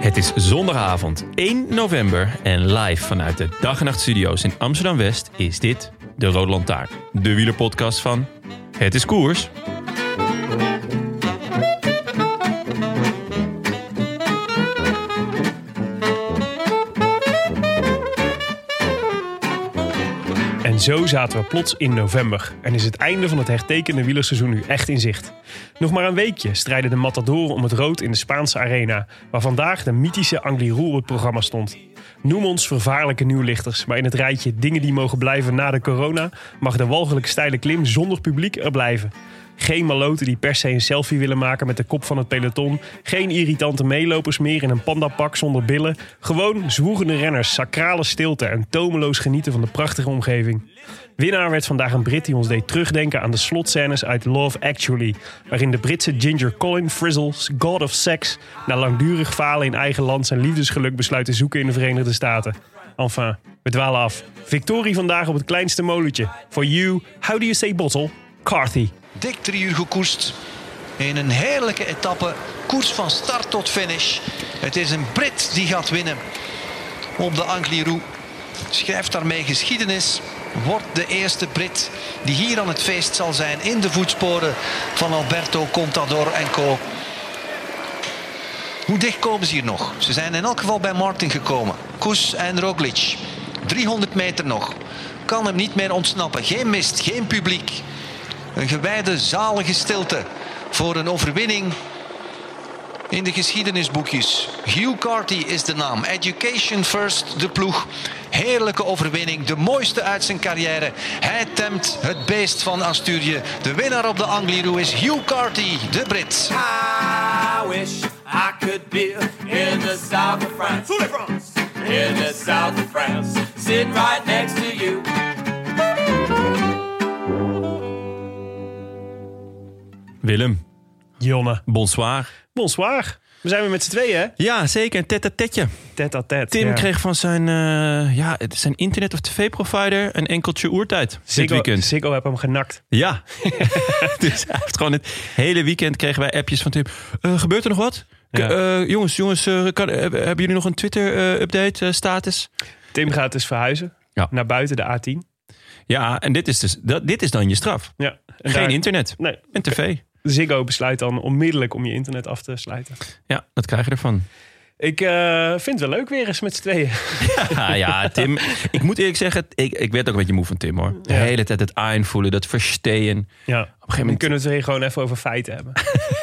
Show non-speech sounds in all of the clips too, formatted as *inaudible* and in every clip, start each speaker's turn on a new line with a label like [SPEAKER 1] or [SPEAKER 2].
[SPEAKER 1] Het is zondagavond 1 november en live vanuit de Dag en Nacht Studio's in Amsterdam West is dit de Rode Lantaarn, de wielerpodcast van Het is Koers.
[SPEAKER 2] En zo zaten we plots in november en is het einde van het hertekende wielerseizoen nu echt in zicht. Nog maar een weekje strijden de Matadoren om het rood in de Spaanse arena, waar vandaag de mythische Angliroer het programma stond. Noem ons vervaarlijke nieuwlichters, maar in het rijtje dingen die mogen blijven na de corona mag de walgelijk steile klim zonder publiek er blijven. Geen maloten die per se een selfie willen maken met de kop van het peloton. Geen irritante meelopers meer in een pandapak zonder billen. Gewoon zwoegende renners, sacrale stilte en tomeloos genieten van de prachtige omgeving. Winnaar werd vandaag een Brit die ons deed terugdenken aan de slotscènes uit Love Actually. Waarin de Britse Ginger Colin Frizzles, God of Sex, na langdurig falen in eigen land zijn liefdesgeluk besluit te zoeken in de Verenigde Staten. Enfin, we dwalen af. Victorie vandaag op het kleinste molentje. For you, how do you say bottle? Carthy.
[SPEAKER 3] dik drie uur gekoerst. In een heerlijke etappe. Koers van start tot finish. Het is een Brit die gaat winnen op de Angliru. Schrijft daarmee geschiedenis. Wordt de eerste Brit die hier aan het feest zal zijn in de voetsporen van Alberto Contador en co. Hoe dicht komen ze hier nog? Ze zijn in elk geval bij Martin gekomen. Koes en Roglic. 300 meter nog. Kan hem niet meer ontsnappen. Geen mist, geen publiek. Een gewijde zalige stilte voor een overwinning in de geschiedenisboekjes. Hugh Carty is de naam. Education First, de ploeg. Heerlijke overwinning, de mooiste uit zijn carrière. Hij temt het beest van Asturië. De winnaar op de Angliru is Hugh Carty, de Brit.
[SPEAKER 4] I wish I could be in the south of France. In the south of France. Sitting right next to you.
[SPEAKER 1] Willem,
[SPEAKER 2] Jonne.
[SPEAKER 1] bonsoir.
[SPEAKER 2] Bonsoir. We zijn weer met z'n tweeën, hè?
[SPEAKER 1] Ja, zeker, tête tetje.
[SPEAKER 2] Tet à tet.
[SPEAKER 1] Tim
[SPEAKER 2] ja.
[SPEAKER 1] kreeg van zijn, eh, ja, het- zijn internet- of tv-provider een enkeltje oertijd dit
[SPEAKER 2] Ziggo-
[SPEAKER 1] weekend.
[SPEAKER 2] Ziggo heb hem genakt.
[SPEAKER 1] Ja, *laughs* dus hij heeft gewoon het hele weekend kregen wij appjes van Tim. Eh, gebeurt er nog wat? K-
[SPEAKER 2] Ja.
[SPEAKER 1] eh, jongens, jongens eh, kan, heb- hebben jullie nog een eh, Twitter-update-status?
[SPEAKER 2] Tim gaat dus verhuizen
[SPEAKER 1] Ja.
[SPEAKER 2] naar buiten de A10.
[SPEAKER 1] ja, en dit is, dus, dat, dit is dan je straf.
[SPEAKER 2] Ja. En
[SPEAKER 1] Geen
[SPEAKER 2] daar-
[SPEAKER 1] internet
[SPEAKER 2] Nee,
[SPEAKER 1] en tv.
[SPEAKER 2] Ziggo besluit dan onmiddellijk om je internet af te sluiten.
[SPEAKER 1] Ja, dat krijg je
[SPEAKER 2] *laughs*
[SPEAKER 1] ervan.
[SPEAKER 2] Ik eh, vind het wel leuk weer eens met z'n tweeën.
[SPEAKER 1] Ah, ja, Tim. Ik moet eerlijk zeggen, ik, ik werd ook een beetje moe van Tim hoor. De
[SPEAKER 2] Ja.
[SPEAKER 1] hele tijd het aanvoelen, dat versteen.
[SPEAKER 2] Ja. Op een gegeven
[SPEAKER 1] moment-
[SPEAKER 2] kunnen we het weer gewoon even over feiten
[SPEAKER 1] *laughs*
[SPEAKER 2] hebben.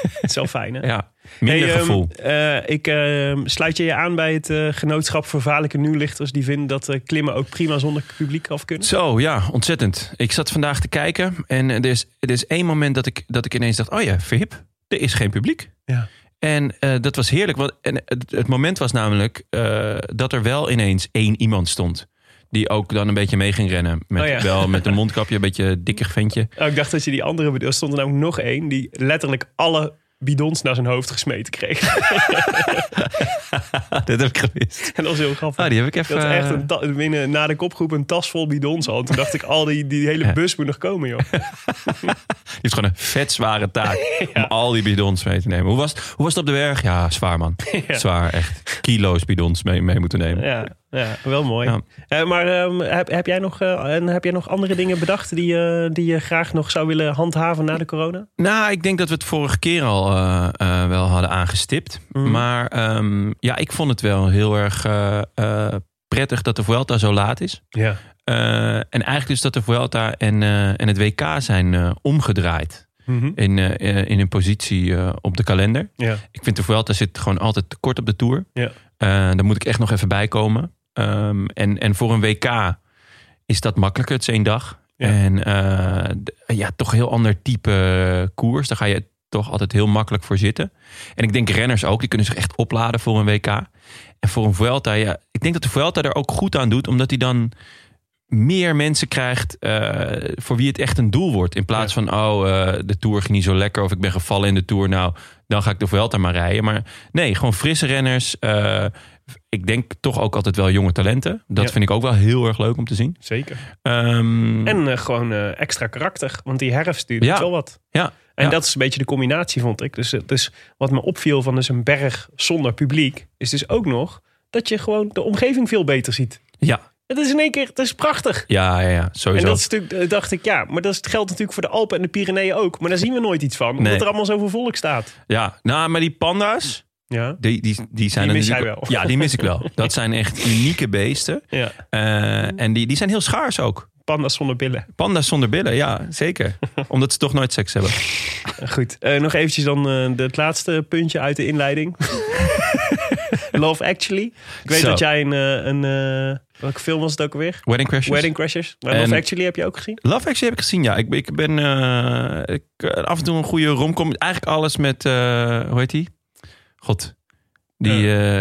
[SPEAKER 2] het is wel fijn, hè?
[SPEAKER 1] Ja, minder
[SPEAKER 2] Hey, ehm,
[SPEAKER 1] gevoel.
[SPEAKER 2] eh, ik eh, sluit je je aan bij het eh, genootschap Vervaarlijke Nieuwlichters. Die vinden dat eh, klimmen ook prima zonder publiek af kunnen.
[SPEAKER 1] Zo, ja, ontzettend. Ik zat vandaag te kijken en eh, er is, er is één moment dat ik, dat ik ineens dacht... oh ja, verhip, er is geen publiek.
[SPEAKER 2] Ja.
[SPEAKER 1] En eh, dat was heerlijk. Want, en het, het moment was namelijk eh, dat er wel ineens één iemand stond... die ook dan een beetje mee ging rennen. Met,
[SPEAKER 2] Oh ja.
[SPEAKER 1] Wel met een mondkapje, een beetje dikker
[SPEAKER 2] *laughs*
[SPEAKER 1] ventje.
[SPEAKER 2] Oh, ik dacht dat je die andere bedoelde. Er stond er namelijk nog één die letterlijk alle bidons naar zijn hoofd gesmeten kreeg. *laughs* Ah,
[SPEAKER 1] dat heb ik gemist.
[SPEAKER 2] en dat was heel grappig.
[SPEAKER 1] Ah, die heb ik
[SPEAKER 2] dat
[SPEAKER 1] even...
[SPEAKER 2] is echt een ta- binnen, na de kopgroep een tas vol bidons al. Toen dacht ik, al die, die hele
[SPEAKER 1] Ja.
[SPEAKER 2] bus moet nog
[SPEAKER 1] *laughs*
[SPEAKER 2] komen, joh.
[SPEAKER 1] Je hebt gewoon een vet zware
[SPEAKER 2] *laughs*
[SPEAKER 1] taak om al die bidons mee te nemen. Hoe was, het, hoe was het op de berg? Ja, zwaar
[SPEAKER 2] *laughs*
[SPEAKER 1] man. Zwaar, echt. Kilo's bidons mee, mee moeten nemen.
[SPEAKER 2] Ja, ja wel mooi.
[SPEAKER 1] Ja.
[SPEAKER 2] Eh, maar ehm, heb, heb, jij nog, eh, en heb jij nog andere dingen bedacht die, eh, die je graag nog zou willen handhaven na de corona?
[SPEAKER 1] Nou, ik denk dat we het vorige keer al eh, eh, wel hadden aangestipt.
[SPEAKER 2] Mhm.
[SPEAKER 1] Maar ehm, ja, ik vond het wel heel erg eh, eh, prettig dat de Vuelta zo laat is.
[SPEAKER 2] Ja.
[SPEAKER 1] Eh, en eigenlijk dus dat de Vuelta en, eh, en het WK zijn eh, omgedraaid. in, eh, eh, in hun positie eh, op de kalender.
[SPEAKER 2] Mhm, Ja.
[SPEAKER 1] Ik vind de Vuelta zit gewoon altijd te kort op de Tour.
[SPEAKER 2] Ja.
[SPEAKER 1] Eh, daar moet ik echt nog even bij komen. Ehm, en, en voor een WK is dat makkelijker. Het is één dag.
[SPEAKER 2] Ja.
[SPEAKER 1] En eh, d- ja, toch een heel ander type koers. Daar ga je toch altijd heel makkelijk voor zitten. En ik denk renners ook. Die kunnen zich echt opladen voor een WK. En voor een Vuelta, ja. Ik denk dat de Vuelta er ook goed aan doet. Omdat hij dan meer mensen krijgt eh, voor wie het echt een doel wordt. In plaats van, oh, eh, de Tour ging niet zo lekker... of ik ben gevallen in de Tour, nou, dan ga ik de Vuelta maar rijden. Maar nee, gewoon frisse renners. eh, ik denk toch ook altijd wel jonge talenten. Dat
[SPEAKER 2] Ja.
[SPEAKER 1] vind ik ook wel heel erg leuk om te zien.
[SPEAKER 2] Zeker.
[SPEAKER 1] Ehm,
[SPEAKER 2] En eh, gewoon eh, extra karakter. Want die herfst die doet
[SPEAKER 1] Ja.
[SPEAKER 2] wel wat.
[SPEAKER 1] ja,
[SPEAKER 2] En
[SPEAKER 1] ja.
[SPEAKER 2] dat is een beetje de combinatie, vond ik. Dus, eh, dus wat me opviel van dus een berg zonder publiek... is dus ook nog dat je gewoon de omgeving veel beter ziet.
[SPEAKER 1] Ja,
[SPEAKER 2] Het is in één keer, het is prachtig.
[SPEAKER 1] ja, ja, ja,
[SPEAKER 2] En
[SPEAKER 1] sowieso.
[SPEAKER 2] dat is natuurlijk, eh, dacht ik, ja, maar dat is- geldt natuurlijk voor de Alpen en de Pyreneeën ook. Maar daar zien we nooit iets van, omdat
[SPEAKER 1] Nee.
[SPEAKER 2] er allemaal zoveel volk staat.
[SPEAKER 1] Ja, nou, maar die panda's...
[SPEAKER 2] Ja,
[SPEAKER 1] Die, die, die, zijn
[SPEAKER 2] Die
[SPEAKER 1] er
[SPEAKER 2] mis jij
[SPEAKER 1] natuurlijk-
[SPEAKER 2] wel.
[SPEAKER 1] Ja, die mis ik
[SPEAKER 2] *laughs*
[SPEAKER 1] wel. Dat zijn echt unieke beesten.
[SPEAKER 2] ja.
[SPEAKER 1] Eh, en die, die zijn heel schaars ook.
[SPEAKER 2] panda's zonder billen.
[SPEAKER 1] Panda's zonder billen, ja,
[SPEAKER 2] *laughs*
[SPEAKER 1] zeker. Omdat ze toch nooit seks hebben.
[SPEAKER 2] Goed, eh, nog eventjes dan eh, het laatste puntje uit de inleiding. *laughs* Love Actually. Ik weet
[SPEAKER 1] Zo.
[SPEAKER 2] dat jij een... eh, een eh, welke film was het ook alweer?
[SPEAKER 1] Wedding Crashers.
[SPEAKER 2] Wedding Crashers. Maar
[SPEAKER 1] En-
[SPEAKER 2] Love Actually heb je ook gezien?
[SPEAKER 1] Love Actually heb ik gezien, ja. Ik, ben- ik ben eh, ik, eh, af en toe een goede romcom. Eigenlijk alles met, eh, hoe heet die? God. Die, eh,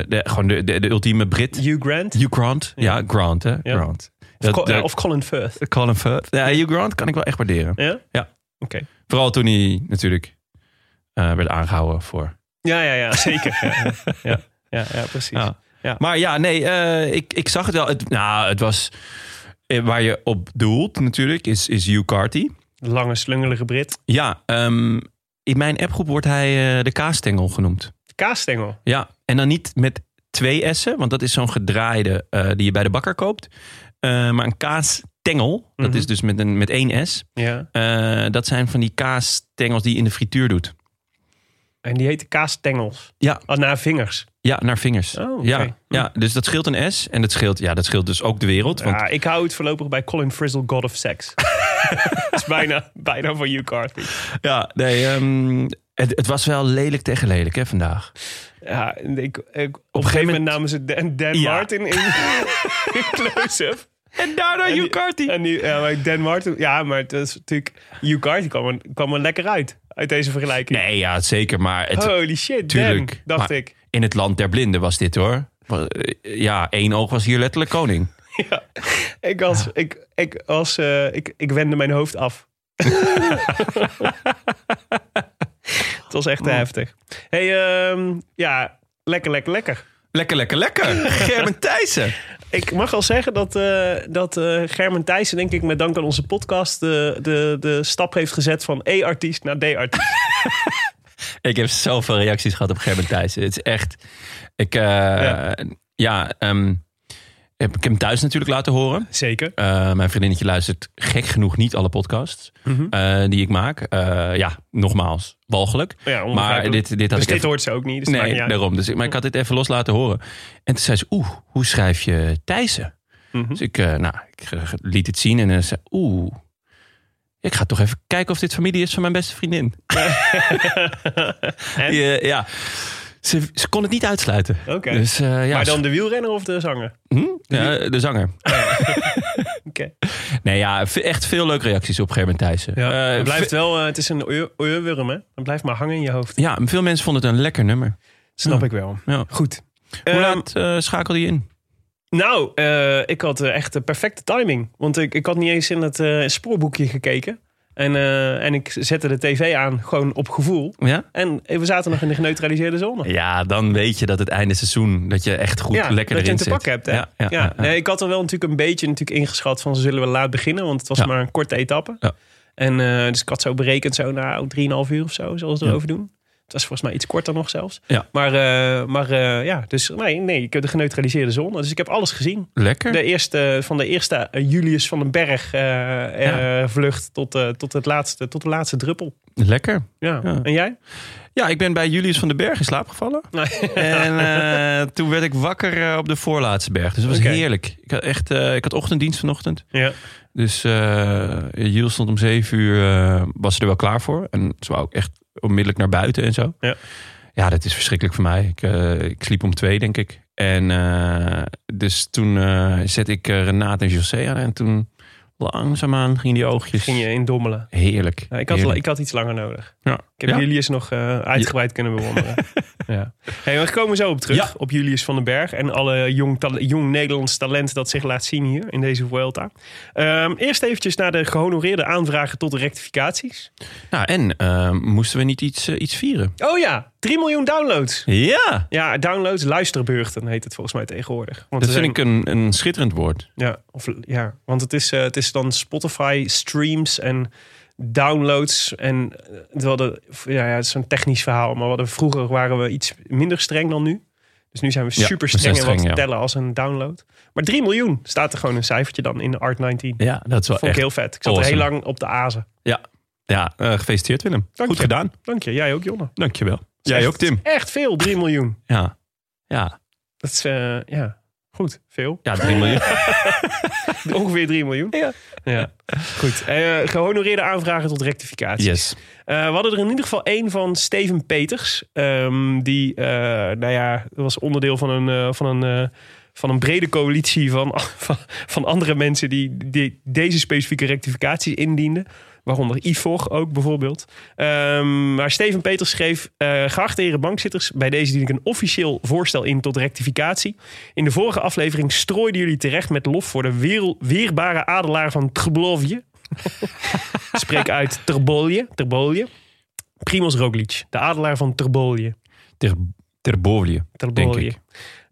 [SPEAKER 1] de, gewoon de, de, de ultieme Brit.
[SPEAKER 2] Hugh Grant?
[SPEAKER 1] Hugh Grant. Ja, Grant, hè?
[SPEAKER 2] Ja.
[SPEAKER 1] Grant.
[SPEAKER 2] of,
[SPEAKER 1] Dat-
[SPEAKER 2] Co-
[SPEAKER 1] dat-
[SPEAKER 2] eh, of Colin Firth?
[SPEAKER 1] Colin Firth. Ja, Hugh Grant kan ik wel echt waarderen.
[SPEAKER 2] Ja?
[SPEAKER 1] Ja.
[SPEAKER 2] Oké.
[SPEAKER 1] Vooral toen hij natuurlijk eh, werd aangehouden voor...
[SPEAKER 2] Ja, ja, ja, zeker. ja, ja, ja, ja, precies.
[SPEAKER 1] Ja.
[SPEAKER 2] Ja.
[SPEAKER 1] Maar ja, nee, eh, ik, ik zag het wel. Het, nou, het was... eh, Waar je op doelt natuurlijk, is, is Hugh Carty.
[SPEAKER 2] Lange, slungelige Brit.
[SPEAKER 1] Ja, ehm, in mijn appgroep wordt hij eh, de kaastengel genoemd.
[SPEAKER 2] Kaasstengel.
[SPEAKER 1] Ja, en dan niet met twee S'en, want dat is zo'n gedraaide eh, die je bij de bakker koopt. Eh, maar een kaastengel, dat
[SPEAKER 2] Mhm.
[SPEAKER 1] is dus met, een, met één S.
[SPEAKER 2] Ja.
[SPEAKER 1] eh, dat zijn van die kaastengels die je in de frituur doet.
[SPEAKER 2] En die heette kaasstengels.
[SPEAKER 1] Ja,
[SPEAKER 2] Oh, naar vingers.
[SPEAKER 1] ja naar vingers.
[SPEAKER 2] Oh, oké.
[SPEAKER 1] ja, ja, dus dat scheelt een S. En dat scheelt, ja, dat scheelt dus ook de wereld. Want
[SPEAKER 2] Ja, ik hou het voorlopig bij Colin Frizzle, God of Sex. *laughs* dat is bijna, bijna voor Hugh Carthy.
[SPEAKER 1] Ja, nee, ehm, het, het was wel lelijk tegen lelijk hè, vandaag.
[SPEAKER 2] Ja, en ik, ik, op, een
[SPEAKER 1] gegeven
[SPEAKER 2] gegeven moment
[SPEAKER 1] moment-
[SPEAKER 2] namen ze Dan, Dan
[SPEAKER 1] Ja.
[SPEAKER 2] Martin
[SPEAKER 1] *laughs*
[SPEAKER 2] in, in close-up.
[SPEAKER 1] En daarna
[SPEAKER 2] En die- En die, ja, maar Dan Martin, ja, maar het is natuurlijk... Hugh Carthy kwam er, kwam er lekker uit, uit deze vergelijking.
[SPEAKER 1] Nee, ja, zeker, maar het,
[SPEAKER 2] Holy shit,
[SPEAKER 1] tuurlijk.
[SPEAKER 2] Dan, dacht
[SPEAKER 1] Maar
[SPEAKER 2] ik.
[SPEAKER 1] In het land der blinden was dit hoor. Wa- eh, Ja, één oog was hier letterlijk koning.
[SPEAKER 2] Ik, als, ik, ik, als, eh, ik, ik wendde mijn hoofd
[SPEAKER 1] *laughs*
[SPEAKER 2] af. het was
[SPEAKER 1] Mm.
[SPEAKER 2] echt te heftig. hey, ehm, ja, lekker, lekker, lekker.
[SPEAKER 1] Lekker, lekker, lekker. *laughs* Gerben Thijssen.
[SPEAKER 2] Ik mag al zeggen dat, eh, dat eh, Germen Thijssen, denk ik, met dank aan onze podcast... de, de, de stap heeft gezet van E-artiest
[SPEAKER 1] *laughs*
[SPEAKER 2] naar D-artiest.
[SPEAKER 1] Ik heb zoveel reacties gehad op Gerben Thijssen. Het is echt... Ik, eh, ja,
[SPEAKER 2] Ja.
[SPEAKER 1] ehm, heb ik hem thuis natuurlijk laten horen.
[SPEAKER 2] Zeker.
[SPEAKER 1] Eh, mijn vriendinnetje luistert gek genoeg niet alle podcasts eh, die ik maak. Eh, ja, nogmaals, walgelijk.
[SPEAKER 2] Ja,
[SPEAKER 1] maar
[SPEAKER 2] onbegrijpelijk.
[SPEAKER 1] dit, dit had
[SPEAKER 2] Dus
[SPEAKER 1] ik
[SPEAKER 2] dit
[SPEAKER 1] even-
[SPEAKER 2] hoort ze ook niet. Dus het maakt
[SPEAKER 1] Nee,
[SPEAKER 2] niet uit.
[SPEAKER 1] daarom. Dus, ik- maar ik had dit even los laten horen. En toen zei ze, oeh, hoe schrijf je Thijssen?
[SPEAKER 2] Mhm.
[SPEAKER 1] Dus ik, eh, nou, ik eh, liet het zien en eh, zei, oeh, ik ga toch even kijken of dit familie is van mijn beste vriendin.
[SPEAKER 2] *laughs*
[SPEAKER 1] Die, eh, ja, ze, ze kon het niet uitsluiten.
[SPEAKER 2] Oké.
[SPEAKER 1] Dus, eh, ja,
[SPEAKER 2] maar dan de wielrenner of de zanger?
[SPEAKER 1] hm? Ja, de
[SPEAKER 2] *laughs*
[SPEAKER 1] zanger.
[SPEAKER 2] Oké.
[SPEAKER 1] Nee, ja, ve- echt veel leuke reacties op Gerben Thijssen.
[SPEAKER 2] Ja,
[SPEAKER 1] Eh,
[SPEAKER 2] het blijft
[SPEAKER 1] ve-
[SPEAKER 2] wel, eh, het is een oor- oorwurm, hè? Het blijft maar hangen in je hoofd.
[SPEAKER 1] ja, veel mensen vonden het een lekker nummer.
[SPEAKER 2] Snap
[SPEAKER 1] Ja.
[SPEAKER 2] ik wel.
[SPEAKER 1] Ja.
[SPEAKER 2] Goed.
[SPEAKER 1] Hoe
[SPEAKER 2] Ehm,
[SPEAKER 1] laat eh, schakelde je in?
[SPEAKER 2] Nou, eh, ik had eh, echt de perfecte timing. Want ik, ik had niet eens in het eh, spoorboekje gekeken. En, eh, en ik zette de tv aan, gewoon op gevoel.
[SPEAKER 1] Ja?
[SPEAKER 2] En eh, we zaten nog in de geneutraliseerde zone.
[SPEAKER 1] Ja, dan weet je dat het einde seizoen, dat je echt goed lekker
[SPEAKER 2] dat je
[SPEAKER 1] erin
[SPEAKER 2] hem te
[SPEAKER 1] zit.
[SPEAKER 2] pakken hebt. Hè?
[SPEAKER 1] Ja, ja, ja.
[SPEAKER 2] Nee, ik had er wel natuurlijk een beetje natuurlijk ingeschat van zullen we laat beginnen, want het was
[SPEAKER 1] Ja.
[SPEAKER 2] maar een korte etappe.
[SPEAKER 1] Ja.
[SPEAKER 2] En eh, dus ik had zo berekend, zo nou 3,5 uur of zo, zullen we erover doen. Het was volgens mij iets korter nog zelfs.
[SPEAKER 1] Ja.
[SPEAKER 2] Maar, eh, maar eh, ja, dus nee, nee, ik heb de geneutraliseerde zone. Dus ik heb alles gezien.
[SPEAKER 1] Lekker.
[SPEAKER 2] *laughs* De eerste, van de eerste eh, Julius van den Berg eh, eh, vlucht tot, eh, tot, het laatste, tot de laatste druppel.
[SPEAKER 1] Lekker.
[SPEAKER 2] Ja.
[SPEAKER 1] Ja.
[SPEAKER 2] En jij?
[SPEAKER 1] Ja, ik ben bij Julius van den Berg in slaap gevallen. *laughs* en eh, toen werd ik wakker eh, op de voorlaatste berg. Dus dat was
[SPEAKER 2] Oké.
[SPEAKER 1] heerlijk. Ik had, echt, eh, ik had ochtenddienst vanochtend.
[SPEAKER 2] Ja.
[SPEAKER 1] Dus eh Jules stond om zeven uur, eh, was ze er wel klaar voor. En ze wou ook echt onmiddellijk naar buiten en zo.
[SPEAKER 2] Ja.
[SPEAKER 1] Ja, dat is verschrikkelijk voor mij. Ik, eh, ik sliep om twee, denk ik. En eh, dus toen eh zet ik eh, Renate en José aan. En toen langzaamaan gingen die oogjes.
[SPEAKER 2] Ging je in dommelen.
[SPEAKER 1] Heerlijk.
[SPEAKER 2] Ja, ik, had,
[SPEAKER 1] heerlijk.
[SPEAKER 2] ik had iets langer nodig.
[SPEAKER 1] Ja.
[SPEAKER 2] Ik heb
[SPEAKER 1] Ja?
[SPEAKER 2] Julius nog eh, uitgebreid kunnen
[SPEAKER 1] *laughs*
[SPEAKER 2] bewonderen. ja. hey, we komen zo op terug.
[SPEAKER 1] Ja.
[SPEAKER 2] Op Julius van den Berg. En alle jong, tal- jong Nederlands talent dat zich laat zien hier in deze Vuelta. Ehm, eerst eventjes naar de gehonoreerde aanvragen tot de rectificaties.
[SPEAKER 1] Nou, en eh, moesten we niet iets, eh, iets vieren?
[SPEAKER 2] Oh ja, 3 miljoen downloads.
[SPEAKER 1] Ja,
[SPEAKER 2] Ja, downloads, luisterbeurten heet het volgens mij tegenwoordig. Want
[SPEAKER 1] dat
[SPEAKER 2] er
[SPEAKER 1] vind ik een, een schitterend woord.
[SPEAKER 2] Ja, of, ja. want het is, eh, het is dan Spotify streams en downloads. En eh, we hadden, ja, ja, het is een technisch verhaal, maar we hadden, vroeger waren we iets minder streng dan nu. Dus nu zijn we
[SPEAKER 1] Ja,
[SPEAKER 2] super
[SPEAKER 1] we zijn
[SPEAKER 2] streng in wat
[SPEAKER 1] streng, ja.
[SPEAKER 2] tellen als een download. Maar 3 miljoen staat er gewoon een cijfertje dan in de Art 19.
[SPEAKER 1] Ja, dat is wel
[SPEAKER 2] Vond ik heel vet. Ik zat er
[SPEAKER 1] awesome.
[SPEAKER 2] heel lang op de azen.
[SPEAKER 1] Ja, ja eh, gefeliciteerd Willem.
[SPEAKER 2] Dank
[SPEAKER 1] Goed
[SPEAKER 2] je.
[SPEAKER 1] gedaan.
[SPEAKER 2] Dank je. Jij ook, Jonne.
[SPEAKER 1] Dankjewel. Jij
[SPEAKER 2] Echt-
[SPEAKER 1] ook, Tim.
[SPEAKER 2] Echt veel, 3 miljoen.
[SPEAKER 1] Ja, ja.
[SPEAKER 2] Dat is, eh, ja, goed. Veel.
[SPEAKER 1] *laughs* ja 3 miljoen.
[SPEAKER 2] Ongeveer 3 miljoen. Ja. Goed. Eh, gehonoreerde aanvragen tot rectificatie.
[SPEAKER 1] Yes.
[SPEAKER 2] Eh, we hadden er in ieder geval één van Steven Peters. Ehm, die, eh, nou ja, dat was onderdeel van een, eh, van een, eh, van een brede coalitie van, *laughs* van, van andere mensen die, die deze specifieke rectificaties indienden. Waaronder Ivor ook bijvoorbeeld. Ehm, maar Steven Peters schreef... eh Geachte heren bankzitters, bij deze dien ik een officieel voorstel in tot rectificatie. In de vorige aflevering strooiden jullie terecht met lof... voor de werel- weerbare adelaar van Treblovje. Spreek uit Terbolje. Terbolje. Primoz Roglic, de adelaar van Terbolje.
[SPEAKER 1] Ter, ter Bovlie, denk
[SPEAKER 2] Terbolje.
[SPEAKER 1] ik.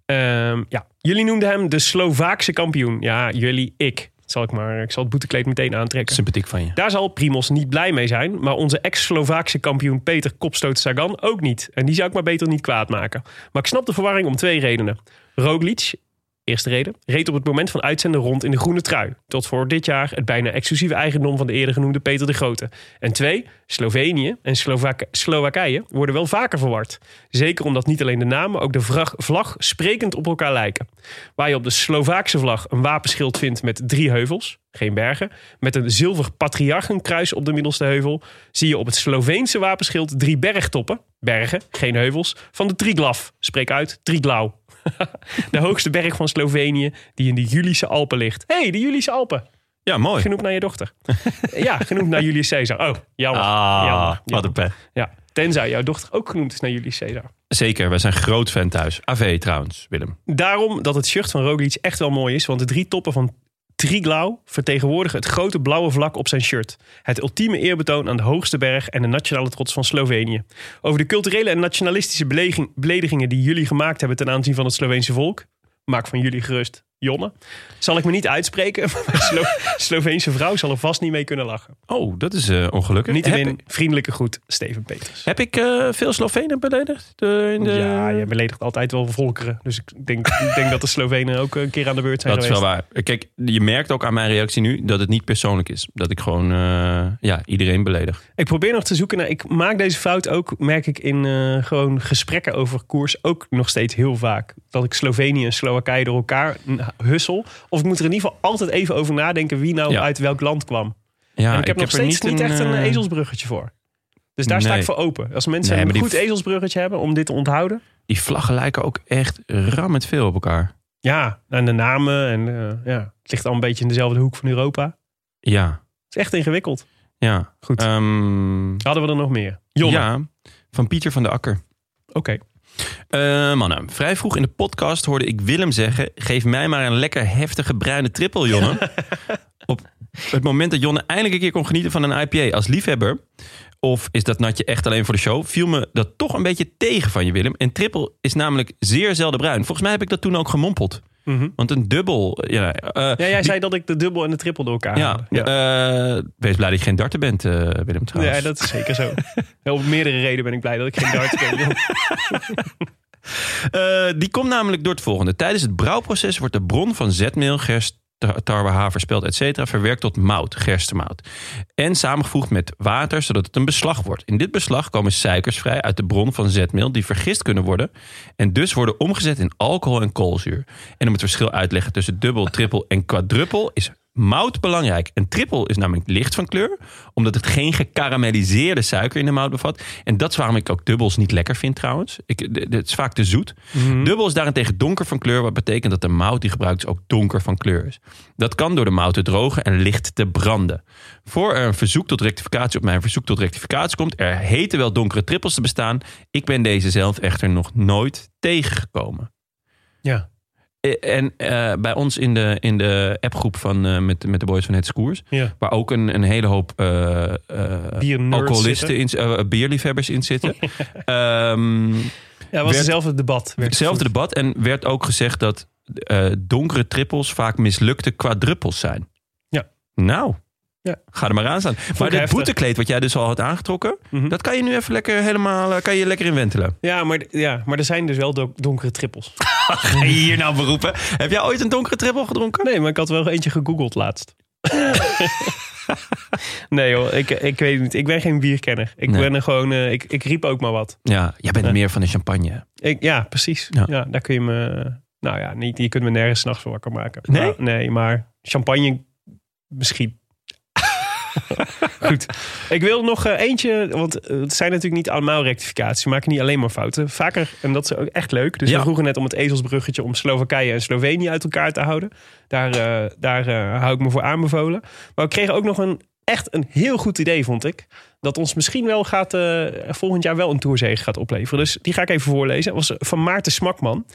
[SPEAKER 2] Ehm, ja. Jullie noemden hem de Slovaakse kampioen. Ja, jullie, ik. Zal ik, maar, ik zal het boetekleed meteen aantrekken.
[SPEAKER 1] Sympathiek van je.
[SPEAKER 2] Daar zal Primos niet blij mee zijn, maar onze ex-Slovaakse kampioen Peter Kopstoot Sagan ook niet. En die zou ik maar beter niet kwaad maken. Maar ik snap de verwarring om twee redenen. Roglic, eerste reden, reed op het moment van uitzenden rond in de groene trui. Tot voor dit jaar het bijna exclusieve eigendom van de eerder genoemde Peter de Grote. En twee, Slovenië en Slovak Slowakije worden wel vaker verward. Zeker omdat niet alleen de namen, ook de vrag- vlag sprekend op elkaar lijken. Waar je op de Slovaakse vlag een wapenschild vindt met drie heuvels, geen bergen, met een zilver patriarchenkruis op de middelste heuvel, zie je op het Sloveense wapenschild drie bergtoppen, bergen, geen heuvels, van de Triglav. Spreek uit, Triglau. *laughs* de hoogste berg van Slovenië, die in de Julische Alpen ligt. hey, de Julische Alpen.
[SPEAKER 1] Ja, mooi.
[SPEAKER 2] Genoemd naar je dochter. ja, genoemd naar Julius Caesar. Oh, jammer.
[SPEAKER 1] Ah,
[SPEAKER 2] jammer,
[SPEAKER 1] wat
[SPEAKER 2] jammer.
[SPEAKER 1] een pech.
[SPEAKER 2] Ja, tenzij jouw dochter ook genoemd is naar Julius Caesar.
[SPEAKER 1] Zeker, wij zijn groot fan thuis. AV trouwens, Willem.
[SPEAKER 2] Daarom dat het shirt van Roglic echt wel mooi is, want de drie toppen van Triglau vertegenwoordigen het grote blauwe vlak op zijn shirt. Het ultieme eerbetoon aan de hoogste berg en de nationale trots van Slovenië. Over de culturele en nationalistische beleging- beledigingen die jullie gemaakt hebben ten aanzien van het Sloveense volk, maak van jullie gerust, Jonne, zal ik me niet uitspreken, *laughs* maar mijn Slo- Sloveense vrouw zal er vast niet mee kunnen lachen.
[SPEAKER 1] Oh, dat is eh, ongelukkig.
[SPEAKER 2] Niet
[SPEAKER 1] heb,
[SPEAKER 2] alleen vriendelijke groet, Steven Peters.
[SPEAKER 1] heb ik eh, veel Slovenen beledigd? eh, in de...
[SPEAKER 2] Ja, je beledigt altijd wel volkeren. Dus ik denk, ik denk dat de Slovenen ook een keer aan de beurt zijn
[SPEAKER 1] Dat is
[SPEAKER 2] geweest.
[SPEAKER 1] wel waar. Kijk, je merkt ook aan mijn reactie nu dat het niet persoonlijk is. Dat ik gewoon eh, ja, iedereen beledig.
[SPEAKER 2] Ik probeer nog te zoeken naar. Ik maak deze fout ook, merk ik, in eh, gewoon gesprekken over koers ook nog steeds heel vaak. Dat ik Slovenië en Slowakije door elkaar n- hussel. Of ik moet er in ieder geval altijd even over nadenken wie nou
[SPEAKER 1] Ja.
[SPEAKER 2] uit welk land kwam.
[SPEAKER 1] Ja,
[SPEAKER 2] en ik heb nog
[SPEAKER 1] er
[SPEAKER 2] steeds niet, echt een
[SPEAKER 1] eh,
[SPEAKER 2] ezelsbruggetje voor. Dus daar sta
[SPEAKER 1] Nee.
[SPEAKER 2] ik voor open. Als mensen
[SPEAKER 1] Nee, maar
[SPEAKER 2] een
[SPEAKER 1] die-
[SPEAKER 2] goed ezelsbruggetje hebben om dit te onthouden.
[SPEAKER 1] Die vlaggen lijken ook echt rammend veel op elkaar.
[SPEAKER 2] Ja, en de namen. En eh, ja, het ligt al een beetje in dezelfde hoek van Europa. Het
[SPEAKER 1] Ja,
[SPEAKER 2] is echt ingewikkeld.
[SPEAKER 1] ja.
[SPEAKER 2] Goed.
[SPEAKER 1] Ehm,
[SPEAKER 2] Hadden we er nog meer? Jonne.
[SPEAKER 1] Ja, van Pieter van de Akker.
[SPEAKER 2] Oké.
[SPEAKER 1] Eh, mannen, vrij vroeg in de podcast hoorde ik Willem zeggen... geef mij maar een lekker heftige bruine trippel, *laughs* Jonne. Op het moment dat Jonne eindelijk een keer kon genieten van een IPA als liefhebber... of is dat natje echt alleen voor de show... viel me dat toch een beetje tegen van je, Willem. En trippel is namelijk zeer zelden bruin. Volgens mij heb ik dat toen ook gemompeld.
[SPEAKER 2] Mhm.
[SPEAKER 1] Want een dubbel... Ja, eh,
[SPEAKER 2] Ja, jij zei dat ik de dubbel en de triple door elkaar haalde.
[SPEAKER 1] ja, eh, wees blij dat je geen darter bent, eh, Willem, trouwens.
[SPEAKER 2] Ja, dat is zeker zo. Ja, Op meerdere redenen ben ik blij dat ik geen darts ben.
[SPEAKER 1] Eh, die komt namelijk door het volgende. Tijdens het brouwproces wordt de bron van zetmeel, gerst, ta- tarwe, haverspelt, et cetera, verwerkt tot mout, gerstemout. En samengevoegd met water, zodat het een beslag wordt. In dit beslag komen suikers vrij uit de bron van zetmeel die vergist kunnen worden en dus worden omgezet in alcohol en koolzuur. En om het verschil uit te leggen tussen dubbel, trippel en quadruppel is mout belangrijk. En trippel is namelijk licht van kleur, omdat het geen gekarameliseerde suiker in de mout bevat. En dat is waarom ik ook dubbels niet lekker vind trouwens. Ik, d- d- het is vaak te zoet.
[SPEAKER 2] Hm.
[SPEAKER 1] Dubbel is daarentegen donker van kleur, wat betekent dat de mout die gebruikt is ook donker van kleur is. Dat kan door de mout te drogen en licht te branden. Voor er een verzoek tot rectificatie op mijn verzoek tot rectificatie komt, er heten wel donkere trippels te bestaan. Ik ben deze zelf echter nog nooit tegengekomen.
[SPEAKER 2] Ja.
[SPEAKER 1] Eh, En eh, bij ons in de, in de appgroep van, eh, met, met de boys van Het Scoers,
[SPEAKER 2] Ja.
[SPEAKER 1] waar ook een, een hele hoop eh, eh,
[SPEAKER 2] Biernerds
[SPEAKER 1] alcoholisten,
[SPEAKER 2] zitten.
[SPEAKER 1] in, eh, bierliefhebbers in
[SPEAKER 2] *laughs*
[SPEAKER 1] zitten. Ehm,
[SPEAKER 2] Ja, was
[SPEAKER 1] Werd-
[SPEAKER 2] hetzelfde debat. werd
[SPEAKER 1] hetzelfde
[SPEAKER 2] gevoerd.
[SPEAKER 1] debat en werd ook gezegd dat eh, donkere trippels vaak mislukte quadruppels zijn.
[SPEAKER 2] Ja.
[SPEAKER 1] Nou,
[SPEAKER 2] Ja.
[SPEAKER 1] ga er maar aan staan. Maar dit
[SPEAKER 2] heftig.
[SPEAKER 1] boetekleed wat jij dus al had aangetrokken,
[SPEAKER 2] Mhm.
[SPEAKER 1] dat kan je nu even lekker helemaal, eh, kan je lekker in wentelen.
[SPEAKER 2] Ja maar, ja, maar er zijn dus wel do- donkere trippels.
[SPEAKER 1] Ga je hier nou beroepen? Heb jij ooit een donkere trippel gedronken?
[SPEAKER 2] Nee, maar ik had wel eentje gegoogeld
[SPEAKER 1] *laughs*
[SPEAKER 2] laatst. nee joh, ik, ik weet niet. Ik ben geen bierkenner. Ik
[SPEAKER 1] Nee.
[SPEAKER 2] ben er gewoon, eh, ik, ik riep ook maar wat.
[SPEAKER 1] Ja, jij bent meer van de champagne. hè?
[SPEAKER 2] Ik, ja, precies.
[SPEAKER 1] Ja.
[SPEAKER 2] Ja. daar kun je me... Nou ja, niet, je kunt me nergens 's nachts voor wakker maken.
[SPEAKER 1] Nee?
[SPEAKER 2] Maar, nee, maar champagne misschien. *laughs* Goed. Ik wil nog eh, eentje, want eh, het zijn natuurlijk niet allemaal rectificaties. We maken niet alleen maar fouten. Vaker, en dat is ook echt leuk. Dus
[SPEAKER 1] Ja.
[SPEAKER 2] we vroegen net om het ezelsbruggetje om Slowakije en Slovenië uit elkaar te houden. Daar, eh, daar eh, hou ik me voor aanbevolen. Maar we kregen ook nog een, echt een heel goed idee, vond ik. Dat ons misschien wel gaat, eh, volgend jaar wel een toerzege gaat opleveren. Dus die ga ik even voorlezen. Dat was van Maarten Smakman.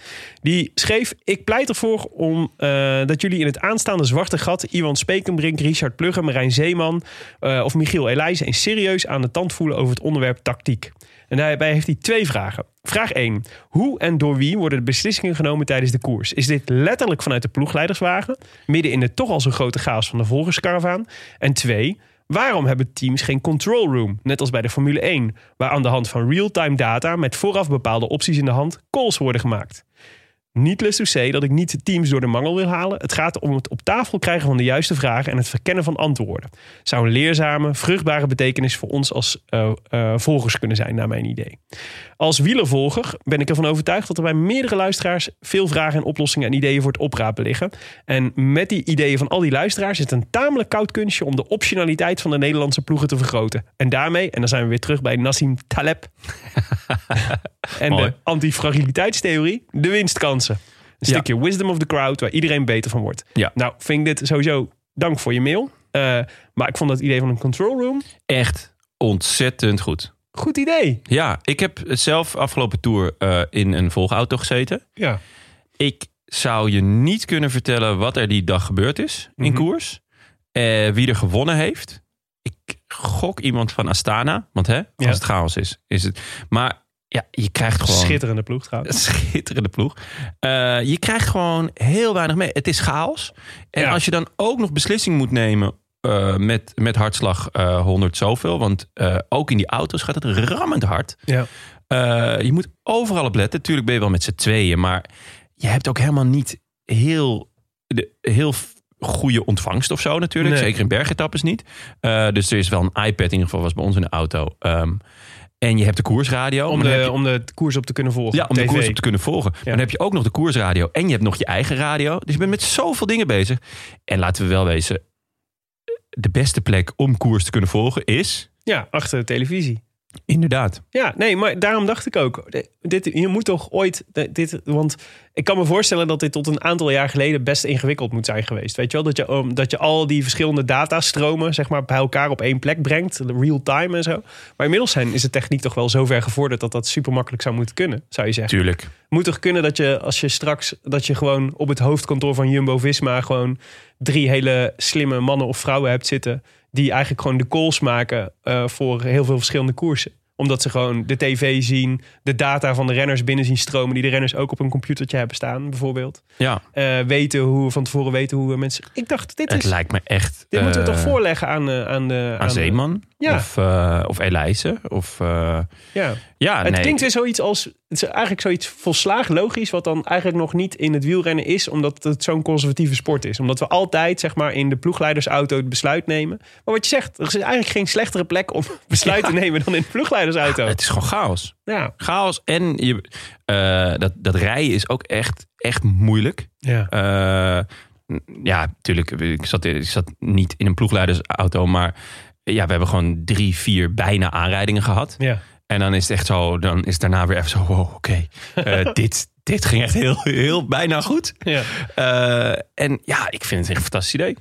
[SPEAKER 2] Die schreef: Ik pleit ervoor om, eh, dat jullie in het aanstaande zwarte gat Iwan Spekenbrink, Richard Plugge, Marijn Zeeman eh, of Michiel Elijzen eens serieus aan de tand voelen over het onderwerp tactiek. En daarbij heeft hij twee vragen. Vraag 1. Hoe en door wie worden de beslissingen genomen tijdens de koers? Is dit letterlijk vanuit de ploegleiderswagen, midden in de toch al zo grote chaos van de volgerskaravaan? En 2. Waarom hebben teams geen control room, net als bij de Formule 1, waar aan de hand van real-time data met vooraf bepaalde opties in de hand calls worden gemaakt? Niet lust C dat ik niet de teams door de mangel wil halen. Het gaat om het op tafel krijgen van de juiste vragen en het verkennen van antwoorden. Zou een leerzame, vruchtbare betekenis voor ons als eh, eh, volgers kunnen zijn, naar mijn idee. Als wielervolger ben ik ervan overtuigd dat er bij meerdere luisteraars veel vragen en oplossingen en ideeën voor het oprapen liggen. En met die ideeën van al die luisteraars is het een tamelijk koud kunstje om de optionaliteit van de Nederlandse ploegen te vergroten. En daarmee, en dan zijn we weer terug bij Nassim
[SPEAKER 1] *laughs*
[SPEAKER 2] Taleb en
[SPEAKER 1] Mooi.
[SPEAKER 2] de antifragiliteitstheorie, de winstkansen. Een
[SPEAKER 1] Ja.
[SPEAKER 2] stukje wisdom of the crowd waar iedereen beter van wordt.
[SPEAKER 1] Ja.
[SPEAKER 2] Nou, vind ik dit sowieso dank voor je mail. Eh, maar ik vond dat idee van een control room
[SPEAKER 1] Echt ontzettend goed.
[SPEAKER 2] goed idee.
[SPEAKER 1] Ja, ik heb zelf afgelopen tour eh, in een volgauto gezeten.
[SPEAKER 2] Ja.
[SPEAKER 1] Ik zou je niet kunnen vertellen wat er die dag gebeurd is in
[SPEAKER 2] Mhm.
[SPEAKER 1] koers. Eh, wie er gewonnen heeft. Ik gok iemand van Astana. Want hè, als
[SPEAKER 2] Ja.
[SPEAKER 1] het chaos is, is het. Maar ja, je krijgt gewoon... *laughs*
[SPEAKER 2] Schitterende ploeg trouwens.
[SPEAKER 1] Schitterende ploeg. Eh, je krijgt gewoon heel weinig mee. Het is chaos. En
[SPEAKER 2] Ja.
[SPEAKER 1] als je dan ook nog beslissing moet nemen eh, met, met hartslag eh 100 zoveel. Want eh, ook in die auto's gaat het rammend hard.
[SPEAKER 2] Ja.
[SPEAKER 1] Eh, je moet overal op letten. Tuurlijk ben je wel met z'n tweeën. Maar je hebt ook helemaal niet heel, de, heel f- goede ontvangst of zo natuurlijk.
[SPEAKER 2] Nee.
[SPEAKER 1] Zeker in bergetappes niet. Eh, dus er is wel een iPad in ieder geval was bij ons in de auto. Ehm, en je hebt de koersradio.
[SPEAKER 2] Om
[SPEAKER 1] maar dan heb
[SPEAKER 2] de,
[SPEAKER 1] je-
[SPEAKER 2] om de koers op te kunnen volgen.
[SPEAKER 1] ja, om de
[SPEAKER 2] TV.
[SPEAKER 1] koers op te kunnen volgen. Maar dan heb je ook nog de koersradio en je hebt nog je eigen radio. Dus je bent met zoveel dingen bezig. En laten we wel wezen, de beste plek om koers te kunnen volgen is...
[SPEAKER 2] Ja, achter de televisie.
[SPEAKER 1] Inderdaad.
[SPEAKER 2] Ja, nee, maar daarom dacht ik ook. de- Dit, je moet toch ooit. de- Dit, want ik kan me voorstellen dat dit tot een aantal jaar geleden best ingewikkeld moet zijn geweest. Weet je wel, dat je, um, dat je al die verschillende datastromen zeg maar, bij elkaar op één plek brengt. Real time en zo. Maar inmiddels zijn, is de techniek toch wel zo ver gevorderd dat dat super makkelijk zou moeten kunnen, zou je zeggen.
[SPEAKER 1] Tuurlijk.
[SPEAKER 2] Moet toch kunnen dat je als je straks dat je gewoon op het hoofdkantoor van Jumbo Visma gewoon drie hele slimme mannen of vrouwen hebt zitten. Die eigenlijk gewoon de calls maken eh, voor heel veel verschillende koersen. Omdat ze gewoon de tv zien, de data van de renners binnen zien stromen, die de renners ook op een computertje hebben staan, bijvoorbeeld.
[SPEAKER 1] Ja,
[SPEAKER 2] Eh, weten hoe, van tevoren weten hoe mensen. Ik dacht, dit,
[SPEAKER 1] het
[SPEAKER 2] is, dit
[SPEAKER 1] lijkt me echt...
[SPEAKER 2] moeten we
[SPEAKER 1] eh,
[SPEAKER 2] toch voorleggen aan, eh, aan de.
[SPEAKER 1] Aan Zeeman?
[SPEAKER 2] Ja.
[SPEAKER 1] Of, eh of Elijse? Of, eh,
[SPEAKER 2] Ja.
[SPEAKER 1] ja,
[SPEAKER 2] het
[SPEAKER 1] nee.
[SPEAKER 2] klinkt weer zoiets als. Het is eigenlijk zoiets volslagen logisch, wat dan eigenlijk nog niet in het wielrennen is, omdat het zo'n conservatieve sport is. Omdat we altijd, zeg maar, in de ploegleidersauto het besluit nemen. Maar wat je zegt, er is eigenlijk geen slechtere plek om *laughs* besluit te nemen dan in de ploegleidersauto. Ja,
[SPEAKER 1] Ah, Het is gewoon chaos. Chaos en je, eh, dat, dat rijden is ook echt, echt moeilijk.
[SPEAKER 2] ja.
[SPEAKER 1] Eh, ja, natuurlijk. Ik zat, ik zat niet in een ploegleidersauto, maar ja, we hebben gewoon drie, vier bijna aanrijdingen gehad.
[SPEAKER 2] ja.
[SPEAKER 1] En dan is het echt zo, dan is het daarna weer even zo, wow, oké,
[SPEAKER 2] *laughs*
[SPEAKER 1] eh, dit, dit ging echt heel, heel bijna goed.
[SPEAKER 2] ja.
[SPEAKER 1] Eh, en ja, ik vind het echt een fantastisch idee.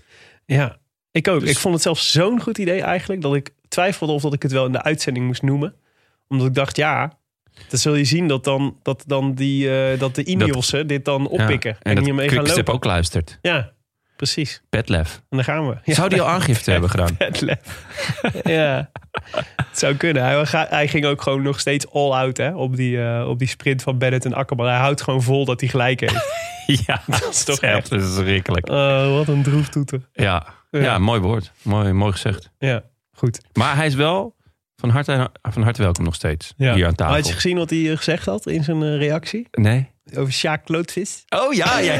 [SPEAKER 2] Ja, ik ook.
[SPEAKER 1] Dus-
[SPEAKER 2] Ik vond het zelfs zo'n goed idee eigenlijk dat ik twijfelde of dat ik het wel in de uitzending moest noemen. Omdat ik dacht, ja, dan zul je zien dat dan, dat dan die, eh, dat de Ineosen dit dan
[SPEAKER 1] Ja.
[SPEAKER 2] oppikken.
[SPEAKER 1] En,
[SPEAKER 2] en
[SPEAKER 1] dat
[SPEAKER 2] hiermee gaan
[SPEAKER 1] Quickstep
[SPEAKER 2] lopen.
[SPEAKER 1] ook luistert.
[SPEAKER 2] Ja, precies.
[SPEAKER 1] Petlef.
[SPEAKER 2] En daar gaan we. Ja, *laughs*
[SPEAKER 1] Zou die al aangifte hebben gedaan?
[SPEAKER 2] het lef. *laughs* ja, het zou kunnen. Hij, ga- hij ging ook gewoon nog steeds all out hè, op, die, eh, op die sprint van Bennett en Akkerman. Hij houdt gewoon vol *laughs* dat hij gelijk heeft.
[SPEAKER 1] ja, *laughs* dat is
[SPEAKER 2] toch
[SPEAKER 1] echt
[SPEAKER 2] echt-
[SPEAKER 1] verschrikkelijk.
[SPEAKER 2] Oh, wat een droeftoeter.
[SPEAKER 1] Ja.
[SPEAKER 2] Ja.
[SPEAKER 1] ja, mooi woord. Mooi, mooi gezegd.
[SPEAKER 2] Ja, goed.
[SPEAKER 1] Maar hij is wel van harte, van harte welkom nog steeds
[SPEAKER 2] Ja.
[SPEAKER 1] hier aan tafel.
[SPEAKER 2] Had je gezien wat hij eh, gezegd had in zijn eh, reactie?
[SPEAKER 1] Nee.
[SPEAKER 2] Over Sjaak Klootvis?
[SPEAKER 1] Oh ja, ja.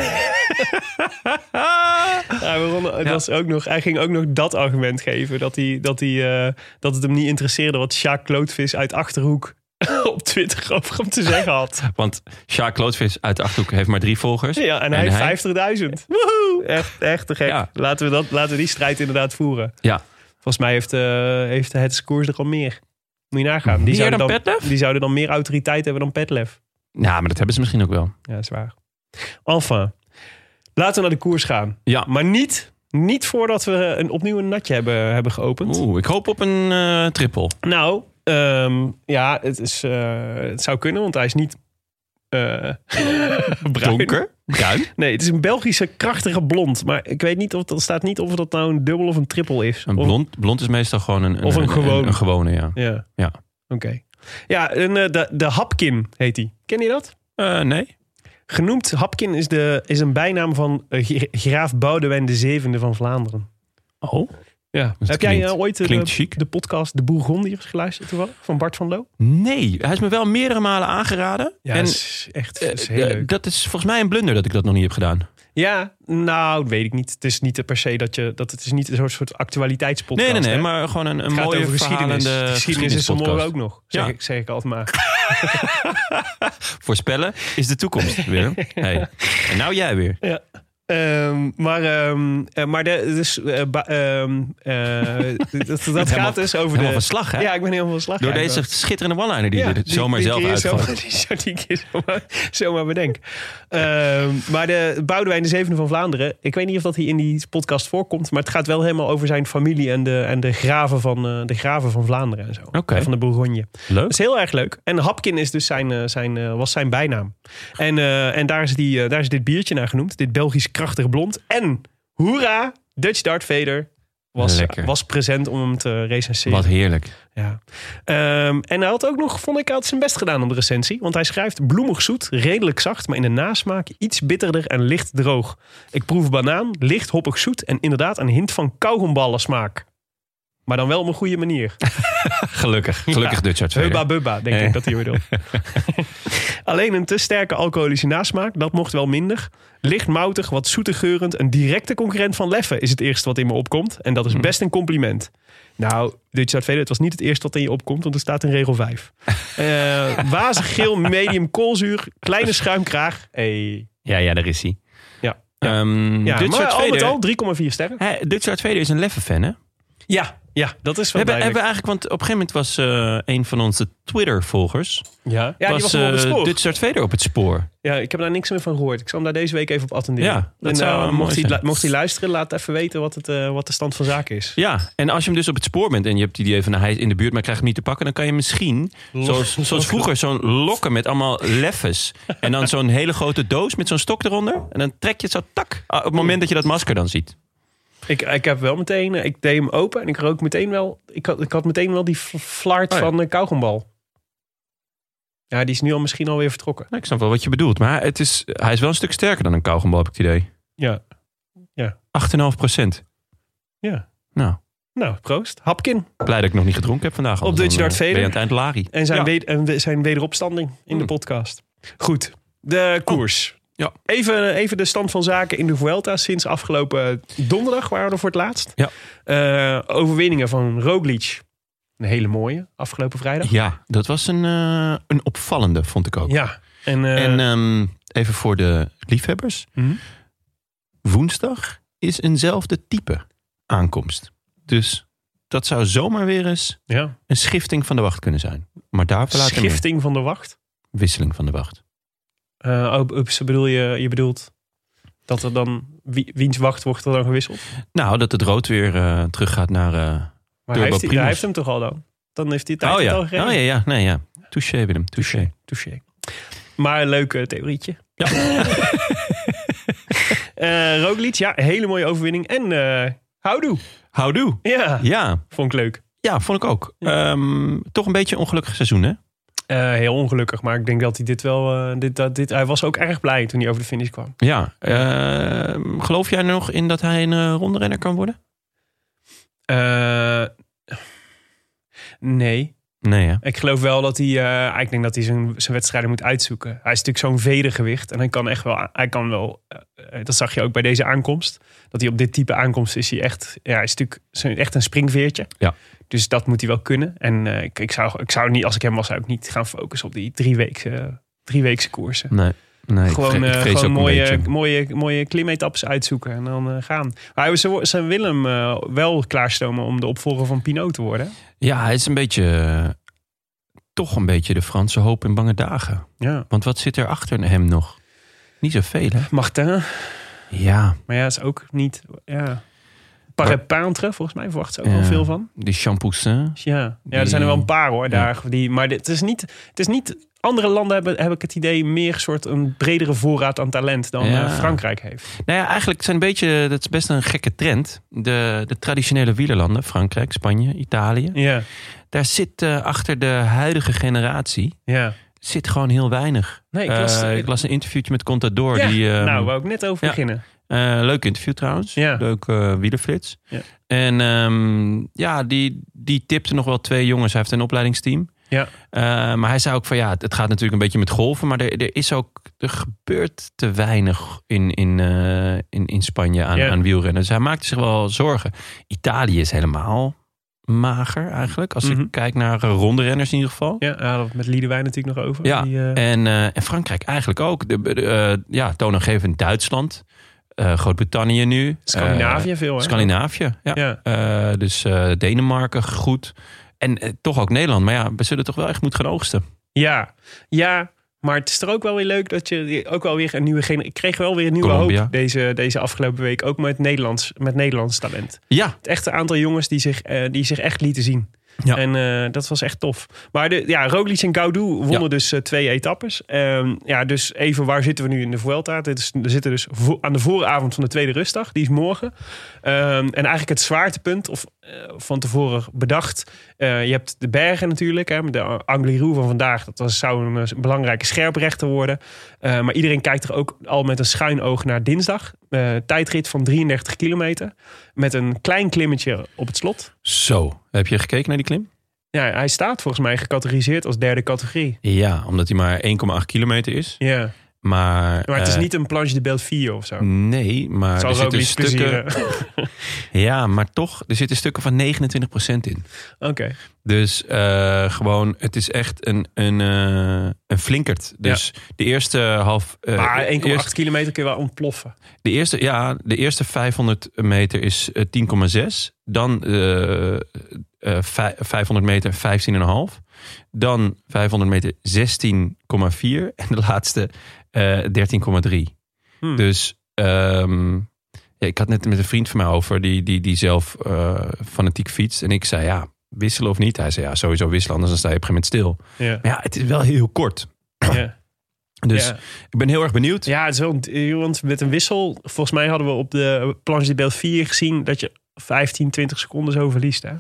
[SPEAKER 2] Ja, we wonnen- het
[SPEAKER 1] Ja.
[SPEAKER 2] was ook nog, hij ging ook nog dat argument geven. Dat, hij, dat, hij, eh, dat het hem niet interesseerde wat Sjaak Klootvis uit Achterhoek *laughs* op Twitter over hem te zeggen had.
[SPEAKER 1] *laughs* Want Sjaak Klootvis uit de Achterhoek heeft maar drie volgers.
[SPEAKER 2] Ja, en hij heeft 50.000. Woehoe! Echt, echt te gek.
[SPEAKER 1] Ja.
[SPEAKER 2] Laten, we dat, laten we die strijd inderdaad voeren.
[SPEAKER 1] Ja.
[SPEAKER 2] Volgens mij heeft, eh, heeft het scoors er al meer. Moet je nagaan.
[SPEAKER 1] Meer
[SPEAKER 2] Die zouden
[SPEAKER 1] dan
[SPEAKER 2] dan,
[SPEAKER 1] Petlef?
[SPEAKER 2] die zouden dan meer autoriteit hebben dan Petlef.
[SPEAKER 1] Nou, maar dat hebben ze misschien ook wel.
[SPEAKER 2] Ja, is waar. Enfin, laten we naar de koers gaan.
[SPEAKER 1] Ja.
[SPEAKER 2] Maar niet, niet voordat we een, opnieuw een natje hebben, hebben geopend.
[SPEAKER 1] Oeh, ik hoop op een eh triple.
[SPEAKER 2] Nou, ehm, ja, het, is, eh, het zou kunnen, want hij is niet eh *laughs* bruin.
[SPEAKER 1] Donker. Bruin.
[SPEAKER 2] Nee, het is een Belgische krachtige blond. Maar ik weet niet of dat staat niet of dat nou een dubbel of een triple is.
[SPEAKER 1] Een
[SPEAKER 2] Of-
[SPEAKER 1] blond, blond is meestal gewoon een,
[SPEAKER 2] Of een gewone.
[SPEAKER 1] Een, gewone, ja.
[SPEAKER 2] Ja.
[SPEAKER 1] Ja.
[SPEAKER 2] Oké. Ja, en, eh, de, de Hapkin heet die. Ken je dat?
[SPEAKER 1] Eh, nee.
[SPEAKER 2] Genoemd Hapkin is, de, is een bijnaam van eh, gra- graaf Boudewijn de Zevende van Vlaanderen.
[SPEAKER 1] Oh.
[SPEAKER 2] Ja.
[SPEAKER 1] Dat
[SPEAKER 2] Heb jij eh,
[SPEAKER 1] klinkt-
[SPEAKER 2] ooit eh,
[SPEAKER 1] klinkt
[SPEAKER 2] de,
[SPEAKER 1] chic.
[SPEAKER 2] de podcast De Bourgondiërs geluisterd toevallig? Van Bart van Loo?
[SPEAKER 1] Nee, hij is me wel meerdere malen aangeraden.
[SPEAKER 2] Ja,
[SPEAKER 1] en
[SPEAKER 2] dat is echt
[SPEAKER 1] eh,
[SPEAKER 2] dat is heel
[SPEAKER 1] eh,
[SPEAKER 2] leuk.
[SPEAKER 1] dat is volgens mij een blunder dat ik dat nog niet heb gedaan.
[SPEAKER 2] Ja, nou, weet ik niet. Het is niet per se dat je... Dat, het is niet een soort actualiteitspodcast.
[SPEAKER 1] Nee, nee, nee,
[SPEAKER 2] hè?
[SPEAKER 1] maar gewoon een, een
[SPEAKER 2] Het gaat
[SPEAKER 1] mooie
[SPEAKER 2] over geschiedenis.
[SPEAKER 1] verhalende
[SPEAKER 2] geschiedenis, is zo mooi
[SPEAKER 1] geschiedenispodcast.
[SPEAKER 2] ook nog. Zeg,
[SPEAKER 1] Ja.
[SPEAKER 2] ik, zeg ik altijd maar.
[SPEAKER 1] Voorspellen is de
[SPEAKER 2] *laughs*
[SPEAKER 1] toekomst, Willem. Hey. En nou jij weer.
[SPEAKER 2] *laughs* Ja. Ehm, maar ehm, eh, maar de, dus, eh, ba- ehm, *laughs* eh, dat, dat gaat
[SPEAKER 1] helemaal-
[SPEAKER 2] dus over de...
[SPEAKER 1] helemaal van slag, hè?
[SPEAKER 2] Ja, ik ben helemaal van slag.
[SPEAKER 1] Door
[SPEAKER 2] eigenlijk.
[SPEAKER 1] deze schitterende one-liner die
[SPEAKER 2] Ja,
[SPEAKER 1] je er zomaar zelf
[SPEAKER 2] keer
[SPEAKER 1] uitgooit.
[SPEAKER 2] zomaar- *laughs* Die zou die keer zomaar, zomaar *laughs* bedenk. Ehm, maar de Boudewijn de Zevende van Vlaanderen. Ik weet niet of dat hij in die podcast voorkomt. Maar het gaat wel helemaal over zijn familie en de, en de, graven, van, eh, de graven van Vlaanderen en zo.
[SPEAKER 1] Oké.
[SPEAKER 2] En Van de Bourgogne.
[SPEAKER 1] Leuk.
[SPEAKER 2] Dat is heel erg leuk. En Hapkin is dus zijn, eh, zijn, eh, was zijn bijnaam. En, eh, en daar, is die, eh, daar is dit biertje naar genoemd. Dit Belgisch krachtig blond. En hoera, Dutch Dart Vader was,
[SPEAKER 1] Lekker.
[SPEAKER 2] was present om hem te recenseren.
[SPEAKER 1] Wat heerlijk.
[SPEAKER 2] Ja. Ehm, en hij had ook nog, vond ik, hij had zijn best gedaan om de recensie. Want hij schrijft bloemig zoet, redelijk zacht, maar in de nasmaak iets bitterder en licht droog. Ik proef banaan, licht hoppig zoet en inderdaad een hint van kauwgomballen smaak. Maar dan wel op een goede manier.
[SPEAKER 1] Gelukkig. Gelukkig
[SPEAKER 2] Ja.
[SPEAKER 1] Dutch Arts
[SPEAKER 2] Hubba bubba, denk
[SPEAKER 1] Eh.
[SPEAKER 2] ik dat hij weer wil. *laughs* Alleen een te sterke alcoholische nasmaak, dat mocht wel minder. Licht moutig, wat zoetergeurend, een directe concurrent van Leffe is het eerste wat in me opkomt. En dat is best een compliment. Nou, Dutch Hard Vader, het was niet het eerste wat in je opkomt, want er staat in regel *laughs* 5. Eh wazig geel, medium koolzuur, kleine schuimkraag. Hey.
[SPEAKER 1] Ja, ja, daar is hij.
[SPEAKER 2] Ja.
[SPEAKER 1] Ehm
[SPEAKER 2] Ja,
[SPEAKER 1] Dutch
[SPEAKER 2] maar
[SPEAKER 1] Arts
[SPEAKER 2] al met
[SPEAKER 1] Vader,
[SPEAKER 2] al 3,4 sterren.
[SPEAKER 1] Hey, Dutch Arts Vader is een leffe fan, hè?
[SPEAKER 2] Ja, ja dat is
[SPEAKER 1] We
[SPEAKER 2] wel
[SPEAKER 1] hebben, hebben
[SPEAKER 2] duidelijk.
[SPEAKER 1] eigenlijk, want op een gegeven moment was eh, een van onze Twitter-volgers...
[SPEAKER 2] ja. ja, die was wel
[SPEAKER 1] eh,
[SPEAKER 2] op het spoor.
[SPEAKER 1] Dutch Arts Vader op het spoor.
[SPEAKER 2] Ja, ik heb daar niks meer van gehoord. Ik zal hem daar deze week even op attenderen.
[SPEAKER 1] Ja, dat
[SPEAKER 2] en,
[SPEAKER 1] zou,
[SPEAKER 2] eh,
[SPEAKER 1] eh, mooi
[SPEAKER 2] mocht, hij,
[SPEAKER 1] zijn.
[SPEAKER 2] lu- mocht hij luisteren, laat even weten wat, het, eh, wat de stand van zaken is.
[SPEAKER 1] Ja, en als je hem dus op het spoor bent en je hebt het idee van nou, hij is in de buurt, maar krijgt hem niet te pakken, dan kan je misschien, zoals, zoals vroeger, zo'n lokken met allemaal leffes. En dan zo'n hele grote doos met zo'n stok eronder. En dan trek je het zo tak. ah, Op het moment dat je dat masker dan ziet.
[SPEAKER 2] Ik, ik heb wel meteen, eh, ik deed hem open en ik rook meteen wel, ik had, ik had meteen wel die fl- flaart
[SPEAKER 1] Oh ja.
[SPEAKER 2] van de kauwgombal. Ja, die is nu al misschien alweer vertrokken.
[SPEAKER 1] Nou, ik snap wel wat je bedoelt. Maar het is, hij is wel een stuk sterker dan een kauwgombal, heb ik het idee.
[SPEAKER 2] Ja.
[SPEAKER 1] 8,5 procent.
[SPEAKER 2] Ja.
[SPEAKER 1] Nou,
[SPEAKER 2] Nou, proost. Hapkin.
[SPEAKER 1] blij dat ik nog niet gedronken heb vandaag. anders
[SPEAKER 2] Dutch
[SPEAKER 1] dan,
[SPEAKER 2] Dart
[SPEAKER 1] eh, ben je
[SPEAKER 2] Vader.
[SPEAKER 1] aan het eind lari.
[SPEAKER 2] En zijn,
[SPEAKER 1] Ja.
[SPEAKER 2] wed- en we- zijn wederopstanding in de
[SPEAKER 1] Hmm. Oh,
[SPEAKER 2] podcast. Goed, de koers.
[SPEAKER 1] Ja.
[SPEAKER 2] Even, even de stand van zaken in de Vuelta sinds afgelopen donderdag waren we er voor het laatst.
[SPEAKER 1] Ja.
[SPEAKER 2] Eh, overwinningen van Roglic. Een hele mooie, afgelopen vrijdag.
[SPEAKER 1] Ja, dat was een, eh, een opvallende, vond ik ook.
[SPEAKER 2] Ja. En, eh,
[SPEAKER 1] En ehm, even voor de liefhebbers.
[SPEAKER 2] Mhm.
[SPEAKER 1] Woensdag is eenzelfde type aankomst. Dus dat zou zomaar weer eens
[SPEAKER 2] ja.
[SPEAKER 1] een schifting van de wacht kunnen zijn. Maar daarvoor later meer.
[SPEAKER 2] Schifting van de wacht.
[SPEAKER 1] Wisseling van de wacht.
[SPEAKER 2] Eh, oh, ups, bedoel je, je bedoelt dat er dan, wie, wiens wacht wordt er dan gewisseld?
[SPEAKER 1] Nou, dat het rood weer eh, teruggaat naar... eh,
[SPEAKER 2] Maar
[SPEAKER 1] Turbo
[SPEAKER 2] hij heeft, hij
[SPEAKER 1] Primus.
[SPEAKER 2] heeft hem toch al dan? Dan heeft hij tijd
[SPEAKER 1] oh ja,
[SPEAKER 2] al
[SPEAKER 1] oh
[SPEAKER 2] gereden.
[SPEAKER 1] ja, ja, nee ja. Touché Willem, touché.
[SPEAKER 2] Touché. Maar een leuke theorietje.
[SPEAKER 1] Ja.
[SPEAKER 2] *laughs* Eh Roglic, ja, hele mooie overwinning. En eh houdoe.
[SPEAKER 1] Houdoe.
[SPEAKER 2] Ja,
[SPEAKER 1] Ja,
[SPEAKER 2] vond ik leuk.
[SPEAKER 1] ja, vond ik ook. Ehm, toch een beetje een ongelukkig seizoen, hè?
[SPEAKER 2] Eh, heel ongelukkig, maar ik denk dat hij dit wel... eh, dit, dat, dit, hij was ook erg blij toen hij over de finish kwam.
[SPEAKER 1] Ja. ehm, geloof jij er nog in dat hij een eh, rondrenner kan worden?
[SPEAKER 2] Eh, nee.
[SPEAKER 1] Nee, hè?
[SPEAKER 2] Ik geloof wel dat hij, eh, ik denk dat hij zijn, zijn wedstrijden moet uitzoeken. Hij is natuurlijk zo'n vedergewicht en hij kan echt wel, hij kan wel eh, eh, dat zag je ook bij deze aankomst, dat hij op dit type aankomst is hij echt, ja, hij is natuurlijk zo'n- echt een springveertje.
[SPEAKER 1] Ja.
[SPEAKER 2] Dus dat moet hij wel kunnen. En eh, ik, ik, zou, ik zou niet, als ik hem was, zou ik niet gaan focussen op die drie weekse, drie weekse koersen.
[SPEAKER 1] Nee. nee
[SPEAKER 2] gewoon
[SPEAKER 1] ik vre- ik
[SPEAKER 2] eh,
[SPEAKER 1] vrees
[SPEAKER 2] gewoon
[SPEAKER 1] ook een
[SPEAKER 2] mooie,
[SPEAKER 1] beetje.
[SPEAKER 2] mooie, mooie klimetappes uitzoeken en dan eh, gaan. Maar hij- ze, wo- ze willen hem eh, wel klaarstomen om de opvolger van Pinot te worden.
[SPEAKER 1] Ja, hij is een beetje... eh, toch een beetje de Franse hoop in bange dagen.
[SPEAKER 2] Ja.
[SPEAKER 1] Want wat zit er achter hem nog? Niet zoveel, hè?
[SPEAKER 2] Martin.
[SPEAKER 1] Ja,
[SPEAKER 2] Maar ja, is ook niet. Ja. Parapaantre, volgens mij verwacht ze ook wel
[SPEAKER 1] Ja.
[SPEAKER 2] veel van.
[SPEAKER 1] die shampoossin.
[SPEAKER 2] Dus ja. ja, er zijn er wel een paar hoor.
[SPEAKER 1] Ja.
[SPEAKER 2] Daar, die, maar dit- het is niet. Het is niet andere landen hebben, heb ik het idee, meer soort een bredere voorraad aan talent dan
[SPEAKER 1] Ja.
[SPEAKER 2] eh, Frankrijk heeft.
[SPEAKER 1] Nou ja, eigenlijk zijn een beetje, dat is best een gekke trend. De, de traditionele wielerlanden, Frankrijk, Spanje, Italië.
[SPEAKER 2] Ja,
[SPEAKER 1] Daar zit eh, achter de huidige generatie
[SPEAKER 2] ja.
[SPEAKER 1] zit gewoon heel weinig.
[SPEAKER 2] Nee, ik las-
[SPEAKER 1] Eh, ik las een interviewtje met Contador.
[SPEAKER 2] Ja,
[SPEAKER 1] Die, eh,
[SPEAKER 2] nou, wou ik net over
[SPEAKER 1] ja.
[SPEAKER 2] beginnen.
[SPEAKER 1] eh, leuk interview trouwens.
[SPEAKER 2] Ja.
[SPEAKER 1] Leuk eh, wielerflits.
[SPEAKER 2] Ja.
[SPEAKER 1] En ehm, ja, die, die tipte nog wel twee jongens. Hij heeft een opleidingsteam.
[SPEAKER 2] Ja.
[SPEAKER 1] Eh, maar hij zei ook van ja, het, het gaat natuurlijk een beetje met golven. Maar er, er is ook, er gebeurt te weinig in, in, eh, in, in Spanje aan,
[SPEAKER 2] Ja.
[SPEAKER 1] aan wielrennen. Dus hij maakte zich wel zorgen. Italië is helemaal mager eigenlijk. Als
[SPEAKER 2] Mhm.
[SPEAKER 1] ik kijk naar eh, rondrenners in ieder geval.
[SPEAKER 2] Ja, daar hadden we het met Liedewijn natuurlijk nog over.
[SPEAKER 1] Ja,
[SPEAKER 2] Die, eh,
[SPEAKER 1] en, eh, en Frankrijk eigenlijk ook. De, de, eh, ja, toonaangevend Duitsland. eh, Groot-Brittannië nu.
[SPEAKER 2] Scandinavië veel
[SPEAKER 1] Eh,
[SPEAKER 2] hè?
[SPEAKER 1] Scandinavië, ja.
[SPEAKER 2] Ja.
[SPEAKER 1] Eh, dus eh, Denemarken, goed. En eh, toch ook Nederland. Maar ja, we zullen toch wel echt moeten gaan oogsten.
[SPEAKER 2] Ja, ja. Maar het is er ook wel weer leuk dat je ook wel weer een nieuwe gener- Ik kreeg wel weer een nieuwe
[SPEAKER 1] Colombia.
[SPEAKER 2] hoop deze, deze afgelopen week. Ook met Nederlands, met Nederlands talent.
[SPEAKER 1] Ja,
[SPEAKER 2] het echt een aantal jongens die zich, eh, die zich echt lieten zien.
[SPEAKER 1] Ja.
[SPEAKER 2] En eh, dat was echt tof. Maar de, ja, Roglic en Gaudu wonnen
[SPEAKER 1] Ja.
[SPEAKER 2] dus eh, twee etappes. Ehm, ja, dus even waar zitten we nu in de Vuelta? Dit is, we zitten dus vo- aan de vooravond van de tweede rustdag. Die is morgen. Ehm, en eigenlijk het zwaartepunt, of eh, van tevoren bedacht. eh, je hebt de bergen natuurlijk. Hè, de Angliru van vandaag, dat was, zou een eh, belangrijke scherprechter worden. Eh, maar iedereen kijkt er ook al met een schuin oog naar dinsdag. Eh, tijdrit van 33 kilometer. Met een klein klimmetje op het slot.
[SPEAKER 1] zo. Heb je gekeken naar die klim?
[SPEAKER 2] Ja, hij staat volgens mij gecategoriseerd als derde categorie.
[SPEAKER 1] Ja, omdat hij maar 1,8 kilometer is.
[SPEAKER 2] Ja,
[SPEAKER 1] Maar,
[SPEAKER 2] maar het is
[SPEAKER 1] eh,
[SPEAKER 2] niet een planche de Belleville of zo.
[SPEAKER 1] Nee, maar
[SPEAKER 2] Zal
[SPEAKER 1] er
[SPEAKER 2] ook
[SPEAKER 1] zitten
[SPEAKER 2] niet
[SPEAKER 1] stukken.
[SPEAKER 2] plezieren.
[SPEAKER 1] Ja, maar toch, er zitten stukken van 29% in.
[SPEAKER 2] *laughs* Oké.
[SPEAKER 1] Dus eh, gewoon, het is echt een, een, eh, een flinkert. Dus de eerste half. eh,
[SPEAKER 2] Maar 1,8
[SPEAKER 1] eerst-
[SPEAKER 2] kilometer kun je wel ontploffen.
[SPEAKER 1] de, eerste, ja, de eerste 500 meter is eh, 10,6. Dan eh, eh, vij- 500 meter 15,5. Dan 500 meter 16,4. En de laatste eh, 13,3.
[SPEAKER 2] Hmm.
[SPEAKER 1] Dus ehm, ja, ik had net met een vriend van mij over, die, die, die zelf eh, fanatiek fietst. En ik zei, ja, wisselen *clears throat* of niet? Hij zei, ja, sowieso wisselen, anders dan sta je op een gegeven moment stil.
[SPEAKER 2] Ja,
[SPEAKER 1] Maar ja, het is wel heel kort.
[SPEAKER 2] ja.
[SPEAKER 1] Dus
[SPEAKER 2] Ja.
[SPEAKER 1] ik ben heel erg benieuwd.
[SPEAKER 2] Ja, het is wel een- want met een wissel. Volgens mij hadden we op de planche de beeld 4 gezien dat je 15, 20 seconden zo verliest. Hè?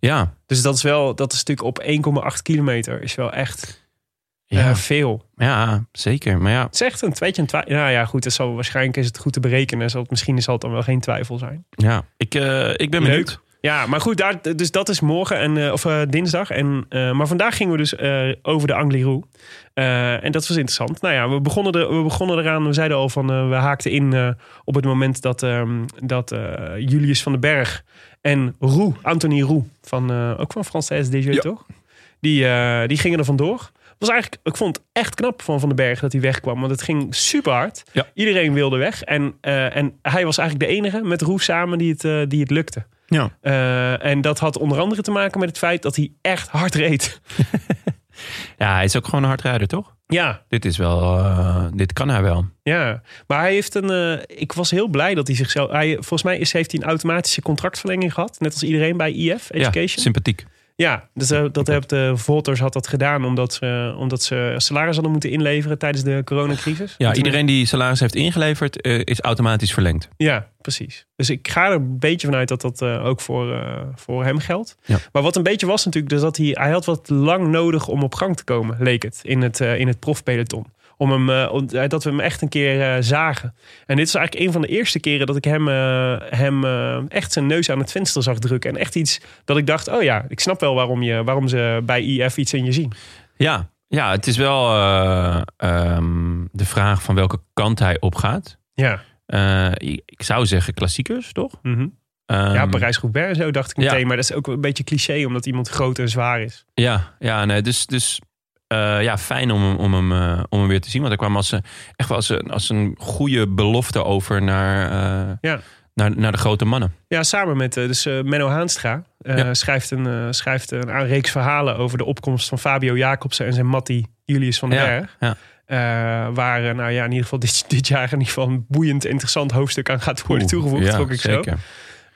[SPEAKER 1] Ja,
[SPEAKER 2] Dus dat is wel, dat is natuurlijk op 1,8 kilometer is wel echt
[SPEAKER 1] ja,
[SPEAKER 2] eh, veel.
[SPEAKER 1] ja, zeker. Maar ja,
[SPEAKER 2] Het is echt een tweetje en twijfel. Nou ja, goed, dat zal, waarschijnlijk is het goed te berekenen. Zal het, misschien zal het dan wel geen twijfel zijn.
[SPEAKER 1] ja. Ik, eh, ik ben benieuwd.
[SPEAKER 2] Ja, maar goed, daar, dus dat is morgen en, eh, of eh, dinsdag. En, eh, maar vandaag gingen we dus eh, over de Angliru. Eh en dat was interessant. Nou ja, we begonnen, er, we begonnen eraan. We zeiden al van, eh, we haakten in eh, op het moment dat, ehm, dat eh, Julius van den Berg en Roux, Anthony Roux, van, eh, ook van Française DJ,
[SPEAKER 1] Ja.
[SPEAKER 2] toch? Die, eh, die gingen er vandoor. Was eigenlijk, ik vond het echt knap van Van den Berg dat hij wegkwam. Want het ging super hard.
[SPEAKER 1] Ja.
[SPEAKER 2] Iedereen wilde weg. En, eh, en hij was eigenlijk de enige met Roux samen die het, eh, die het lukte.
[SPEAKER 1] Ja.
[SPEAKER 2] Eh, en dat had onder andere te maken met het feit dat hij echt hard reed. *laughs*
[SPEAKER 1] ja, hij is ook gewoon een hardrijder, toch?
[SPEAKER 2] ja,
[SPEAKER 1] Dit is wel, eh, dit kan hij wel.
[SPEAKER 2] ja. Maar hij heeft een. eh, ik was heel blij dat hij zichzelf. Hij, volgens mij is, heeft hij een automatische contractverlenging gehad. Net als iedereen bij IF
[SPEAKER 1] Ja,
[SPEAKER 2] Education.
[SPEAKER 1] sympathiek.
[SPEAKER 2] Ja, dus, eh, dat heeft de Volters had dat gedaan omdat ze, omdat ze eh, salaris hadden moeten inleveren tijdens de coronacrisis.
[SPEAKER 1] Ja,
[SPEAKER 2] En toen-
[SPEAKER 1] iedereen die salaris heeft ingeleverd eh, is automatisch verlengd.
[SPEAKER 2] Ja, precies. Dus ik ga er een beetje vanuit dat dat eh, ook voor, eh, voor hem geldt.
[SPEAKER 1] Ja.
[SPEAKER 2] Maar wat een beetje was natuurlijk, dus dat hij, hij had wat lang nodig om op gang te komen, leek het, in het, eh, in het profpeloton. Om hem, eh, om- eh, dat we hem echt een keer eh, zagen. En dit is eigenlijk een van de eerste keren dat ik hem, eh, hem eh, echt zijn neus aan het venster zag drukken. En echt iets dat ik dacht, oh ja, ik snap wel waarom, je, waarom ze bij IF iets in je zien.
[SPEAKER 1] Ja, ja het is wel eh, ehm, de vraag van welke kant hij opgaat.
[SPEAKER 2] Ja,
[SPEAKER 1] Eh, ik ik zou zeggen klassiekers, toch?
[SPEAKER 2] mhm. ja
[SPEAKER 1] Ehm,
[SPEAKER 2] Parijs-Roubaix en zo dacht ik
[SPEAKER 1] ja.
[SPEAKER 2] meteen. Maar dat is ook een beetje cliché, omdat iemand groot en zwaar is.
[SPEAKER 1] Ja, ja nee, dus, dus eh, ja, fijn om, hem- om, hem, eh, om hem weer te zien. Want hij kwam als, een- echt wel als, een- als een goede belofte over naar, eh,
[SPEAKER 2] Ja.
[SPEAKER 1] naar, naar de grote mannen.
[SPEAKER 2] Ja, samen met eh, dus, eh, Menno Haanstra. eh,
[SPEAKER 1] Ja.
[SPEAKER 2] schrijft, een, eh, schrijft een a- reeks verhalen over de opkomst van Fabio Jacobsen en zijn mattie Julius van der
[SPEAKER 1] Ja,
[SPEAKER 2] Berg.
[SPEAKER 1] ja.
[SPEAKER 2] Eh, waar eh, nou ja, in ieder geval dit, dit jaar in ieder geval een boeiend interessant hoofdstuk aan gaat worden toegevoegd.
[SPEAKER 1] ja,
[SPEAKER 2] vond ik
[SPEAKER 1] zeker.
[SPEAKER 2] zo.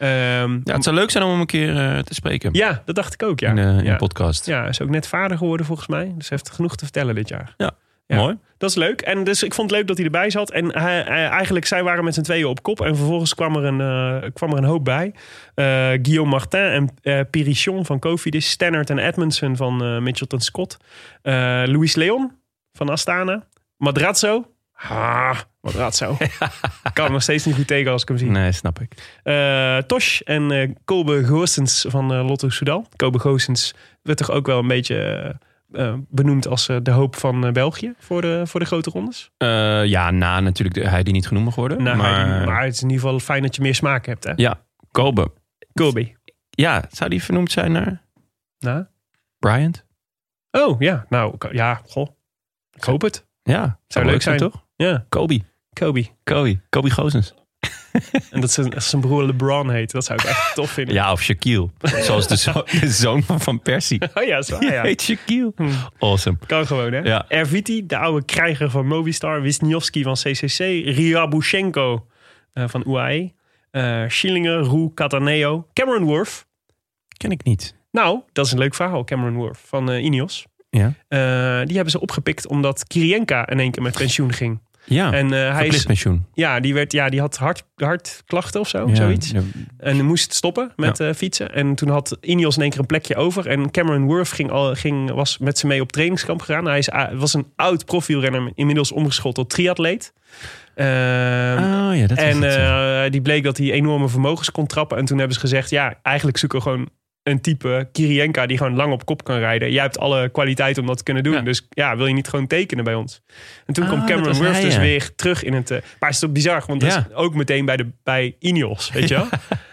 [SPEAKER 2] Ehm,
[SPEAKER 1] Ja, het zou leuk zijn om hem een keer eh, te spreken
[SPEAKER 2] ja, dat dacht ik ook. Ja.
[SPEAKER 1] in, de, in de
[SPEAKER 2] ja.
[SPEAKER 1] podcast.
[SPEAKER 2] ja, hij is ook net vader geworden volgens mij. Dus hij heeft genoeg te vertellen dit jaar.
[SPEAKER 1] Ja,
[SPEAKER 2] Ja.
[SPEAKER 1] mooi.
[SPEAKER 2] Dat is leuk. En dus ik vond het leuk dat hij erbij zat. En hij, hij- eigenlijk, zij waren met z'n tweeën op kop. En vervolgens kwam er een, eh, kwam er een hoop bij. Eh, Guillaume Martin en eh Pirichon van Cofidis. Stannard en Edmondson van eh Mitchelton Scott. Eh, Luis Leon van Astana. Madrazzo. Ah, Madrazzo. Ik kan hem nog steeds niet goed tegen als ik hem zie.
[SPEAKER 1] Nee, snap ik.
[SPEAKER 2] Eh, Tosh en eh Kolbe Goossens van eh, Lotto Soudal. Kolbe Goossens werd toch ook wel een beetje eh, eh, benoemd als eh, de hoop van eh, België voor de, voor de grote rondes.
[SPEAKER 1] Eh, ja, na natuurlijk de, hij die niet genoemd mag worden.
[SPEAKER 2] Nou,
[SPEAKER 1] maar,
[SPEAKER 2] maar... maar het is in ieder geval fijn dat je meer smaak hebt, hè?
[SPEAKER 1] ja, Kobe.
[SPEAKER 2] Kolbe.
[SPEAKER 1] Ja, zou die vernoemd zijn naar
[SPEAKER 2] Nou.
[SPEAKER 1] Bryant?
[SPEAKER 2] Oh, ja. Nou, ko- ja, goh. Ik hoop het.
[SPEAKER 1] Ja, zou,
[SPEAKER 2] leuk
[SPEAKER 1] leuk zijn,
[SPEAKER 2] zijn.
[SPEAKER 1] toch?
[SPEAKER 2] Ja,
[SPEAKER 1] Kobe.
[SPEAKER 2] Kobe.
[SPEAKER 1] Kobe. Kobe Gozens.
[SPEAKER 2] En dat zijn, dat zijn broer LeBron heet. Dat zou
[SPEAKER 1] *laughs*
[SPEAKER 2] ik echt tof vinden.
[SPEAKER 1] Ja, of
[SPEAKER 2] *laughs*
[SPEAKER 1] Shaquille. Zoals de, zo- de zoon van Van Persie.
[SPEAKER 2] Oh ja, is waar,
[SPEAKER 1] Die *laughs*
[SPEAKER 2] ja. Hm.
[SPEAKER 1] heet Shaquille. Awesome.
[SPEAKER 2] Kan gewoon, hè?
[SPEAKER 1] Ja.
[SPEAKER 2] Erviti, de oude krijger van Movistar. Wisniewski van CCC. Riabushenko eh, van UAE. eh Schillinger, Roe, Cataneo. Cameron Worth.
[SPEAKER 1] Ken ik niet.
[SPEAKER 2] Nou, dat is een leuk verhaal, Cameron Worth van eh Ineos.
[SPEAKER 1] Ja.
[SPEAKER 2] Eh, die hebben ze opgepikt omdat Kirienka in één keer met pensioen ging.
[SPEAKER 1] Ja.
[SPEAKER 2] En eh, hij is,
[SPEAKER 1] pensioen.
[SPEAKER 2] ja, die werd, ja, die had hart, hartklachten of zo, Oh, zoiets. En moest stoppen met eh, fietsen. En toen had Ineos in één keer een plekje over. En Cameron Worth ging al, ging, was met ze mee op trainingskamp gegaan. Hij is, a- was een oud profielrenner, inmiddels omgeschot tot triatleet. Ehm,
[SPEAKER 1] Oh ja, dat is
[SPEAKER 2] en eh, die bleek dat hij enorme vermogens kon trappen. En toen hebben ze gezegd, ja, eigenlijk zoeken we gewoon een type Kirienka die gewoon lang op kop kan rijden. Jij hebt alle kwaliteit om dat te kunnen doen.
[SPEAKER 1] Ja.
[SPEAKER 2] Dus ja, wil je niet gewoon tekenen bij ons? En toen
[SPEAKER 1] Ah,
[SPEAKER 2] komt Cameron
[SPEAKER 1] dat was
[SPEAKER 2] Worth
[SPEAKER 1] hij,
[SPEAKER 2] dus
[SPEAKER 1] ja.
[SPEAKER 2] weer terug in het... eh, maar het is toch bizar, want dat
[SPEAKER 1] Ja.
[SPEAKER 2] is ook meteen bij, de, bij Ineos, weet je
[SPEAKER 1] *laughs*
[SPEAKER 2] wel?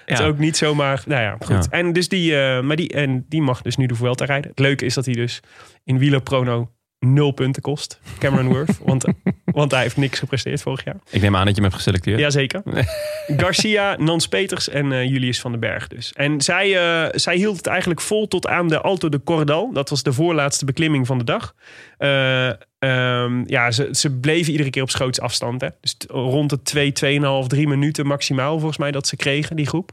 [SPEAKER 2] Het is ook niet zomaar... Nou ja, goed.
[SPEAKER 1] Ja.
[SPEAKER 2] En, dus die, eh, maar die, en die mag dus nu de Vuelta rijden. Het leuke is dat hij dus in wielerprono nul punten kost. Cameron
[SPEAKER 1] *laughs*
[SPEAKER 2] Worth. want, want hij heeft niks gepresteerd vorig jaar.
[SPEAKER 1] Ik neem aan dat je hem hebt geselecteerd. *laughs*
[SPEAKER 2] Jazeker. Garcia, Nans Peters en eh, Julius van den Berg dus. En zij, eh, zij hield het eigenlijk vol tot aan de Alto de Cordal. Dat was de voorlaatste beklimming van de dag. Eh, ehm, ja, ze, ze bleven iedere keer op schoots afstand. Hè? Dus t- rond de 2, 2,5, 3 minuten maximaal volgens mij dat ze kregen, die groep.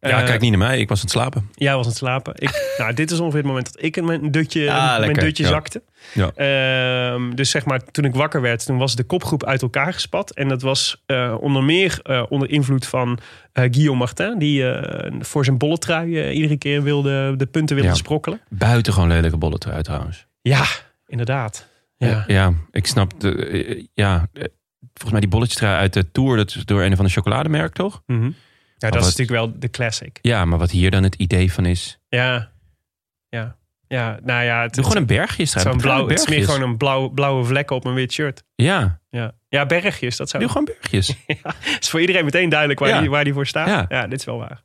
[SPEAKER 1] Ja,
[SPEAKER 2] Eh,
[SPEAKER 1] kijk niet naar mij. Ik was aan het slapen.
[SPEAKER 2] Jij was aan het slapen. Ik, *laughs* nou, dit is ongeveer het moment dat ik in mijn dutje,
[SPEAKER 1] Ah,
[SPEAKER 2] mijn
[SPEAKER 1] lekker,
[SPEAKER 2] dutje
[SPEAKER 1] ja.
[SPEAKER 2] zakte.
[SPEAKER 1] Ja.
[SPEAKER 2] Ehm, dus zeg maar, toen ik wakker werd, toen was de kopgroep uit elkaar gespat. En dat was eh, onder meer eh, onder invloed van eh, Guillaume Martin. Die eh, voor zijn bolletrui eh, iedere keer wilde, de punten wilde
[SPEAKER 1] Ja.
[SPEAKER 2] sprokkelen.
[SPEAKER 1] Buitengewoon lelijke bollen eruit trouwens.
[SPEAKER 2] Ja, inderdaad. Ja.
[SPEAKER 1] ja, ik snap. De, eh, ja, eh, volgens mij die bolletjes uit de Tour. Dat is door een van de chocolademerk, toch?
[SPEAKER 2] Mhm. Ja, dat is
[SPEAKER 1] wat-
[SPEAKER 2] natuurlijk wel de classic.
[SPEAKER 1] Ja, maar wat hier dan het idee van is.
[SPEAKER 2] Ja, ja, ja. Nou ja, het,
[SPEAKER 1] Doe gewoon een bergje eruit.
[SPEAKER 2] het, zo'n
[SPEAKER 1] Kleine
[SPEAKER 2] blauw, het is meer
[SPEAKER 1] bergjes.
[SPEAKER 2] gewoon een blauw, blauwe vlek op een wit shirt.
[SPEAKER 1] Ja,
[SPEAKER 2] Ja, ja bergjes, dat zou
[SPEAKER 1] doe gewoon bergjes.
[SPEAKER 2] Het *laughs* is voor iedereen meteen duidelijk waar,
[SPEAKER 1] Ja.
[SPEAKER 2] die, waar die voor staat. Ja.
[SPEAKER 1] Ja.
[SPEAKER 2] dit is wel waar.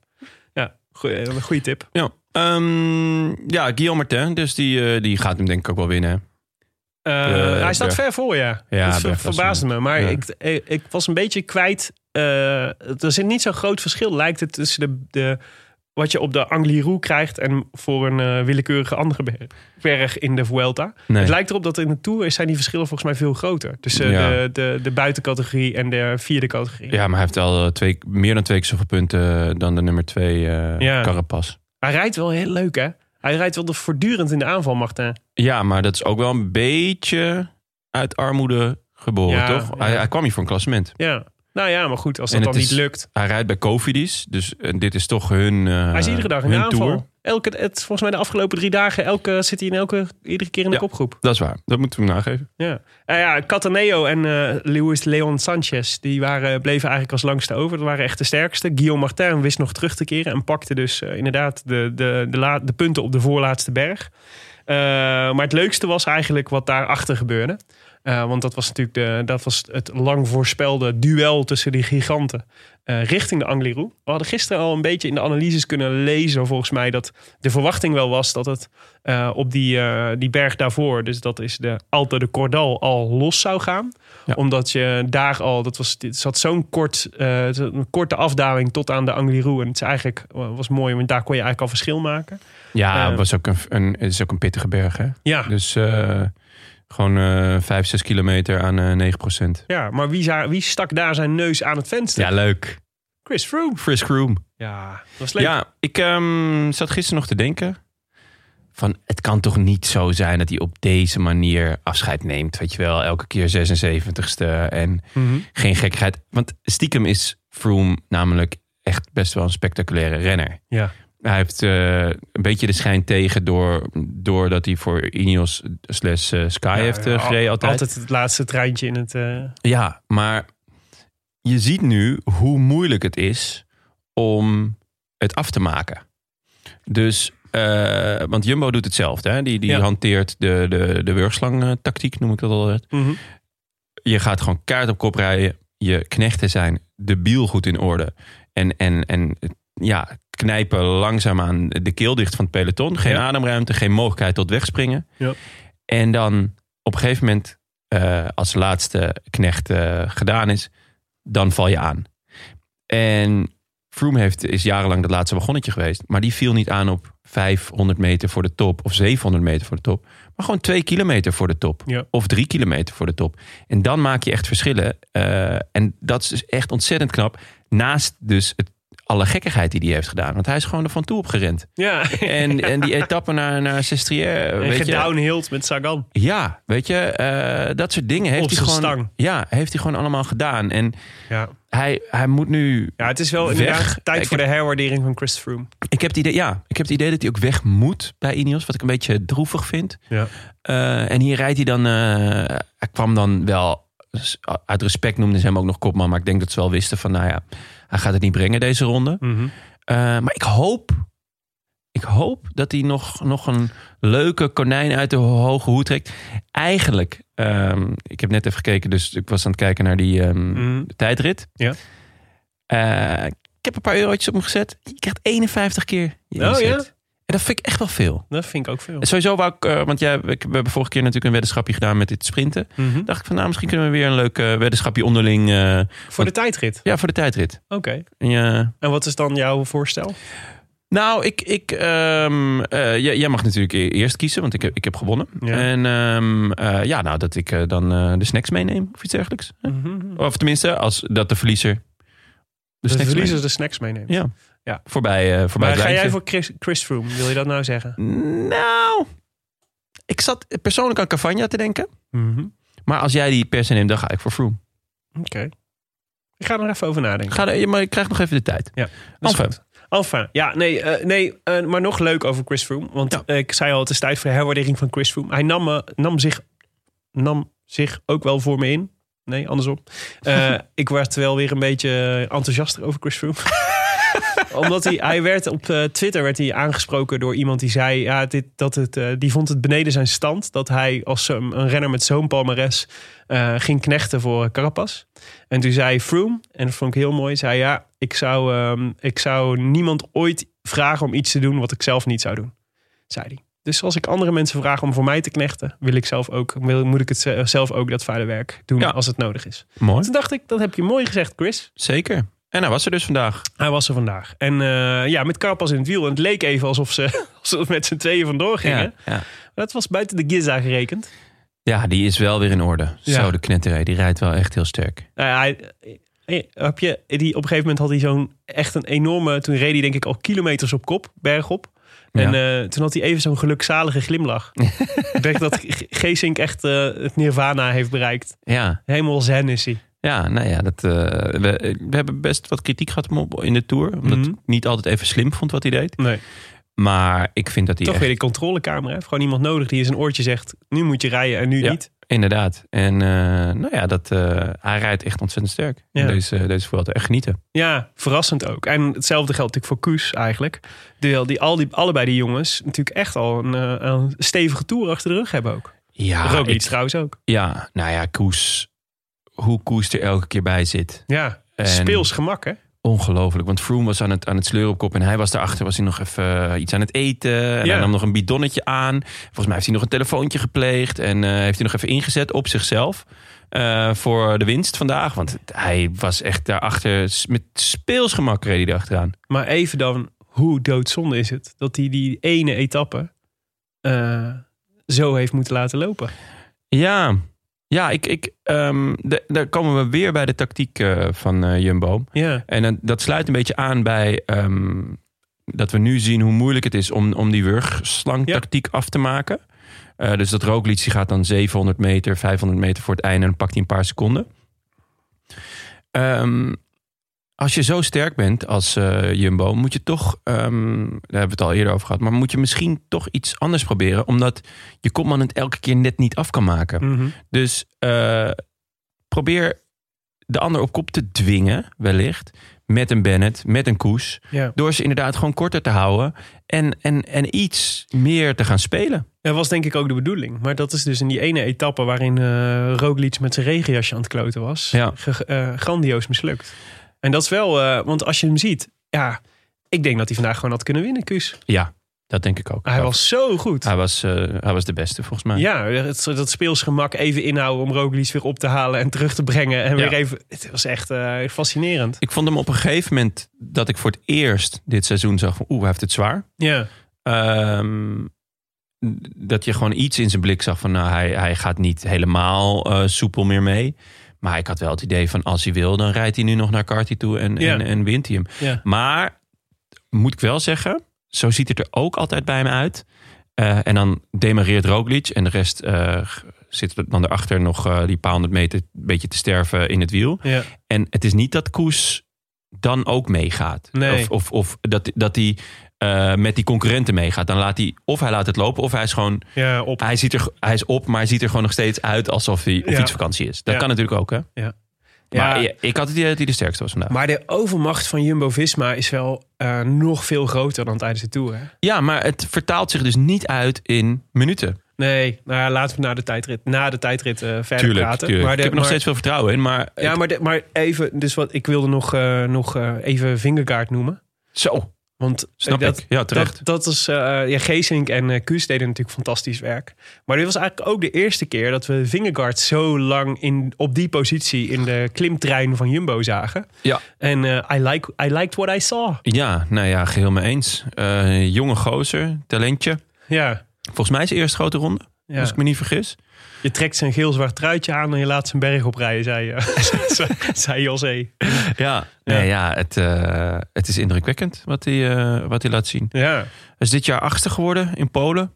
[SPEAKER 2] Ja, goeie, eh, goeie tip.
[SPEAKER 1] Ja, Ehm, ja Guillaume Martin, dus die, eh, die gaat hem denk ik ook wel winnen.
[SPEAKER 2] Eh,
[SPEAKER 1] Eh,
[SPEAKER 2] hij staat
[SPEAKER 1] Berg.
[SPEAKER 2] ver voor, ja.
[SPEAKER 1] Ja,
[SPEAKER 2] dat ver-
[SPEAKER 1] Berg was
[SPEAKER 2] verbaasde me. Maar
[SPEAKER 1] ja.
[SPEAKER 2] ik, eh, ik was een beetje kwijt. eh, er zit niet zo'n groot verschil, lijkt het, tussen de, de, wat je op de Angliru krijgt... en voor een eh, willekeurige andere ber- berg in de Vuelta.
[SPEAKER 1] Nee.
[SPEAKER 2] Het lijkt erop dat in de Tour zijn die verschillen volgens mij veel groter. Tussen
[SPEAKER 1] Ja.
[SPEAKER 2] de, de, de buitencategorie en de vierde categorie.
[SPEAKER 1] Ja, maar hij heeft al eh, twee, meer dan twee keer zoveel punten dan de nummer twee eh
[SPEAKER 2] Ja.
[SPEAKER 1] Carapaz.
[SPEAKER 2] Hij rijdt wel heel leuk, hè? Hij rijdt wel de- voortdurend in de aanval, Martin.
[SPEAKER 1] Ja, maar dat is ook wel een beetje uit armoede geboren,
[SPEAKER 2] Ja,
[SPEAKER 1] toch? Hij,
[SPEAKER 2] ja.
[SPEAKER 1] hij kwam hier voor een klassement.
[SPEAKER 2] Ja. Nou ja, maar goed, als dat
[SPEAKER 1] En
[SPEAKER 2] dan
[SPEAKER 1] het
[SPEAKER 2] niet
[SPEAKER 1] is-
[SPEAKER 2] lukt.
[SPEAKER 1] Hij rijdt bij Cofidis, dus eh, dit is toch hun eh
[SPEAKER 2] Hij is iedere dag in de
[SPEAKER 1] hun
[SPEAKER 2] aanval.
[SPEAKER 1] tour.
[SPEAKER 2] Elke, het, volgens mij de afgelopen drie dagen elke, zit hij in elke, iedere keer in de
[SPEAKER 1] Ja.
[SPEAKER 2] kopgroep.
[SPEAKER 1] Dat is waar, dat moeten we hem nageven.
[SPEAKER 2] Ja. Nou ja, Cataneo en eh Luis Leon Sanchez die waren, bleven eigenlijk als langste over. Dat waren echt de sterkste. Guillaume Martin wist nog terug te keren en pakte dus eh, inderdaad de, de, de, la- de punten op de voorlaatste berg. Eh, maar het leukste was eigenlijk wat daarachter gebeurde. Eh, want dat was natuurlijk de, dat was het lang voorspelde duel tussen die giganten eh, richting de Angliru. We hadden gisteren al een beetje in de analyses kunnen lezen, volgens mij, dat de verwachting wel was dat het eh, op die, eh, die berg daarvoor, dus dat is de Alta de Cordal, al los zou gaan.
[SPEAKER 1] Ja.
[SPEAKER 2] Omdat je daar al, dat was, dit zat zo'n kort, eh, een korte afdaling tot aan de Angliru. En het is eigenlijk, eh, was mooi, want daar kon je eigenlijk al verschil maken.
[SPEAKER 1] Ja,
[SPEAKER 2] Eh.
[SPEAKER 1] was ook een, een, het is ook een pittige berg, hè?
[SPEAKER 2] Ja,
[SPEAKER 1] Dus eh, gewoon eh 5, 6 kilometer aan eh 9
[SPEAKER 2] ja maar wie, za- wie stak daar zijn neus aan het venster?
[SPEAKER 1] Ja, leuk.
[SPEAKER 2] Chris Froome.
[SPEAKER 1] Frisk Room.
[SPEAKER 2] Ja, dat was leuk.
[SPEAKER 1] Ja, ik ehm, zat gisteren nog te denken. Van, het kan toch niet zo zijn dat hij op deze manier afscheid neemt. Weet je wel, elke keer 76ste en
[SPEAKER 2] Mhm.
[SPEAKER 1] geen gekkigheid. Want stiekem is Froome namelijk echt best wel een spectaculaire renner.
[SPEAKER 2] Ja.
[SPEAKER 1] Hij heeft eh, een beetje de schijn tegen door, doordat hij voor Ineos slash eh, Sky
[SPEAKER 2] Ja,
[SPEAKER 1] heeft
[SPEAKER 2] ja,
[SPEAKER 1] eh, gereden altijd.
[SPEAKER 2] Altijd het laatste treintje in het... eh,
[SPEAKER 1] Ja, maar je ziet nu hoe moeilijk het is om het af te maken. Dus, eh, want Jumbo doet hetzelfde. Hè? Die, die
[SPEAKER 2] Ja.
[SPEAKER 1] hanteert de, de, de wurgslang-tactiek, noem ik dat eh, altijd.
[SPEAKER 2] mhm.
[SPEAKER 1] Je gaat gewoon kaart op kop rijden. Je knechten zijn de biel goed in orde. En, en, en ja, knijpen langzaamaan de keel dicht van het peloton. Geen
[SPEAKER 2] Ja.
[SPEAKER 1] ademruimte, geen mogelijkheid tot wegspringen.
[SPEAKER 2] Ja.
[SPEAKER 1] En dan op een gegeven moment, eh, als de laatste knecht eh, gedaan is, dan val je aan. En Froome heeft, is jarenlang dat laatste wagonnetje geweest. Maar die viel niet aan op 500 meter voor de top of 700 meter voor de top. Maar gewoon twee kilometer voor de top.
[SPEAKER 2] Ja.
[SPEAKER 1] Of drie kilometer voor de top. En dan maak je echt verschillen. Eh, en dat is dus echt ontzettend knap. Naast dus het, alle gekkigheid die hij heeft gedaan. Want hij is gewoon er van toe op gerend. *laughs*
[SPEAKER 2] Ja,
[SPEAKER 1] En, en die etappe naar, naar Sestriere.
[SPEAKER 2] en
[SPEAKER 1] weet je,
[SPEAKER 2] gedownhilled met Sagan.
[SPEAKER 1] Ja, weet je. eh, dat soort dingen heeft
[SPEAKER 2] Op
[SPEAKER 1] hij,
[SPEAKER 2] zijn
[SPEAKER 1] gewoon,
[SPEAKER 2] stang.
[SPEAKER 1] Ja, heeft hij gewoon allemaal gedaan. En
[SPEAKER 2] Ja.
[SPEAKER 1] hij, hij moet nu
[SPEAKER 2] ja, het is wel
[SPEAKER 1] Weg.
[SPEAKER 2] inderdaad tijd
[SPEAKER 1] Ik
[SPEAKER 2] voor de
[SPEAKER 1] heb-
[SPEAKER 2] herwaardering van Chris Froome.
[SPEAKER 1] Ik heb, het idee, ja, ik heb het idee dat hij ook weg moet bij Ineos. Wat ik een beetje droevig vind.
[SPEAKER 2] Ja.
[SPEAKER 1] Eh, en hier rijdt hij dan... eh, hij kwam dan wel... s- Uit respect noemden ze hem ook nog kopman. Maar ik denk dat ze wel wisten van... Nou ja, hij gaat het niet brengen deze ronde.
[SPEAKER 2] Mhm.
[SPEAKER 1] Eh, maar ik hoop... Ik hoop dat hij nog, nog een leuke konijn uit de ho- hoge hoed trekt. Eigenlijk, ehm, ik heb net even gekeken, dus ik was aan het kijken naar die ehm,
[SPEAKER 2] Mhm.
[SPEAKER 1] tijdrit.
[SPEAKER 2] Ja.
[SPEAKER 1] Eh, ik heb een paar eurotjes op hem gezet. Je krijgt 51 keer je
[SPEAKER 2] Oh,
[SPEAKER 1] inzet.
[SPEAKER 2] ja?
[SPEAKER 1] En dat vind ik echt wel veel.
[SPEAKER 2] Dat vind ik ook veel.
[SPEAKER 1] En sowieso wou ik, eh, want jij, we, we hebben vorige keer natuurlijk een weddenschapje gedaan met dit sprinten.
[SPEAKER 2] Mhm.
[SPEAKER 1] dacht ik van nou, misschien kunnen we weer een leuk eh, weddenschapje onderling. eh,
[SPEAKER 2] Voor de tijdrit.
[SPEAKER 1] ja, voor de tijdrit.
[SPEAKER 2] Oké.
[SPEAKER 1] Ja.
[SPEAKER 2] En wat is dan jouw voorstel?
[SPEAKER 1] Nou, ik, ik, ehm, eh, jij, jij mag natuurlijk e- eerst kiezen, want ik heb, ik heb gewonnen.
[SPEAKER 2] Ja.
[SPEAKER 1] En ehm, eh, ja, nou, dat ik eh, dan eh, de snacks meeneem of iets dergelijks.
[SPEAKER 2] Mhm.
[SPEAKER 1] Of tenminste, als, dat de verliezer de,
[SPEAKER 2] Dus de
[SPEAKER 1] snacks
[SPEAKER 2] verliezers
[SPEAKER 1] meeneemt.
[SPEAKER 2] de snacks meenemen.
[SPEAKER 1] Ja.
[SPEAKER 2] Ja.
[SPEAKER 1] Voorbij, eh voorbij
[SPEAKER 2] Maar
[SPEAKER 1] het
[SPEAKER 2] ga jij
[SPEAKER 1] lijntje.
[SPEAKER 2] voor Chris, Chris Froome? Wil je dat nou zeggen?
[SPEAKER 1] Nou, ik zat persoonlijk aan Cavagna te denken.
[SPEAKER 2] Mhm.
[SPEAKER 1] Maar als jij die per se neemt, dan ga ik voor Froome.
[SPEAKER 2] Oké. Ik ga er even over nadenken.
[SPEAKER 1] Ga er, maar ik krijg nog even de tijd.
[SPEAKER 2] Ja, dat is
[SPEAKER 1] Enfin,
[SPEAKER 2] goed. Enfin, ja, nee, eh, nee eh, maar nog leuk over Chris Froome. Want
[SPEAKER 1] Ja.
[SPEAKER 2] eh, ik zei al, het is tijd voor de herwaardering van Chris Froome. Hij nam, eh, nam, zich, nam zich ook wel voor me in. Nee, andersom. Eh, ik werd wel weer een beetje eh, enthousiaster over Chris Froome. *laughs* Omdat hij, hij werd op eh, Twitter werd hij aangesproken door iemand die zei... Ja, dit, dat het, eh, die vond het beneden zijn stand dat hij als zo'n- een renner met zo'n palmares... eh, ging knechten voor Carapas. En toen zei Froome, en dat vond ik heel mooi... zei ja, ik zou, ehm, ik zou niemand ooit vragen om iets te doen wat ik zelf niet zou doen. Zei hij. Dus als ik andere mensen vraag om voor mij te knechten... wil ik zelf ook, wil, moet ik het ze- zelf ook dat vuile werk doen
[SPEAKER 1] Ja.
[SPEAKER 2] als het nodig is.
[SPEAKER 1] mooi.
[SPEAKER 2] Toen dacht ik, dat heb je mooi gezegd, Chris.
[SPEAKER 1] Zeker. En hij was er dus vandaag.
[SPEAKER 2] Hij was er vandaag. En eh, ja, met Carpas in het wiel. En het leek even alsof ze, *laughs* alsof ze met z'n tweeën vandoor gingen.
[SPEAKER 1] Ja, ja.
[SPEAKER 2] Maar dat was buiten de Giza gerekend.
[SPEAKER 1] ja, die is wel weer in orde.
[SPEAKER 2] Ja.
[SPEAKER 1] Zo, de knetterij. Die rijdt wel echt heel sterk.
[SPEAKER 2] Nou ja, hij, eh, heb je, die, op een gegeven moment had hij zo'n echt een enorme... Toen reed hij denk ik al kilometers op kop, bergop. En eh, toen had hij even zo'n gelukzalige
[SPEAKER 1] *laughs*
[SPEAKER 2] glimlach. ik denk dat G- Geesink echt eh, het nirvana heeft bereikt.
[SPEAKER 1] Ja,
[SPEAKER 2] Helemaal zen is hij.
[SPEAKER 1] ja nou ja. Dat, eh, we, we hebben best wat kritiek gehad op hem in de Tour. Omdat
[SPEAKER 2] Mhm.
[SPEAKER 1] ik niet altijd even slim vond wat hij deed.
[SPEAKER 2] Nee.
[SPEAKER 1] Maar ik vind dat hij
[SPEAKER 2] Toch
[SPEAKER 1] echt-
[SPEAKER 2] weer die controlekamer. Hij heeft gewoon iemand nodig die in zijn oortje zegt... nu moet je rijden en nu
[SPEAKER 1] Ja.
[SPEAKER 2] niet.
[SPEAKER 1] Inderdaad. En eh, nou ja, dat, eh, hij rijdt echt ontzettend sterk.
[SPEAKER 2] Ja.
[SPEAKER 1] Deze, deze Vuelta. Echt genieten.
[SPEAKER 2] Ja, verrassend ook. En hetzelfde geldt natuurlijk voor Koes eigenlijk. Die, die, al die, allebei die jongens natuurlijk echt al een, eh, een stevige toer achter de rug hebben ook.
[SPEAKER 1] Ja,
[SPEAKER 2] Roglic
[SPEAKER 1] Ah, ik-
[SPEAKER 2] trouwens ook.
[SPEAKER 1] ja, nou ja, Koes. Hoe Koes er elke keer bij zit.
[SPEAKER 2] Ja,
[SPEAKER 1] En-
[SPEAKER 2] speels gemak hè.
[SPEAKER 1] Ongelooflijk. Want Froome was aan het, aan het sleuren op kop. En hij was daarachter. Was hij nog even eh, iets aan het eten. En
[SPEAKER 2] Ja.
[SPEAKER 1] hij nam nog een bidonnetje aan. Volgens mij heeft hij nog een telefoontje gepleegd. En eh, heeft hij nog even ingezet op zichzelf. eh, voor de winst vandaag. Want hij was echt daarachter. s- Met speelsgemak reed hij erachteraan.
[SPEAKER 2] Maar even dan, hoe doodzonde is het dat hij die ene etappe eh, zo heeft moeten laten lopen.
[SPEAKER 1] Ja, ja ik, ik, ehm, de- daar komen we weer bij de tactiek eh, van eh, Jumbo.
[SPEAKER 2] Ja,
[SPEAKER 1] En dan- dat sluit een beetje aan bij ehm, dat we nu zien hoe moeilijk het is om, om die wurgslangtactiek af te maken. Eh, dus dat Roglic die gaat dan 700 meter, 500 meter voor het einde en dan pakt hij een paar seconden. Ehm, als je zo sterk bent als eh, Jumbo, moet je toch, ehm, daar hebben we het al eerder over gehad, maar moet je misschien toch iets anders proberen, omdat je kopman het elke keer net niet af kan maken.
[SPEAKER 2] Mhm.
[SPEAKER 1] Dus eh, probeer de ander op kop te dwingen, wellicht. Met een Bennett, met een Koes.
[SPEAKER 2] ja.
[SPEAKER 1] Door ze inderdaad gewoon korter te houden. En, en, en iets meer te gaan spelen.
[SPEAKER 2] Dat was denk ik ook de bedoeling. Maar dat is dus in die ene etappe waarin eh Roglic met zijn regenjasje aan het kloten was.
[SPEAKER 1] Ja.
[SPEAKER 2] ge- eh, grandioos mislukt. En dat is wel, eh, want als je hem ziet, ja, ik denk dat hij vandaag gewoon had kunnen winnen, Kus.
[SPEAKER 1] Ja, dat denk ik ook.
[SPEAKER 2] Hij was zo goed.
[SPEAKER 1] hij was, eh, hij was de beste, volgens mij.
[SPEAKER 2] Ja, het, dat speelsgemak even inhouden om Roglic weer op te halen en terug te brengen. En
[SPEAKER 1] Ja.
[SPEAKER 2] weer even, het was echt eh, fascinerend.
[SPEAKER 1] Ik vond hem op een gegeven moment dat ik voor het eerst dit seizoen zag van... Oeh, hij heeft het zwaar.
[SPEAKER 2] Ja,
[SPEAKER 1] Ehm, dat je gewoon iets in zijn blik zag van... Nou, hij, hij gaat niet helemaal eh, soepel meer mee. Maar ik had wel het idee van als hij wil... dan rijdt hij nu nog naar Carty toe en,
[SPEAKER 2] Ja.
[SPEAKER 1] en, en wint hij hem.
[SPEAKER 2] ja.
[SPEAKER 1] Maar moet ik wel zeggen, zo ziet het er ook altijd bij hem uit. Eh, en dan demareert Roglic en de rest eh, g- zit er dan erachter nog eh, die paar honderd meter een beetje te sterven in het wiel.
[SPEAKER 2] ja.
[SPEAKER 1] En het is niet dat Koes dan ook meegaat.
[SPEAKER 2] Nee.
[SPEAKER 1] Of, of, of dat, dat hij eh, met die concurrenten meegaat. Dan laat hij, of hij laat het lopen, of hij is gewoon,
[SPEAKER 2] Ja, op.
[SPEAKER 1] hij, ziet er, hij is op, maar hij ziet er gewoon nog steeds uit alsof hij op
[SPEAKER 2] Ja.
[SPEAKER 1] iets vakantie is. Dat
[SPEAKER 2] Ja.
[SPEAKER 1] kan natuurlijk ook, hè?
[SPEAKER 2] Ja,
[SPEAKER 1] Maar ja, ik had het idee dat hij de sterkste was vandaag.
[SPEAKER 2] Maar de overmacht van Jumbo-Visma is wel eh, nog veel groter dan tijdens de Tour. Hè?
[SPEAKER 1] Ja, maar het vertaalt zich dus niet uit in minuten.
[SPEAKER 2] Nee, nou ja, laten we na de tijdrit, na de tijdrit eh, verder
[SPEAKER 1] Tuurlijk,
[SPEAKER 2] praten.
[SPEAKER 1] tuurlijk.
[SPEAKER 2] Maar de-
[SPEAKER 1] ik heb er nog
[SPEAKER 2] maar-
[SPEAKER 1] steeds veel vertrouwen in, maar... eh,
[SPEAKER 2] Ja, maar, de- maar even, dus wat, ik wilde nog, eh, nog eh, even Vingergaard noemen.
[SPEAKER 1] Zo,
[SPEAKER 2] Want eh,
[SPEAKER 1] snap
[SPEAKER 2] dat,
[SPEAKER 1] ik. Ja, terecht.
[SPEAKER 2] Dat, dat is, eh, ja, Geesink en eh Kuus deden natuurlijk fantastisch werk. Maar dit was eigenlijk ook de eerste keer dat we Vingegaard zo lang in, op die positie in de klimtrein van Jumbo zagen.
[SPEAKER 1] Ja.
[SPEAKER 2] En eh, I, like, I liked what I saw.
[SPEAKER 1] Ja, nou ja, geheel mee eens. Eh, jonge gozer, talentje.
[SPEAKER 2] Ja.
[SPEAKER 1] Volgens mij is de eerste grote ronde,
[SPEAKER 2] ja.
[SPEAKER 1] als ik me niet vergis.
[SPEAKER 2] Je trekt zijn geel-zwart truitje aan en je laat zijn berg oprijden, zei, je. *laughs* zei José.
[SPEAKER 1] Ja, nee, ja. het, eh, het is indrukwekkend wat hij, eh, wat hij laat zien.
[SPEAKER 2] Ja.
[SPEAKER 1] Hij is dit jaar achter geworden in Polen. In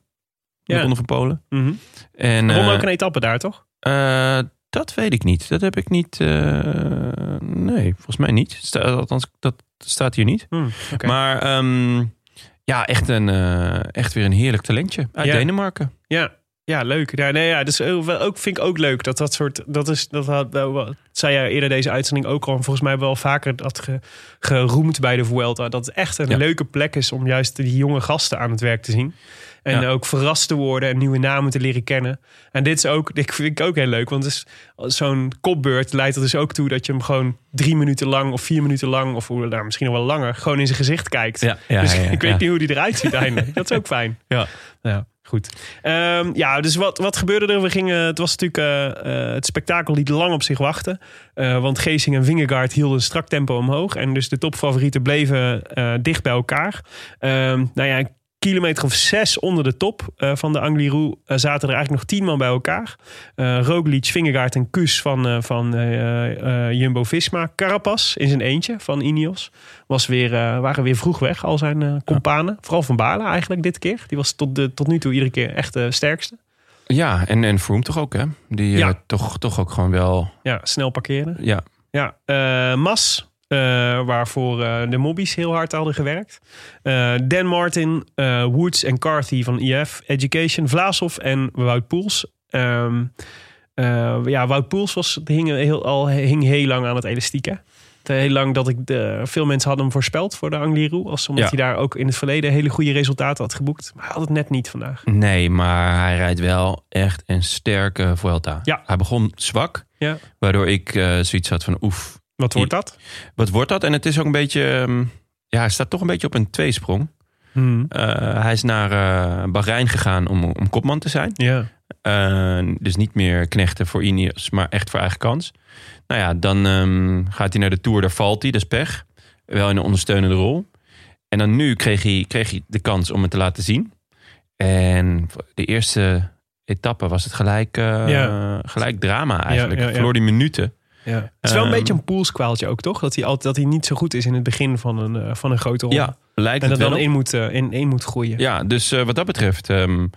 [SPEAKER 2] Ja.
[SPEAKER 1] de Ronde van Polen.
[SPEAKER 2] Mhm.
[SPEAKER 1] En,
[SPEAKER 2] Ron
[SPEAKER 1] eh,
[SPEAKER 2] ook een etappe daar, toch?
[SPEAKER 1] eh, dat weet ik niet. Dat heb ik niet. eh, nee, volgens mij niet. Sta- althans, dat staat hier niet.
[SPEAKER 2] Hm, oké.
[SPEAKER 1] Maar ehm, ja, echt, een, eh, echt weer een heerlijk talentje uit
[SPEAKER 2] Ja.
[SPEAKER 1] Denemarken.
[SPEAKER 2] Ja, ja leuk. Ja, nee, ja, dus eh, wel- ook, vind ik ook leuk dat dat soort. Dat is, dat had, eh, wel- zei jij eerder deze uitzending ook al. en Volgens mij wel vaker dat ge- geroemd bij de Vuelta. Dat het echt een
[SPEAKER 1] Ja.
[SPEAKER 2] leuke plek is om juist die jonge gasten aan het werk te zien. En
[SPEAKER 1] Ja.
[SPEAKER 2] ook verrast te worden en nieuwe namen te leren kennen. En dit is ook, dit vind ik ook heel leuk. Want het is- zo'n kopbeurt leidt er dus ook toe dat je hem gewoon drie minuten lang of vier minuten lang, of hoe- nou, misschien nog wel langer, gewoon in zijn gezicht kijkt.
[SPEAKER 1] Ja, ja,
[SPEAKER 2] dus
[SPEAKER 1] ja, ja,
[SPEAKER 2] *laughs* ik weet
[SPEAKER 1] ja.
[SPEAKER 2] niet hoe die eruit ziet eindelijk. Dat is ook fijn.
[SPEAKER 1] Ja.
[SPEAKER 2] Ja, goed. Ehm, ja, dus wat, wat gebeurde er? We gingen, het was natuurlijk eh, eh, het spektakel liet lang op zich wachten. Eh, want Geesing en Wingegaard hielden een strak tempo omhoog. En dus de topfavorieten bleven eh, dicht bij elkaar. Ehm, nou ja, een kilometer of zes onder de top eh, van de Angliru eh, zaten er eigenlijk nog tien man bij elkaar. Eh Roglic, Vingegaard en Kus van, eh, van eh, eh, Jumbo-Visma. Carapaz in zijn eentje van Ineos. Was weer, eh, waren weer vroeg weg, al zijn eh, companen. Vooral Van Baarle eigenlijk dit keer. Die was tot, de, tot nu toe iedere keer echt de sterkste.
[SPEAKER 1] Ja, en, en Froome toch ook, hè? Die eh,
[SPEAKER 2] Ja.
[SPEAKER 1] toch, toch ook gewoon wel...
[SPEAKER 2] Ja, snel parkeren.
[SPEAKER 1] Ja,
[SPEAKER 2] Ja, eh, Mas, eh, waarvoor eh, de mobbies heel hard hadden gewerkt. Eh, Dan Martin, eh, Woods en Carthy van IF Education, Vlaashoff en Wout Poels. Ehm, eh, ja, Wout Poels was, hing, heel, al, hing heel lang aan het elastiek, hè? Het eh, Heel lang dat ik de, veel mensen hadden hem voorspeld voor de Angliru. Als omdat
[SPEAKER 1] Ja.
[SPEAKER 2] hij daar ook in het verleden hele goede resultaten had geboekt. Maar hij had het net niet vandaag.
[SPEAKER 1] nee, maar hij rijdt wel echt een sterke Vuelta.
[SPEAKER 2] Ja.
[SPEAKER 1] Hij begon zwak,
[SPEAKER 2] Ja.
[SPEAKER 1] waardoor ik eh, zoiets had van oef,
[SPEAKER 2] Wat wordt dat?
[SPEAKER 1] wat wordt dat? En het is ook een beetje... ehm, ja, hij staat toch een beetje op een tweesprong.
[SPEAKER 2] Hmm.
[SPEAKER 1] Eh, hij is naar eh, Bahrein gegaan om, om kopman te zijn.
[SPEAKER 2] Ja.
[SPEAKER 1] Eh, dus niet meer knechten voor Ineos, maar echt voor eigen kans. Nou ja, dan ehm, gaat hij naar de Tour, daar valt hij, dat is pech. Wel in een ondersteunende rol. En dan nu kreeg hij, kreeg hij de kans om het te laten zien. En de eerste etappe was het gelijk, eh,
[SPEAKER 2] Ja.
[SPEAKER 1] gelijk drama eigenlijk.
[SPEAKER 2] Ja, ja, ja.
[SPEAKER 1] Verloor die minuten.
[SPEAKER 2] Ja. Het is wel een
[SPEAKER 1] Ehm,
[SPEAKER 2] beetje een poolskwaaltje ook, toch? Dat hij, altijd, dat hij niet zo goed is in het begin van een, eh, van een grote ronde.
[SPEAKER 1] Ja, lijkt
[SPEAKER 2] en
[SPEAKER 1] het wel
[SPEAKER 2] dat dan
[SPEAKER 1] op.
[SPEAKER 2] in moet, eh, in, in moet groeien.
[SPEAKER 1] Ja, dus eh, wat dat betreft... ehm,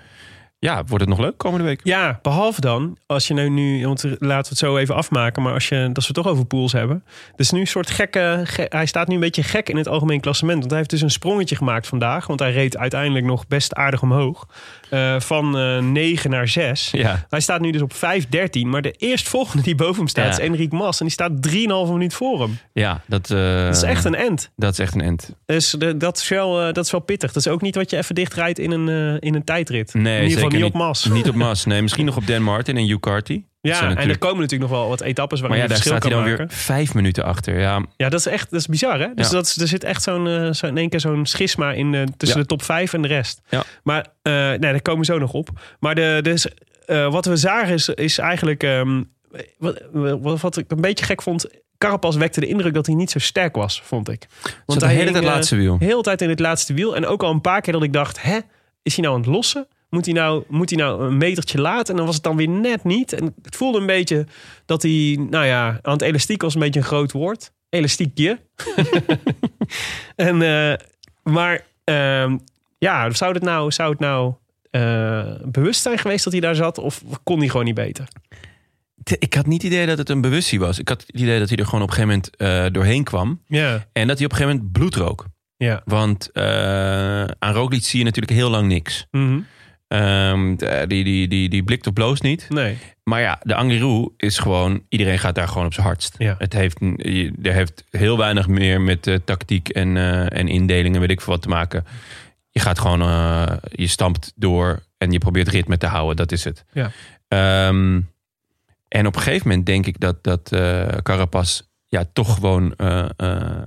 [SPEAKER 1] ja, wordt het nog leuk komende week?
[SPEAKER 2] Ja, behalve dan, als je nou nu, want laten we het zo even afmaken, maar als, je, als we het toch over pools hebben. Dus nu een soort gekke, ge- hij staat nu een beetje gek in het algemeen klassement. Want hij heeft dus een sprongetje gemaakt vandaag, want hij reed uiteindelijk nog best aardig omhoog. eh, van eh 9 naar 6.
[SPEAKER 1] Ja.
[SPEAKER 2] Hij staat nu dus op 5.13, maar de eerstvolgende die boven hem staat
[SPEAKER 1] Ja.
[SPEAKER 2] is Enrique Mas. En die staat 3,5 minuut voor hem.
[SPEAKER 1] Ja, dat, eh,
[SPEAKER 2] Dat is echt een end.
[SPEAKER 1] dat is echt een end.
[SPEAKER 2] Dus de- dat, is wel, eh, dat is wel pittig. Dat is ook niet wat je even dichtrijdt in een, eh, in een tijdrit.
[SPEAKER 1] Nee,
[SPEAKER 2] in ieder geval
[SPEAKER 1] zeker
[SPEAKER 2] niet op
[SPEAKER 1] niet.
[SPEAKER 2] Mas.
[SPEAKER 1] Niet op Mas, nee. Misschien nog op Dan Martin en Hugh Carty. Dat zijn
[SPEAKER 2] *laughs* ja, en er
[SPEAKER 1] natuurlijk-
[SPEAKER 2] komen natuurlijk nog wel wat etappes waarin
[SPEAKER 1] maar ja,
[SPEAKER 2] je
[SPEAKER 1] daar
[SPEAKER 2] verschil
[SPEAKER 1] staat hij
[SPEAKER 2] kan
[SPEAKER 1] dan
[SPEAKER 2] maken.
[SPEAKER 1] weer vijf minuten achter. Ja,
[SPEAKER 2] Ja, dat is echt dat is bizar, hè? Dus
[SPEAKER 1] Ja.
[SPEAKER 2] dat is, er zit echt zo'n, eh, zo in één keer zo'n schisma in, eh, tussen
[SPEAKER 1] Ja.
[SPEAKER 2] de top 5 en de rest.
[SPEAKER 1] Ja.
[SPEAKER 2] Maar eh, nee, daar komen we zo nog op. Maar de, dus, eh, wat we zagen is, is eigenlijk... ehm, wat, wat, wat ik een beetje gek vond... Carapaz wekte de indruk dat hij niet zo sterk was, vond ik.
[SPEAKER 1] Zat de hele tijd
[SPEAKER 2] hing, eh,
[SPEAKER 1] laatste wiel.
[SPEAKER 2] Heel de tijd in het laatste wiel. En ook al een paar keer dat ik dacht... Hè, is hij nou aan het lossen? Moet hij, nou, moet hij nou een metertje laten? En dan was het dan weer net niet. En het voelde een beetje dat hij... Nou ja, aan het elastiek was een beetje een groot woord. Elastiekje. *laughs* En, eh, maar ehm, ja, zou het nou, zou het nou eh, bewust zijn geweest dat hij daar zat? Of kon hij gewoon niet beter?
[SPEAKER 1] T- ik had niet het idee dat het een bewustie was. Ik had het idee dat hij er gewoon op een gegeven moment eh, doorheen kwam.
[SPEAKER 2] Ja,
[SPEAKER 1] En dat hij op een gegeven moment bloed rook.
[SPEAKER 2] ja.
[SPEAKER 1] Want eh, aan Roglic zie je natuurlijk heel lang niks.
[SPEAKER 2] Mhm.
[SPEAKER 1] Ehm, d- die, die, die, die blikt op bloos niet.
[SPEAKER 2] Nee.
[SPEAKER 1] Maar ja, de Angliru is gewoon... Iedereen gaat daar gewoon op zijn hardst.
[SPEAKER 2] Ja.
[SPEAKER 1] Het heeft, n- je- er heeft heel weinig meer met eh, tactiek en, eh, en indelingen... weet ik veel wat te maken. Je gaat gewoon... eh, je stampt door en je probeert ritme te houden. Dat is het.
[SPEAKER 2] Ja.
[SPEAKER 1] Ehm, en op een gegeven moment denk ik dat, dat eh, Carapaz... Ja, toch gewoon eh, eh,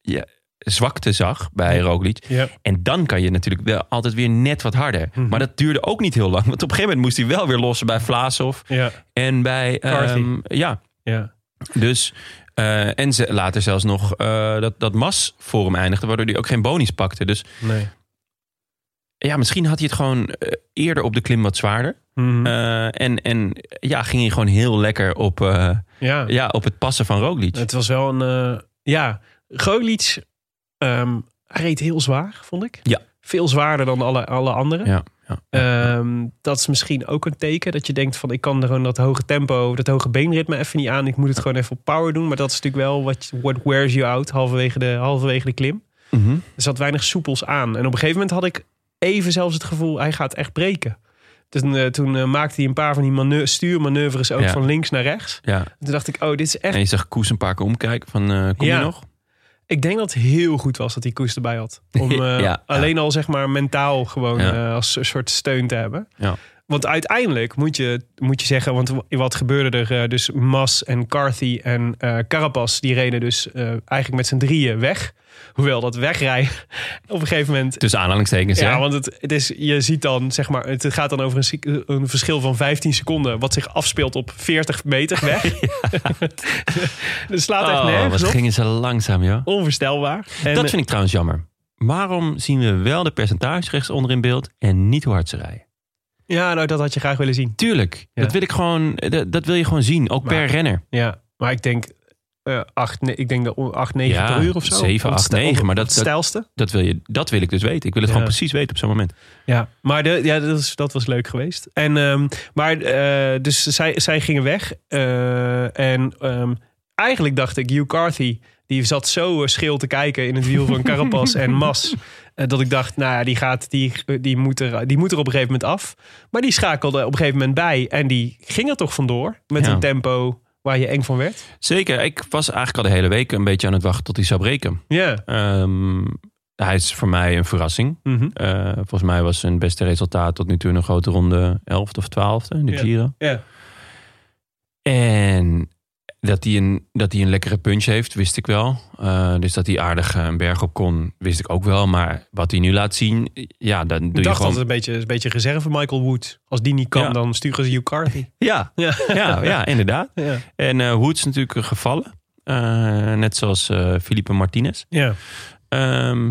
[SPEAKER 1] ja, zwakte zag bij Roglic.
[SPEAKER 2] Ja.
[SPEAKER 1] En dan kan je natuurlijk wel altijd weer net wat harder.
[SPEAKER 2] Mhm.
[SPEAKER 1] Maar dat duurde ook niet heel lang. Want op een gegeven moment moest hij wel weer lossen bij Vlaashoff.
[SPEAKER 2] Ja.
[SPEAKER 1] En bij...
[SPEAKER 2] Carthy.
[SPEAKER 1] ehm, ja,
[SPEAKER 2] Ja.
[SPEAKER 1] dus... eh, en ze, later zelfs nog eh, dat, dat Mas voor hem eindigde. Waardoor hij ook geen bonies pakte. Dus
[SPEAKER 2] Nee.
[SPEAKER 1] ja, misschien had hij het gewoon eh, eerder op de klim wat zwaarder.
[SPEAKER 2] Mhm.
[SPEAKER 1] Eh, en, en ja, ging hij gewoon heel lekker op, eh,
[SPEAKER 2] Ja.
[SPEAKER 1] ja, op het passen van Roglic.
[SPEAKER 2] Het was wel een... eh, ja, Golic ehm, hij reed heel zwaar, vond ik.
[SPEAKER 1] Ja.
[SPEAKER 2] Veel zwaarder dan alle, alle anderen.
[SPEAKER 1] Ja, ja.
[SPEAKER 2] Ehm, dat is misschien ook een teken. Dat je denkt van ik kan gewoon dat hoge tempo, dat hoge beenritme even niet aan. Ik moet het gewoon even op power doen. Maar dat is natuurlijk wel wat what wears you out halverwege de, halverwege de klim.
[SPEAKER 1] Mhm.
[SPEAKER 2] Er zat weinig soepels aan. En op een gegeven moment had ik even zelfs het gevoel, hij gaat echt breken. Dus, eh, toen eh, maakte hij een paar van die manu- stuurmanoeuvres ook
[SPEAKER 1] Ja.
[SPEAKER 2] van links naar rechts.
[SPEAKER 1] ja.
[SPEAKER 2] Toen dacht ik, oh, dit is echt...
[SPEAKER 1] En je zag Koes een paar keer omkijken van, eh, kom
[SPEAKER 2] Ja.
[SPEAKER 1] je nog?
[SPEAKER 2] Ik denk dat het heel goed was dat hij Koes erbij had.
[SPEAKER 1] *laughs*
[SPEAKER 2] Om eh,
[SPEAKER 1] Ja, ja.
[SPEAKER 2] alleen al zeg maar mentaal gewoon
[SPEAKER 1] Ja.
[SPEAKER 2] eh, als een soort steun te hebben.
[SPEAKER 1] Ja.
[SPEAKER 2] Want uiteindelijk moet je, moet je zeggen, want wat gebeurde er? eh, dus Mas en Carthy en eh Carapaz, die reden dus eh, eigenlijk met z'n drieën weg. Hoewel dat wegrijden *laughs* op een gegeven moment...
[SPEAKER 1] Tussen aanhalingstekens, ja.
[SPEAKER 2] Ja, want het, het is, je ziet dan, zeg maar, het gaat dan over een, sec- een verschil van 15 seconden, wat zich afspeelt op 40 meter
[SPEAKER 1] *laughs*
[SPEAKER 2] weg. *laughs* dat slaat echt
[SPEAKER 1] oh,
[SPEAKER 2] nergens
[SPEAKER 1] wat
[SPEAKER 2] op.
[SPEAKER 1] gingen ze langzaam, joh.
[SPEAKER 2] Onvoorstelbaar. En,
[SPEAKER 1] Dat vind ik trouwens jammer. Waarom zien we wel de percentages rechtsonder in beeld en niet hoe hard ze rijden?
[SPEAKER 2] Ja, nou, dat had je graag willen zien.
[SPEAKER 1] Tuurlijk,
[SPEAKER 2] Ja.
[SPEAKER 1] dat, wil ik gewoon, eh, dat, dat wil je gewoon zien, ook
[SPEAKER 2] Maar-
[SPEAKER 1] per renner.
[SPEAKER 2] Ja, maar ik denk, eh acht, ne- ik denk dat on- acht, negen
[SPEAKER 1] Ja,
[SPEAKER 2] per uur of zo.
[SPEAKER 1] zeven,
[SPEAKER 2] Op het
[SPEAKER 1] acht,
[SPEAKER 2] stijl-
[SPEAKER 1] negen, maar
[SPEAKER 2] op
[SPEAKER 1] dat-
[SPEAKER 2] het
[SPEAKER 1] dat-
[SPEAKER 2] stijlste.
[SPEAKER 1] Dat wil, je, dat wil ik dus weten. Ik wil het
[SPEAKER 2] Ja.
[SPEAKER 1] gewoon precies weten op zo'n moment.
[SPEAKER 2] Ja, maar de, ja, dat, is, dat was leuk geweest. En, ehm, maar, eh, dus zij, zij gingen weg. eh, en ehm, eigenlijk dacht ik, Hugh Carthy, die zat zo eh, scheel te kijken in het wiel van
[SPEAKER 1] *laughs*
[SPEAKER 2] Carapaz en Mas. eh, dat ik dacht, nou ja, die, gaat, die, die, moet er, die moet er op een gegeven moment af. Maar die schakelde op een gegeven moment bij. En die ging er toch vandoor met
[SPEAKER 1] Ja.
[SPEAKER 2] een tempo waar je eng van werd.
[SPEAKER 1] Zeker, ik was eigenlijk al de hele week een beetje aan het wachten tot hij zou breken.
[SPEAKER 2] Ja.
[SPEAKER 1] Ehm, hij is voor mij een verrassing.
[SPEAKER 2] Mhm.
[SPEAKER 1] Eh, volgens mij was zijn beste resultaat tot nu toe in een grote ronde 11 of 12 in de
[SPEAKER 2] Ja.
[SPEAKER 1] Giro.
[SPEAKER 2] Ja.
[SPEAKER 1] En dat hij, een, dat hij een lekkere punch heeft, wist ik wel. Eh, dus dat hij aardig eh, een berg op kon, wist ik ook wel. Maar wat hij nu laat zien, ja, dan doe
[SPEAKER 2] Ik
[SPEAKER 1] je
[SPEAKER 2] dacht
[SPEAKER 1] gewoon...
[SPEAKER 2] dat het een beetje, een beetje reserve Michael Wood. Als die niet kan,
[SPEAKER 1] Ja.
[SPEAKER 2] dan sturen ze Hugh Carthy.
[SPEAKER 1] Ja,
[SPEAKER 2] Ja.
[SPEAKER 1] ja, ja, inderdaad.
[SPEAKER 2] *laughs* Ja.
[SPEAKER 1] En eh Woods natuurlijk eh, gevallen. Eh, net zoals eh Felipe Martinez.
[SPEAKER 2] ja.
[SPEAKER 1] Ehm,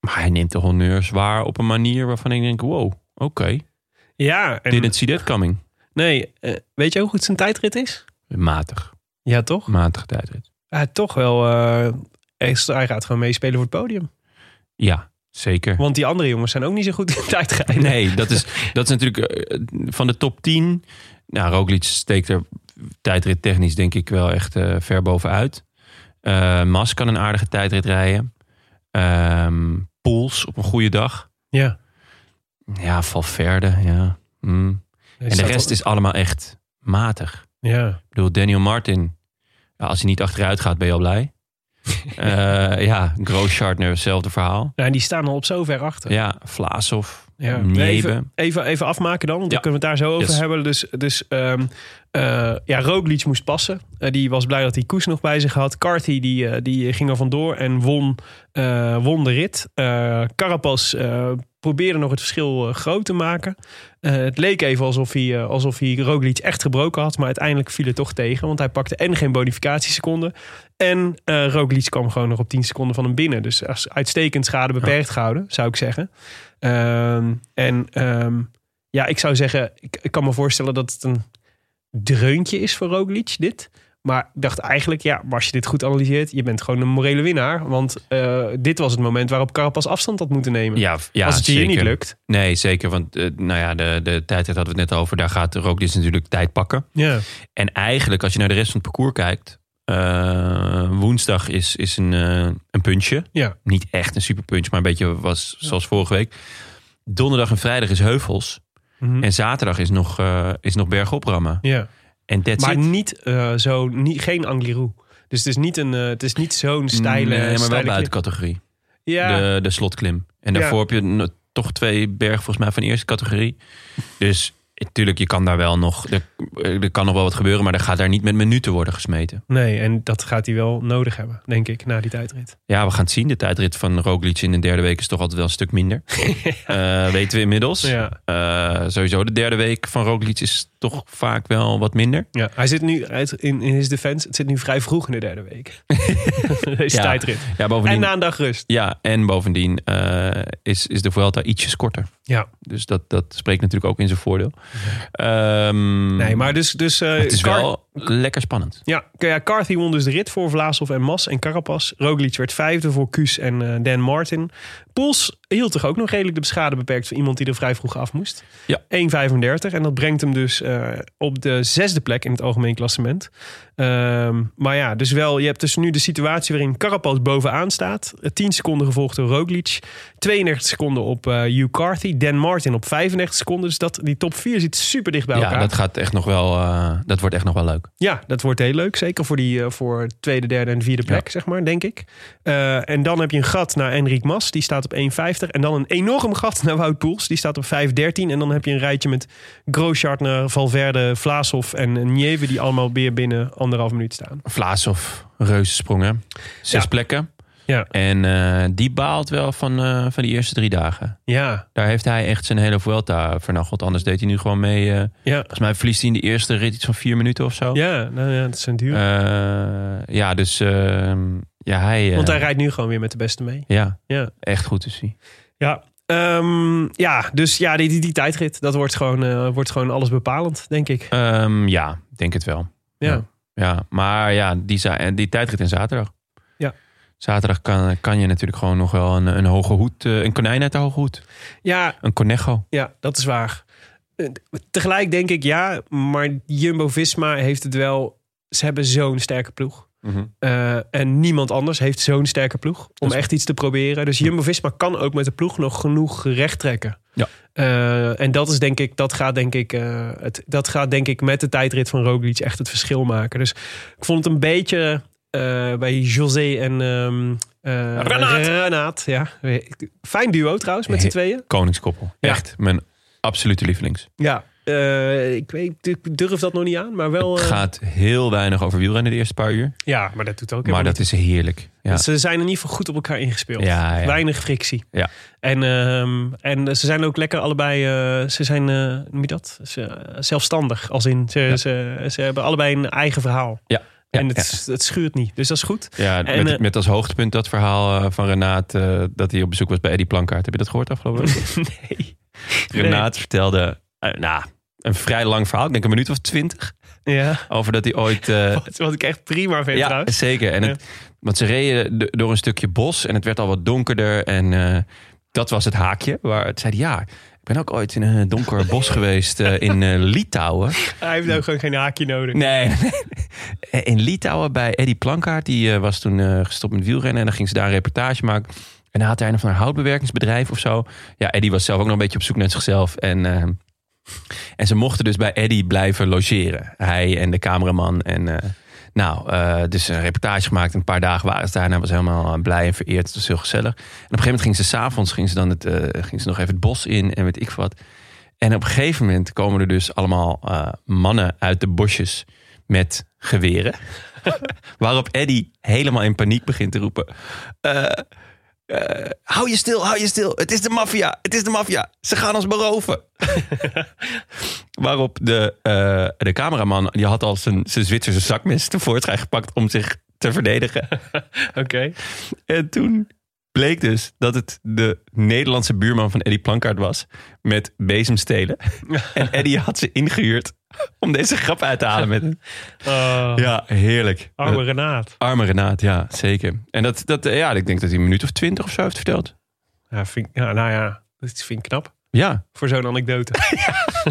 [SPEAKER 1] maar hij neemt de honneurs waar op een manier waarvan ik denk... Wow, oké,
[SPEAKER 2] Ja, en
[SPEAKER 1] didn't see that coming.
[SPEAKER 2] nee, eh, weet je hoe goed zijn tijdrit is?
[SPEAKER 1] Matig,
[SPEAKER 2] Ja, toch?
[SPEAKER 1] matig tijdrit.
[SPEAKER 2] Ja, toch wel. eh, extra- hij gaat gewoon meespelen voor het podium.
[SPEAKER 1] Ja, zeker.
[SPEAKER 2] Want die andere jongens zijn ook niet zo goed in tijdrijden.
[SPEAKER 1] *laughs* Nee, dat is, dat is natuurlijk eh, van de top 10. Nou, Roglic steekt er tijdrit technisch denk ik wel echt eh, ver bovenuit. Eh, Mas kan een aardige tijdrit rijden. Ehm Poels op een goede dag.
[SPEAKER 2] Ja.
[SPEAKER 1] Ja, Valverde, ja. Mm. En de rest is allemaal echt matig.
[SPEAKER 2] Ja. Nou,
[SPEAKER 1] Ik bedoel, Daniel Martin. ja, als hij niet achteruit gaat, ben je al
[SPEAKER 2] *laughs*
[SPEAKER 1] blij. Eh ja, Grosschartner, hetzelfde verhaal.
[SPEAKER 2] Nou, en die staan al op zo ver achter.
[SPEAKER 1] Ja, Vlaashoff,
[SPEAKER 2] Ja.
[SPEAKER 1] Niebe.
[SPEAKER 2] Even, even, even afmaken dan, want
[SPEAKER 1] Ja.
[SPEAKER 2] dan kunnen we het daar zo over
[SPEAKER 1] Yes.
[SPEAKER 2] hebben. Dus, dus ehm, eh, ja, Roglic moest passen. Eh, die was blij dat hij Koes nog bij zich had. Carthy die, eh, die ging er vandoor en won, eh, won de rit. Eh Carapaz eh, probeerde nog het verschil eh, groot te maken. Eh, het leek even alsof hij, eh, alsof hij Roglic echt gebroken had. Maar uiteindelijk viel het toch tegen. Want hij pakte en geen bonificatieseconden. En eh Roglic kwam gewoon nog op 10 seconden van hem binnen. Dus als uitstekend schade beperkt gehouden, zou ik zeggen. Ehm, en ehm, ja, ik zou zeggen, ik, ik kan me voorstellen dat het een dreuntje is voor Roglic, dit. Maar ik dacht eigenlijk, ja, maar als je dit goed analyseert, je bent gewoon een morele winnaar. Want eh, dit was het moment waarop Carapaz afstand had moeten nemen.
[SPEAKER 1] Ja, ja,
[SPEAKER 2] als het je
[SPEAKER 1] zeker.
[SPEAKER 2] hier niet lukt.
[SPEAKER 1] Nee, zeker. Want eh, nou ja, de, de tijdrit hadden we het net over. Daar gaat Roglic natuurlijk tijd pakken.
[SPEAKER 2] Ja.
[SPEAKER 1] En eigenlijk, als je naar de rest van het parcours kijkt... eh, woensdag is, is een, eh, een puntje.
[SPEAKER 2] Ja.
[SPEAKER 1] Niet echt een superpunch, maar een beetje was zoals vorige week. Donderdag en vrijdag is heuvels.
[SPEAKER 2] Mhm.
[SPEAKER 1] En zaterdag is nog, eh is nog bergop rammen.
[SPEAKER 2] ja.
[SPEAKER 1] En that's
[SPEAKER 2] Maar
[SPEAKER 1] it.
[SPEAKER 2] niet eh, zo, niet, geen Angliru. Dus het is niet, een, eh, het is niet zo'n steile...
[SPEAKER 1] Nee, maar wel
[SPEAKER 2] steile
[SPEAKER 1] buiten
[SPEAKER 2] klim.
[SPEAKER 1] categorie.
[SPEAKER 2] Ja,
[SPEAKER 1] De, de slotklim. En
[SPEAKER 2] Ja.
[SPEAKER 1] daarvoor heb je n- toch twee bergen volgens mij van eerste categorie. Dus Tuurlijk, je kan daar wel nog. Er, er kan nog wel wat gebeuren, maar er gaat daar niet met minuten worden gesmeten.
[SPEAKER 2] Nee, en dat gaat hij wel nodig hebben, denk ik, na die tijdrit.
[SPEAKER 1] Ja, we gaan het zien. De tijdrit van Roglic in de derde week is toch altijd wel een stuk
[SPEAKER 2] *laughs*
[SPEAKER 1] minder. Eh, weten we inmiddels.
[SPEAKER 2] Ja.
[SPEAKER 1] Eh, sowieso, de derde week van Roglic is toch vaak wel wat minder.
[SPEAKER 2] Ja, hij zit nu uit, in, in his defense. Het zit nu vrij vroeg in de derde
[SPEAKER 1] *laughs*
[SPEAKER 2] week. Deze
[SPEAKER 1] Ja.
[SPEAKER 2] tijdrit.
[SPEAKER 1] Ja, bovendien,
[SPEAKER 2] En na een dag rust.
[SPEAKER 1] ja, en bovendien eh, is, is de Vuelta ietsjes korter.
[SPEAKER 2] Ja.
[SPEAKER 1] Dus dat, dat spreekt natuurlijk ook in zijn voordeel. Ehm,
[SPEAKER 2] Nee, maar dus... dus eh,
[SPEAKER 1] het is
[SPEAKER 2] Car-
[SPEAKER 1] wel lekker spannend.
[SPEAKER 2] Ja, K- ja, Carthy won dus de rit voor Vlaashoff en Mas en Carapaz. Roglic werd vijfde voor Kuus en eh, Dan Martin. Poels hield toch ook nog redelijk de schade beperkt... voor iemand die er vrij vroeg af moest.
[SPEAKER 1] Ja.
[SPEAKER 2] 1,35. En dat brengt hem dus eh, op de zesde plek in het algemeen klassement. Ehm, maar ja, dus wel, je hebt dus nu de situatie waarin Carapaz bovenaan staat. Eh, 10 seconden gevolgd door Roglic. 32 seconden op eh Hugh Carthy. Dan Martin op 35 seconden. Dus dat, die top 4 zit super dicht bij
[SPEAKER 1] Ja,
[SPEAKER 2] elkaar.
[SPEAKER 1] dat, gaat echt nog wel, eh, dat wordt echt nog wel leuk.
[SPEAKER 2] Ja, dat wordt heel leuk. Zeker voor die eh, voor tweede, derde en vierde plek, zeg maar, denk ik. Eh, en dan heb je een gat naar Enric Mas, die staat op 1,50. En dan een enorm gat naar Wout Poels, die staat op 5,13. En dan heb je een rijtje met Grosjartner, Valverde, Vlaashoff en Nieve... die allemaal weer binnen anderhalf minuut staan.
[SPEAKER 1] Vlaas of Reuzensprongen. Zes
[SPEAKER 2] Ja.
[SPEAKER 1] plekken.
[SPEAKER 2] Ja.
[SPEAKER 1] En eh, die baalt wel van, eh, van die eerste drie dagen.
[SPEAKER 2] Ja,
[SPEAKER 1] Daar heeft hij echt zijn hele Vuelta vernacheld. Anders deed hij nu gewoon mee. eh,
[SPEAKER 2] ja,
[SPEAKER 1] volgens mij verliest hij in de eerste rit iets van vier minuten of zo.
[SPEAKER 2] ja, nou ja dat is een duur.
[SPEAKER 1] Eh, ja dus eh, ja, hij... eh,
[SPEAKER 2] Want hij rijdt nu gewoon weer met de beste mee.
[SPEAKER 1] Ja,
[SPEAKER 2] Ja.
[SPEAKER 1] echt goed is hij.
[SPEAKER 2] Ja. Ehm, ja, dus ja, die, die, die tijdrit, dat wordt gewoon, eh, wordt gewoon alles bepalend, denk ik.
[SPEAKER 1] Ehm, ja, ik denk het wel.
[SPEAKER 2] Ja.
[SPEAKER 1] Ja, maar ja, die, za- en die tijdrit en zaterdag.
[SPEAKER 2] Ja.
[SPEAKER 1] Zaterdag kan, kan je natuurlijk gewoon nog wel een, een hoge hoed... eh, Een konijn uit de hoge hoed.
[SPEAKER 2] ja,
[SPEAKER 1] Een conejo.
[SPEAKER 2] Ja, dat is waar. Eh, Tegelijk denk ik ja, maar Jumbo-Visma heeft het wel... Ze hebben zo'n sterke ploeg. Eh, en niemand anders heeft zo'n sterke ploeg om
[SPEAKER 1] is-
[SPEAKER 2] echt iets te proberen. Dus Jumbo-Visma kan ook met de ploeg nog genoeg recht trekken.
[SPEAKER 1] Ja.
[SPEAKER 2] Eh, en dat is denk ik, dat gaat denk ik, eh, het, dat gaat denk ik met de tijdrit van Roglic echt het verschil maken. Dus ik vond het een beetje eh, bij José en ehm eh,
[SPEAKER 1] Renaat.
[SPEAKER 2] Renaat, ja. Fijn duo trouwens met z'n
[SPEAKER 1] He-
[SPEAKER 2] tweeën.
[SPEAKER 1] Koningskoppel.
[SPEAKER 2] Ja.
[SPEAKER 1] Echt mijn absolute lievelings.
[SPEAKER 2] Ja, eh, ik, weet, ik durf dat nog niet aan, maar wel.
[SPEAKER 1] Het
[SPEAKER 2] eh,
[SPEAKER 1] gaat heel weinig over wielrennen de eerste paar uur.
[SPEAKER 2] ja, maar dat doet ook.
[SPEAKER 1] maar
[SPEAKER 2] helemaal
[SPEAKER 1] dat is heerlijk. Ja.
[SPEAKER 2] niet. Ze zijn in ieder geval goed op elkaar ingespeeld.
[SPEAKER 1] Ja, ja.
[SPEAKER 2] Weinig frictie.
[SPEAKER 1] Ja.
[SPEAKER 2] En, ehm, en ze zijn ook lekker allebei. eh, ze zijn, eh, hoe noem je dat? Ze, eh, zelfstandig. Als in, ze, ze, ze hebben allebei een eigen verhaal.
[SPEAKER 1] Ja, ja,
[SPEAKER 2] en
[SPEAKER 1] ja.
[SPEAKER 2] het, het schuurt niet. Dus dat is goed.
[SPEAKER 1] Ja,
[SPEAKER 2] En,
[SPEAKER 1] met,
[SPEAKER 2] eh,
[SPEAKER 1] met als hoogtepunt dat verhaal eh, van Renaat... eh, dat hij op bezoek was bij Eddie Plankaart. Heb je dat gehoord afgelopen week?
[SPEAKER 2] *laughs* nee.
[SPEAKER 1] Renaat vertelde... eh, nou, een vrij lang verhaal. Ik denk een minuut of twintig.
[SPEAKER 2] Ja.
[SPEAKER 1] Over dat hij ooit... eh,
[SPEAKER 2] *laughs* Wat, wat ik echt prima vind
[SPEAKER 1] ja,
[SPEAKER 2] trouwens.
[SPEAKER 1] zeker. En het, Want ze reden d- door een stukje bos en het werd al wat donkerder. En eh, dat was het haakje. Waar het zei hij, ja, ik ben ook ooit in een donker bos geweest eh, in eh, Litouwen.
[SPEAKER 2] Hij heeft ook gewoon geen haakje nodig.
[SPEAKER 1] Nee. *laughs* In Litouwen bij Eddie Plankaart. Die eh, was toen eh, gestopt met wielrennen. En dan ging ze daar een reportage maken. En dan had hij een of ander houtbewerkingsbedrijf of zo. Ja, Eddie was zelf ook nog een beetje op zoek naar zichzelf. En, eh, en ze mochten dus bij Eddie blijven logeren. Hij en de cameraman. En eh, nou, eh, dus een reportage gemaakt. Een paar dagen waren ze daar. En hij was helemaal eh, blij en vereerd. Het was heel gezellig. En op een gegeven moment ging ze s'avonds ging ze dan het, eh, ging ze nog even het bos in. En weet ik wat. En op een gegeven moment komen er dus allemaal eh, mannen uit de bosjes met geweren. *laughs* Waarop Eddie helemaal in paniek begint te roepen. eh, eh, hou je stil, hou je stil. Het is de maffia, het is de maffia. Ze gaan ons beroven. *laughs* Waarop de, eh, de cameraman, die had al zijn, zijn Zwitserse zakmes tevoorschijn gepakt om zich te verdedigen.
[SPEAKER 2] Oké.
[SPEAKER 1] En toen bleek dus dat het de Nederlandse buurman van Eddie Plankaart was. Met bezemstelen. En Eddie had ze ingehuurd om deze grap uit te halen met
[SPEAKER 2] *laughs*
[SPEAKER 1] hem.
[SPEAKER 2] Oh,
[SPEAKER 1] Ja, heerlijk.
[SPEAKER 2] Arme
[SPEAKER 1] Eh,
[SPEAKER 2] Renaat.
[SPEAKER 1] arme Renaat, ja, zeker. En dat, dat, eh, ja, ik denk dat hij een minuut of twintig of zo heeft verteld.
[SPEAKER 2] Ja, vind, ik- ja, nou ja, dat vind ik knap.
[SPEAKER 1] Ja,
[SPEAKER 2] Voor zo'n anekdote.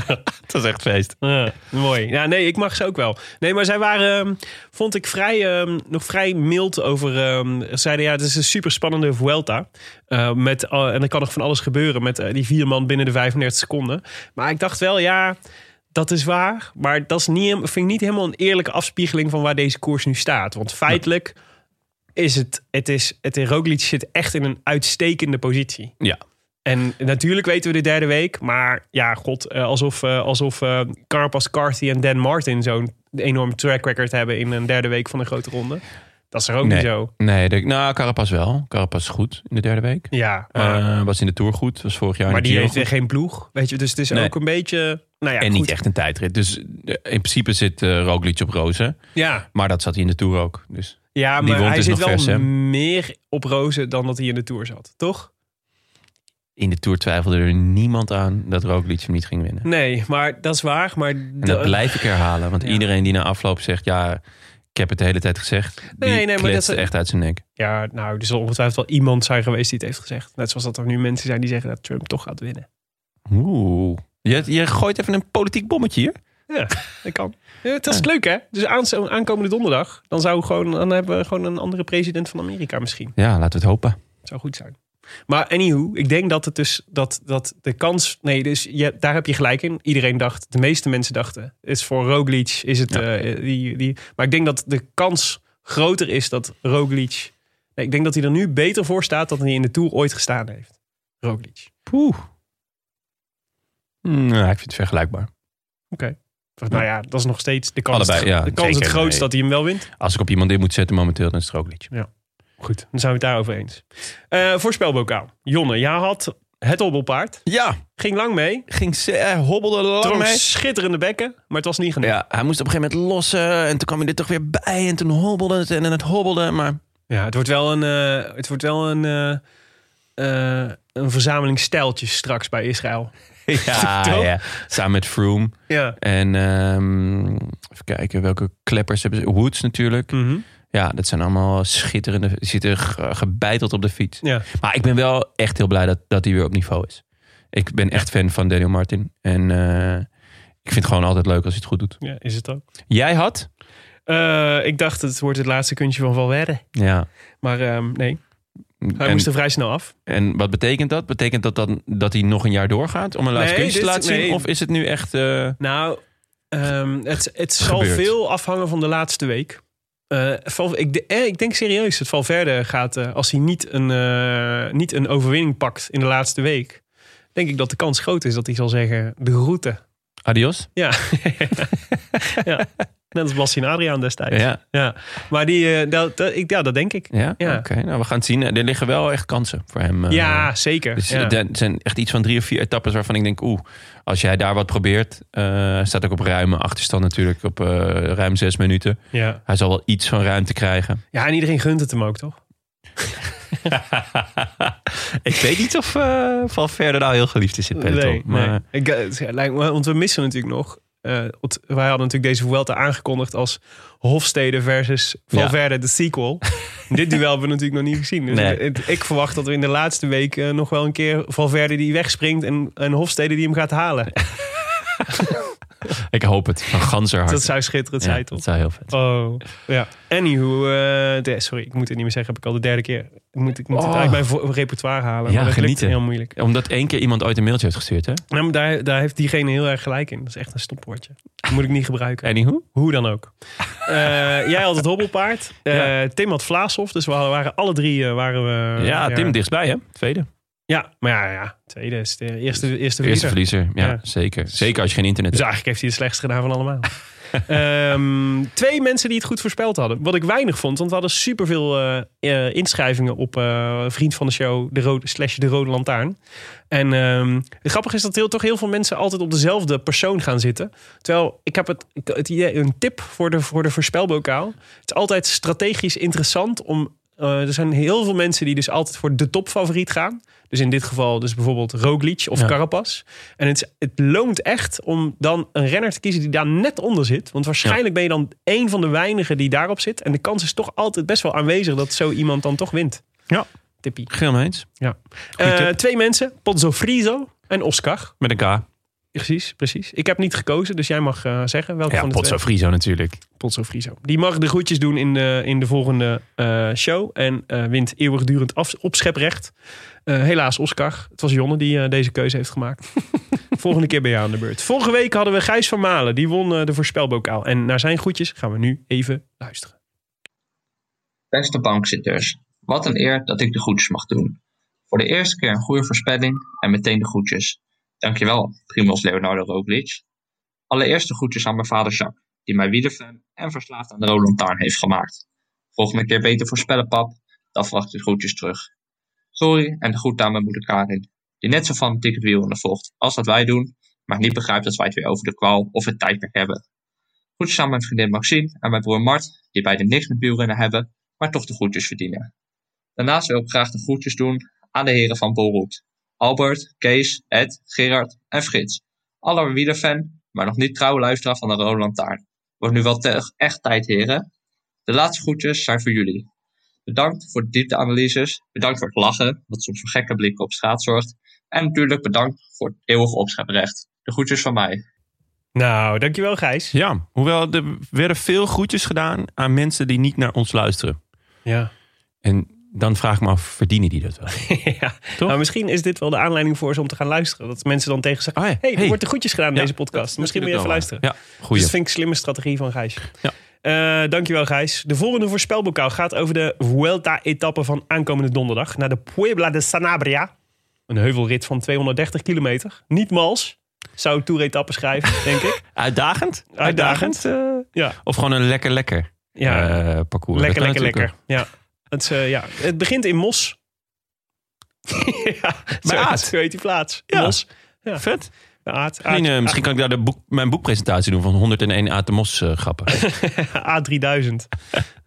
[SPEAKER 1] het was echt feest.
[SPEAKER 2] Ja, mooi. Ja, nee, ik mag ze ook wel. Nee, maar zij waren, ehm, vond ik vrij, ehm, nog vrij mild over. ehm, Ze zeiden ja, het is een super spannende Vuelta. Eh, met, eh, en er kan nog van alles gebeuren met eh, die vier man binnen de 35 seconden. Maar ik dacht wel, ja, dat is waar. Maar dat is niet, hem- vind ik niet helemaal een eerlijke afspiegeling van waar deze koers nu staat. Want feitelijk is het, het is, het Roglic zit echt in een uitstekende positie.
[SPEAKER 1] Ja,
[SPEAKER 2] En natuurlijk weten we de derde week. Maar ja, god, eh, alsof, eh, alsof eh, Carpas, Carthy en Dan Martin zo'n enorme track record hebben in een derde week van een grote ronde. Dat is er ook
[SPEAKER 1] nee.
[SPEAKER 2] niet zo.
[SPEAKER 1] Nee, de- nou, Carapaz wel. Carapaz is goed in de derde week.
[SPEAKER 2] Ja, maar,
[SPEAKER 1] Eh, was in de Tour goed. Was vorig jaar in
[SPEAKER 2] maar
[SPEAKER 1] de
[SPEAKER 2] die
[SPEAKER 1] Giro
[SPEAKER 2] heeft
[SPEAKER 1] goed.
[SPEAKER 2] geen ploeg. Weet je, dus het is
[SPEAKER 1] Nee.
[SPEAKER 2] ook een beetje. Nou ja,
[SPEAKER 1] en
[SPEAKER 2] goed.
[SPEAKER 1] niet echt een tijdrit. Dus eh, in principe zit eh Roglic op rozen.
[SPEAKER 2] Ja,
[SPEAKER 1] Maar dat zat hij in de Tour ook. Dus
[SPEAKER 2] ja
[SPEAKER 1] Die
[SPEAKER 2] maar
[SPEAKER 1] wond
[SPEAKER 2] hij
[SPEAKER 1] is
[SPEAKER 2] zit
[SPEAKER 1] nog
[SPEAKER 2] wel
[SPEAKER 1] vers, hè?
[SPEAKER 2] meer op rozen dan dat hij in de Tour zat, toch?
[SPEAKER 1] in de Tour twijfelde er niemand aan dat Roglic hem niet ging winnen.
[SPEAKER 2] Nee, maar dat is waar. Maar
[SPEAKER 1] En dat blijf ik herhalen. Want iedereen die na afloop zegt... ja, ik heb het de hele tijd gezegd. Die
[SPEAKER 2] Nee, nee, maar dat
[SPEAKER 1] kletst
[SPEAKER 2] is-
[SPEAKER 1] echt uit zijn nek.
[SPEAKER 2] Ja, nou, er zal ongetwijfeld wel iemand zijn geweest die het heeft gezegd. Net zoals dat er nu mensen zijn die zeggen dat Trump toch gaat winnen.
[SPEAKER 1] Oeh. Je, je gooit even een politiek bommetje hier.
[SPEAKER 2] Ja, dat kan. Ja, dat is leuk, hè? Dus aanst- aankomende donderdag, dan, zou we gewoon, dan hebben we gewoon een andere president van Amerika misschien.
[SPEAKER 1] Ja, laten we het hopen.
[SPEAKER 2] Zou goed zijn. Maar anywho, ik denk dat het dus dat, dat de kans. Nee, dus je, daar heb je gelijk in. Iedereen dacht, de meeste mensen dachten, is voor Roglic is het. eh, die, die, maar ik denk dat de kans groter is dat Roglic. Nee, ik denk dat hij er nu beter voor staat dan hij in de tour ooit gestaan heeft. Roglic.
[SPEAKER 1] Poeh. Nou, ik vind het vergelijkbaar.
[SPEAKER 2] Of, nou ja, dat is nog steeds de kans.
[SPEAKER 1] Allebei, ja,
[SPEAKER 2] de kans het
[SPEAKER 1] zeker.
[SPEAKER 2] grootst
[SPEAKER 1] Nee.
[SPEAKER 2] dat hij hem wel wint.
[SPEAKER 1] Als ik op iemand in moet zetten momenteel, dan is het Roglic.
[SPEAKER 2] Goed, dan zijn we het daarover eens. Eh voorspelbokaal. Jonne, jij had het hobbelpaard.
[SPEAKER 1] Ja,
[SPEAKER 2] Ging lang mee.
[SPEAKER 1] ging ze, hij hobbelde lang
[SPEAKER 2] Trok
[SPEAKER 1] mee.
[SPEAKER 2] schitterende bekken, maar het was niet genoeg.
[SPEAKER 1] Ja, hij moest op een gegeven moment lossen. En toen kwam hij er toch weer bij. En toen hobbelde het en het hobbelde. Maar
[SPEAKER 2] Ja, het wordt wel een, eh, het wordt wel een, eh, eh, een verzameling stijltjes straks bij *laughs* Israël.
[SPEAKER 1] ja, *laughs*
[SPEAKER 2] Toch?
[SPEAKER 1] ja. samen met Froome.
[SPEAKER 2] Ja.
[SPEAKER 1] En ehm, even kijken, welke kleppers hebben ze? Woods
[SPEAKER 2] Hm.
[SPEAKER 1] natuurlijk.
[SPEAKER 2] Mhm.
[SPEAKER 1] Ja, dat zijn allemaal schitterende. die Zitten ge- gebeiteld op de fiets.
[SPEAKER 2] ja.
[SPEAKER 1] Maar ik ben wel echt heel blij dat, dat hij weer op niveau is. Ik ben echt fan van Daniel Martin. En eh, ik vind het gewoon altijd leuk als hij het goed doet.
[SPEAKER 2] ja, is het ook.
[SPEAKER 1] Jij had?
[SPEAKER 2] Eh, ik dacht, het wordt het laatste kuntje van Valverde.
[SPEAKER 1] Ja.
[SPEAKER 2] Maar ehm, nee, hij
[SPEAKER 1] en,
[SPEAKER 2] moest er vrij snel af.
[SPEAKER 1] en wat betekent dat? Betekent dat dan dat hij nog een jaar doorgaat om een laatste
[SPEAKER 2] Nee,
[SPEAKER 1] kunstje te
[SPEAKER 2] dit-
[SPEAKER 1] laten zien?
[SPEAKER 2] nee.
[SPEAKER 1] Of is het nu echt... eh,
[SPEAKER 2] Nou, ehm, het, het zal
[SPEAKER 1] Gebeurt.
[SPEAKER 2] veel afhangen van de laatste week. Eh, Val- ik, de- eh, ik denk serieus dat Valverde gaat, eh, als hij niet een, eh, niet een overwinning pakt in de laatste week, denk ik dat de kans groot is dat hij zal zeggen de route.
[SPEAKER 1] adios?
[SPEAKER 2] Ja, ja. net als Bastien Adriaan destijds.
[SPEAKER 1] Ja.
[SPEAKER 2] Maar die, eh, dat, dat- ik, ja, dat denk ik.
[SPEAKER 1] Ja?
[SPEAKER 2] Ja.
[SPEAKER 1] Oké, nou we gaan het zien. Er liggen wel echt kansen voor hem. eh.
[SPEAKER 2] ja, zeker.
[SPEAKER 1] Dus
[SPEAKER 2] ja.
[SPEAKER 1] er zijn echt iets van drie of vier etappes waarvan ik denk, oeh, als jij daar wat probeert, eh, staat ook op ruime achterstand natuurlijk, op eh, ruim zes minuten.
[SPEAKER 2] Ja.
[SPEAKER 1] Hij zal wel iets van ruimte krijgen.
[SPEAKER 2] ja, en iedereen gunt het hem ook, toch?
[SPEAKER 1] *laughs* ik weet niet of eh Valverde nou heel geliefd is in het peloton.
[SPEAKER 2] Nee,
[SPEAKER 1] maar
[SPEAKER 2] nee. Ik, eh, het lijkt me- want we missen natuurlijk nog. eh, want wij hadden natuurlijk deze Vuelta aangekondigd als Hofstede versus Valverde, de
[SPEAKER 1] *laughs*
[SPEAKER 2] sequel. Dit duel hebben we natuurlijk nog niet gezien. Dus
[SPEAKER 1] Nee.
[SPEAKER 2] het- ik verwacht dat we in de laatste week eh, nog wel een keer Valverde die wegspringt en, en Hofstede die hem gaat halen.
[SPEAKER 1] ik hoop het, van ganser hart.
[SPEAKER 2] Dat zou schitterend
[SPEAKER 1] Ja,
[SPEAKER 2] zijn, toch?
[SPEAKER 1] dat zou heel vet.
[SPEAKER 2] Oh, ja. Anywho, eh, de, sorry, ik moet het niet meer zeggen. Heb ik al de derde keer. Ik moet, ik moet het
[SPEAKER 1] Oh.
[SPEAKER 2] uit mijn vo- repertoire halen.
[SPEAKER 1] Ja,
[SPEAKER 2] maar dat
[SPEAKER 1] genieten.
[SPEAKER 2] lukt heel moeilijk.
[SPEAKER 1] Omdat één keer iemand ooit een mailtje heeft gestuurd, hè?
[SPEAKER 2] Nou, maar daar, daar heeft diegene heel erg gelijk in. Dat is echt een stopwoordje. Dat moet ik niet
[SPEAKER 1] *laughs*
[SPEAKER 2] gebruiken.
[SPEAKER 1] Anywho?
[SPEAKER 2] Hoe dan
[SPEAKER 1] *laughs*
[SPEAKER 2] ook. Eh, jij had het hobbelpaard. Eh,
[SPEAKER 1] Ja.
[SPEAKER 2] Tim had Vlaashof. Dus we hadden- waren alle drie eh, waren we.
[SPEAKER 1] ja, Tim dichtstbij, hè? Tweede.
[SPEAKER 2] Ja, maar ja, ja. Tweede is de eerste, eerste,
[SPEAKER 1] Eerste
[SPEAKER 2] verliezer.
[SPEAKER 1] verliezer, ja,
[SPEAKER 2] Ja.
[SPEAKER 1] zeker. Zeker als je geen internet
[SPEAKER 2] Dus
[SPEAKER 1] hebt.
[SPEAKER 2] eigenlijk heeft hij het slechtst gedaan van allemaal. *laughs* Ehm, twee mensen die het goed voorspeld hadden. Wat ik weinig vond, want we hadden superveel eh, eh, inschrijvingen op eh, Vriend van de Show, de rode, slash de Rode Lantaarn. En ehm, het grappige is dat heel, toch heel veel mensen altijd op dezelfde persoon gaan zitten. Terwijl ik heb het, het idee, een tip voor de, voor de voorspelbokaal. Het is altijd strategisch interessant om. eh, er zijn heel veel mensen die dus altijd voor de topfavoriet gaan. Dus in dit geval dus bijvoorbeeld Roglic of
[SPEAKER 1] Ja.
[SPEAKER 2] Carapaz. En het, is- het loont echt om dan een renner te kiezen die daar net onder zit. Want waarschijnlijk ben je dan één van de weinigen die daarop zit. En de kans is toch altijd best wel aanwezig dat zo iemand dan toch wint.
[SPEAKER 1] Ja.
[SPEAKER 2] Tippie.
[SPEAKER 1] Geel mee eens.
[SPEAKER 2] Ja.
[SPEAKER 1] Goeie tip.
[SPEAKER 2] Eh, twee mensen, Pozzo Friso en Oscar.
[SPEAKER 1] Met een K.
[SPEAKER 2] Precies, precies. Ik heb niet gekozen, dus jij mag eh, zeggen welke
[SPEAKER 1] Ja,
[SPEAKER 2] van de twee.
[SPEAKER 1] Potso Friso natuurlijk.
[SPEAKER 2] Potso Friso. Die mag de groetjes doen in de, in de volgende eh, show. En eh, wint eeuwigdurend af, opscheprecht. Eh, helaas Oscar. Het was Jonne die eh, deze keuze heeft
[SPEAKER 1] *laughs*
[SPEAKER 2] gemaakt. volgende keer ben je aan de beurt. Vorige week hadden we Gijs van Malen. Die won eh, de voorspelbokaal. En naar zijn groetjes gaan we nu even luisteren.
[SPEAKER 5] Beste bankzitters, wat een eer dat ik de groetjes mag doen. Voor de eerste keer een goede voorspelling en meteen de groetjes. Dankjewel, Primoz Leonardo Roglic. Allereerst de groetjes aan mijn vader Jacques, die mij wielerfan en verslaafd aan de Roland Taarn heeft gemaakt. Volgende keer beter voorspellen, pap. Dan verwacht ik groetjes terug. Sorry en de groet aan mijn moeder Karin, die net zo van het ticket wielrennen volgt als dat wij doen, maar niet begrijpt dat wij het weer over de kwaal of het tijdperk hebben. Groetjes aan mijn vriendin Maxine en mijn broer Mart, die beiden niks met wielrennen hebben, maar toch de groetjes verdienen. Daarnaast wil ik graag de groetjes doen aan de heren van Bolroet. Albert, Kees, Ed, Gerard en Frits. Alle wielerfan, maar nog niet trouwe luisteraar van de Roland Taarn. Wordt nu wel te- echt tijd, heren. De laatste groetjes zijn voor jullie. Bedankt voor de diepteanalyses. Bedankt voor het lachen, wat soms voor gekke blikken op straat zorgt. En natuurlijk bedankt voor het eeuwige opscheprecht. De groetjes van mij.
[SPEAKER 2] Nou, dankjewel Gijs.
[SPEAKER 1] Ja, hoewel er werden veel groetjes gedaan aan mensen die niet naar ons luisteren. *laughs*
[SPEAKER 2] Ja.
[SPEAKER 1] En dan vraag ik me af, verdienen die dat wel?
[SPEAKER 2] ja. Nou, misschien is dit wel de aanleiding voor ze om te gaan luisteren. Dat mensen dan tegen zeggen,
[SPEAKER 1] Oh ja,
[SPEAKER 2] hey, er
[SPEAKER 1] hey.
[SPEAKER 2] wordt er goedjes gedaan in
[SPEAKER 1] Ja,
[SPEAKER 2] deze podcast.
[SPEAKER 1] dat-
[SPEAKER 2] Misschien
[SPEAKER 1] dat
[SPEAKER 2] moet je
[SPEAKER 1] vind
[SPEAKER 2] even
[SPEAKER 1] ik
[SPEAKER 2] luisteren.
[SPEAKER 1] wel. Ja, goeie.
[SPEAKER 2] Dus dat vind ik een slimme strategie van Gijs.
[SPEAKER 1] Ja.
[SPEAKER 2] Eh, dankjewel Gijs. De volgende voorspelbokaal gaat over de Vuelta-etappe van aankomende donderdag. Naar de Puebla de Sanabria. Een heuvelrit van 230 kilometer. Niet mals. Zou
[SPEAKER 1] *laughs*
[SPEAKER 2] Tour-etappe schrijven, denk ik.
[SPEAKER 1] Uitdagend?
[SPEAKER 2] Uitdagend.
[SPEAKER 1] eh,
[SPEAKER 2] Ja.
[SPEAKER 1] Of gewoon een lekker, lekker
[SPEAKER 2] Ja.
[SPEAKER 1] eh, parcours. Dat
[SPEAKER 2] Lekker, lekker,
[SPEAKER 1] kan
[SPEAKER 2] lekker.
[SPEAKER 1] natuurlijk
[SPEAKER 2] Ja. Het, is, eh, ja. het begint in
[SPEAKER 1] *laughs*
[SPEAKER 2] Mos. *laughs* ja, zo,
[SPEAKER 1] Aad.
[SPEAKER 2] zo heet die plaats.
[SPEAKER 1] Ja.
[SPEAKER 2] Mos.
[SPEAKER 1] ook. Vet.
[SPEAKER 2] Aad,
[SPEAKER 1] Misschien,
[SPEAKER 2] *laughs*
[SPEAKER 1] eh,
[SPEAKER 2] Aad,
[SPEAKER 1] misschien kan ik daar de boek, mijn boekpresentatie doen van 101 Atemos eh grappen. *laughs*
[SPEAKER 2] A3000.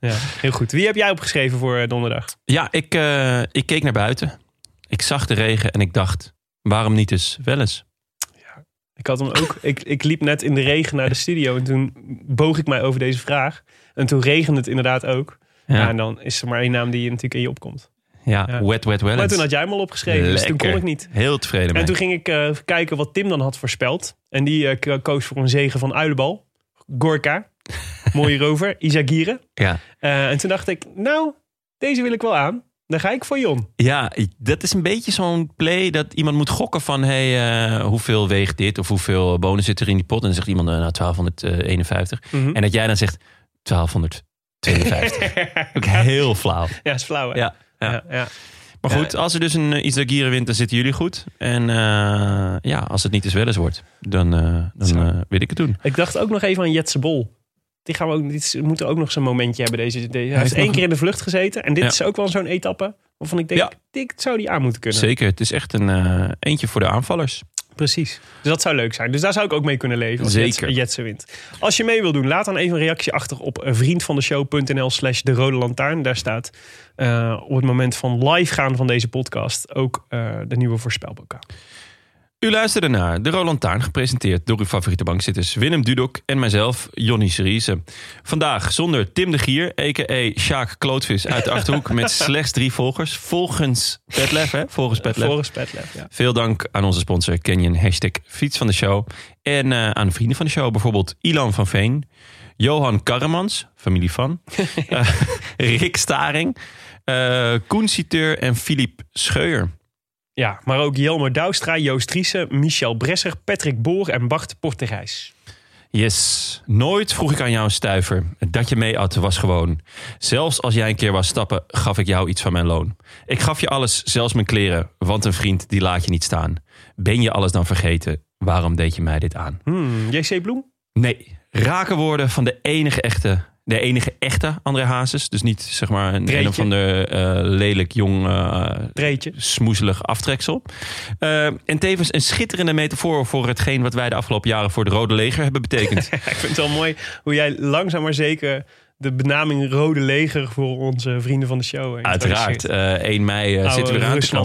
[SPEAKER 2] ja, heel goed. Wie heb jij opgeschreven voor eh, donderdag?
[SPEAKER 1] ja, ik, eh, ik keek naar buiten. Ik zag de regen en ik dacht, waarom niet eens wel eens?
[SPEAKER 2] Ik had hem ook. ik, ik liep net in de regen naar de studio en toen boog ik mij over deze vraag. En toen regende het inderdaad ook. Ja. en dan is er maar één naam die je natuurlijk in je opkomt.
[SPEAKER 1] Ja,
[SPEAKER 2] Ja.
[SPEAKER 1] wet, wet, wel
[SPEAKER 2] Maar
[SPEAKER 1] eens.
[SPEAKER 2] toen had jij hem al opgeschreven, dus toen
[SPEAKER 1] Lekker.
[SPEAKER 2] kon ik niet.
[SPEAKER 1] Heel tevreden mee.
[SPEAKER 2] En toen ging ik eh, even kijken wat Tim dan had voorspeld. En die eh, k- koos voor een zegen van Uilenbal.
[SPEAKER 1] *laughs*
[SPEAKER 2] Gorka. Mooie rover. Isagire.
[SPEAKER 1] Ja.
[SPEAKER 2] Eh, en toen dacht ik, nou, deze wil ik wel aan. Dan ga ik voor Jon.
[SPEAKER 1] ja, dat is een beetje zo'n play dat iemand moet gokken van... Hey, eh, hoeveel weegt dit of hoeveel bonus zit er in die pot? En dan zegt iemand eh, nou 1251.
[SPEAKER 2] Mhm.
[SPEAKER 1] En dat jij dan zegt 1252. *laughs* Ook heel flauw.
[SPEAKER 2] Ja, is flauw hè?
[SPEAKER 1] Ja, ja.
[SPEAKER 2] ja, ja.
[SPEAKER 1] Maar goed, als er dus een uh, Isagire wint, dan zitten jullie goed. En eh, ja, als het niet eens wel eens wordt, dan, eh dan
[SPEAKER 2] Zo.
[SPEAKER 1] eh, weet ik het doen.
[SPEAKER 2] Ik dacht ook nog even aan Jetse Bol. Die, gaan we ook, die moeten ook nog zo'n momentje hebben. Deze, deze, hij heeft
[SPEAKER 1] heeft
[SPEAKER 2] één
[SPEAKER 1] nog-
[SPEAKER 2] keer in de vlucht gezeten. En dit
[SPEAKER 1] Ja.
[SPEAKER 2] is ook wel zo'n etappe waarvan ik denk,
[SPEAKER 1] Ja.
[SPEAKER 2] dit zou die aan moeten kunnen.
[SPEAKER 1] Zeker, het is echt een eh, eentje voor de aanvallers.
[SPEAKER 2] Precies. Dus dat zou leuk zijn. Dus daar zou ik ook mee kunnen leven als
[SPEAKER 1] Zeker.
[SPEAKER 2] Jetse, Jetse wint. Als je mee wil doen, laat dan even een reactie achter op eh, vriendvandeshow.nl slash de rode lantaarn. Daar staat eh, op het moment van live gaan van deze podcast ook eh, de nieuwe voorspelbokaal.
[SPEAKER 1] U luisterde naar De Roland Taarn, gepresenteerd door uw favoriete bankzitters Willem Dudok en mijzelf, Jonny Seriese. Vandaag zonder Tim de Gier, a.k.a. Sjaak Klootvis uit de Achterhoek, met slechts drie volgers. Volgens Petlef, hè? Volgens Petlef.
[SPEAKER 2] Volgens Petlef, ja.
[SPEAKER 1] Veel dank aan onze sponsor Canyon, hashtag fiets van de show. En eh, aan de vrienden van de show, bijvoorbeeld Ilan van Veen, Johan Karremans, familie van, eh, Rick Staring, eh, Koen Citeur en Filip Scheuer.
[SPEAKER 2] ja. Maar ook Jelmer Douwstra, Joost Driessen, Michel Bresser, Patrick Boer en Bart Porterijs.
[SPEAKER 1] Yes, nooit vroeg ik aan jou een stuiver. Dat je mee at was gewoon. Zelfs als jij een keer was stappen, gaf ik jou iets van mijn loon. Ik gaf je alles, zelfs mijn kleren, want een vriend die laat je niet staan. Ben je alles dan vergeten? Waarom deed je mij dit aan?
[SPEAKER 2] Hmm, JC Bloem?
[SPEAKER 1] Nee, raken woorden van de enige echte. De enige echte André Hazes. Dus niet zeg maar een,
[SPEAKER 2] Treetje.
[SPEAKER 1] een of ander eh, lelijk jong eh,
[SPEAKER 2] Treetje.
[SPEAKER 1] smoezelig aftreksel. Eh, en tevens een schitterende metafoor voor hetgeen wat wij de afgelopen jaren voor het Rode Leger hebben betekend.
[SPEAKER 2] *laughs* Ja, ik vind het wel mooi hoe jij langzaam maar zeker de benaming Rode Leger voor onze vrienden van de show eh,
[SPEAKER 1] Uiteraard,
[SPEAKER 2] introduceert.
[SPEAKER 1] eh 1 mei eh, zitten we
[SPEAKER 2] Oude
[SPEAKER 1] eraan te komen.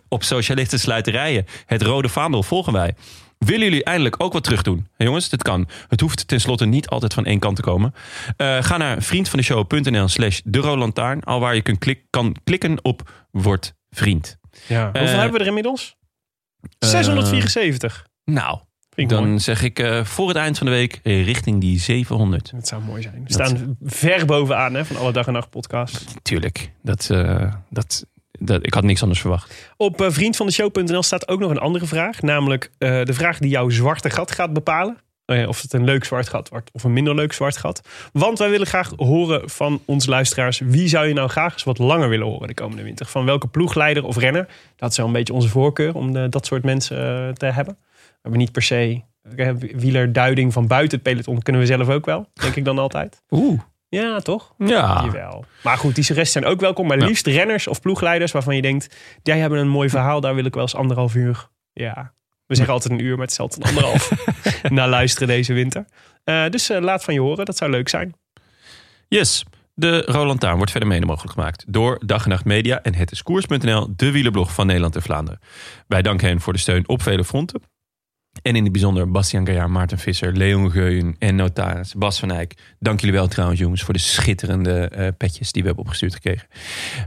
[SPEAKER 1] *laughs* op socialistische sluiterijen. Het rode vaandel volgen wij. Willen jullie eindelijk ook wat terug doen? Hé, jongens, dit kan. Het hoeft tenslotte niet altijd van één kant te komen. Eh, ga naar vriendvandeshow.nl slash de Rode Lantaarn, Al waar je kunt klik- kan klikken op word vriend.
[SPEAKER 2] Ja. Hoeveel
[SPEAKER 1] Eh,
[SPEAKER 2] hebben we er inmiddels?
[SPEAKER 1] eh,
[SPEAKER 2] 674.
[SPEAKER 1] Nou,
[SPEAKER 2] Vind ik
[SPEAKER 1] dan
[SPEAKER 2] mooi.
[SPEAKER 1] zeg ik eh, voor het eind van de week eh, richting die 700.
[SPEAKER 2] Dat zou mooi zijn. We staan ver bovenaan hè, van alle dag en nacht podcast.
[SPEAKER 1] Tuurlijk, dat, eh, dat, dat, ik had niks anders verwacht.
[SPEAKER 2] Op eh, vriendvandeshow.nl staat ook nog een andere vraag. Namelijk eh, de vraag die jouw zwarte gat gaat bepalen. eh, of het een leuk zwart gat wordt of een minder leuk zwart gat. Want wij willen graag horen van onze luisteraars. Wie zou je nou graag eens wat langer willen horen de komende winter? Van welke ploegleider of renner? Dat is wel een beetje onze voorkeur om de, dat soort mensen eh, te hebben. We hebben niet per se eh, wielerduiding van buiten het peloton. Kunnen we zelf ook wel, denk ik dan altijd.
[SPEAKER 1] Oeh.
[SPEAKER 2] Ja, toch?
[SPEAKER 1] Ja.
[SPEAKER 2] Jawel. Maar goed, die rest zijn ook welkom. Maar
[SPEAKER 1] Ah. Ja.
[SPEAKER 2] liefst renners of ploegleiders waarvan je denkt... die hebben een mooi verhaal, daar wil ik wel eens anderhalf uur... Ja, we zeggen altijd een uur, maar het is altijd een
[SPEAKER 1] *laughs*
[SPEAKER 2] anderhalf... naar luisteren deze winter. Eh, dus eh, laat van je horen, dat zou leuk zijn.
[SPEAKER 1] Yes. De Roland Taan wordt verder mede mogelijk gemaakt door Dag en Nacht Media en het is koers.nl, de wielerblog van Nederland en Vlaanderen. Wij danken hen voor de steun op vele fronten. En in het bijzonder Bastiaan Gaillard, Maarten Visser, Leon Geuyen en notaris Bas van Eyck. Dank jullie wel trouwens jongens voor de schitterende eh, petjes die we hebben opgestuurd gekregen.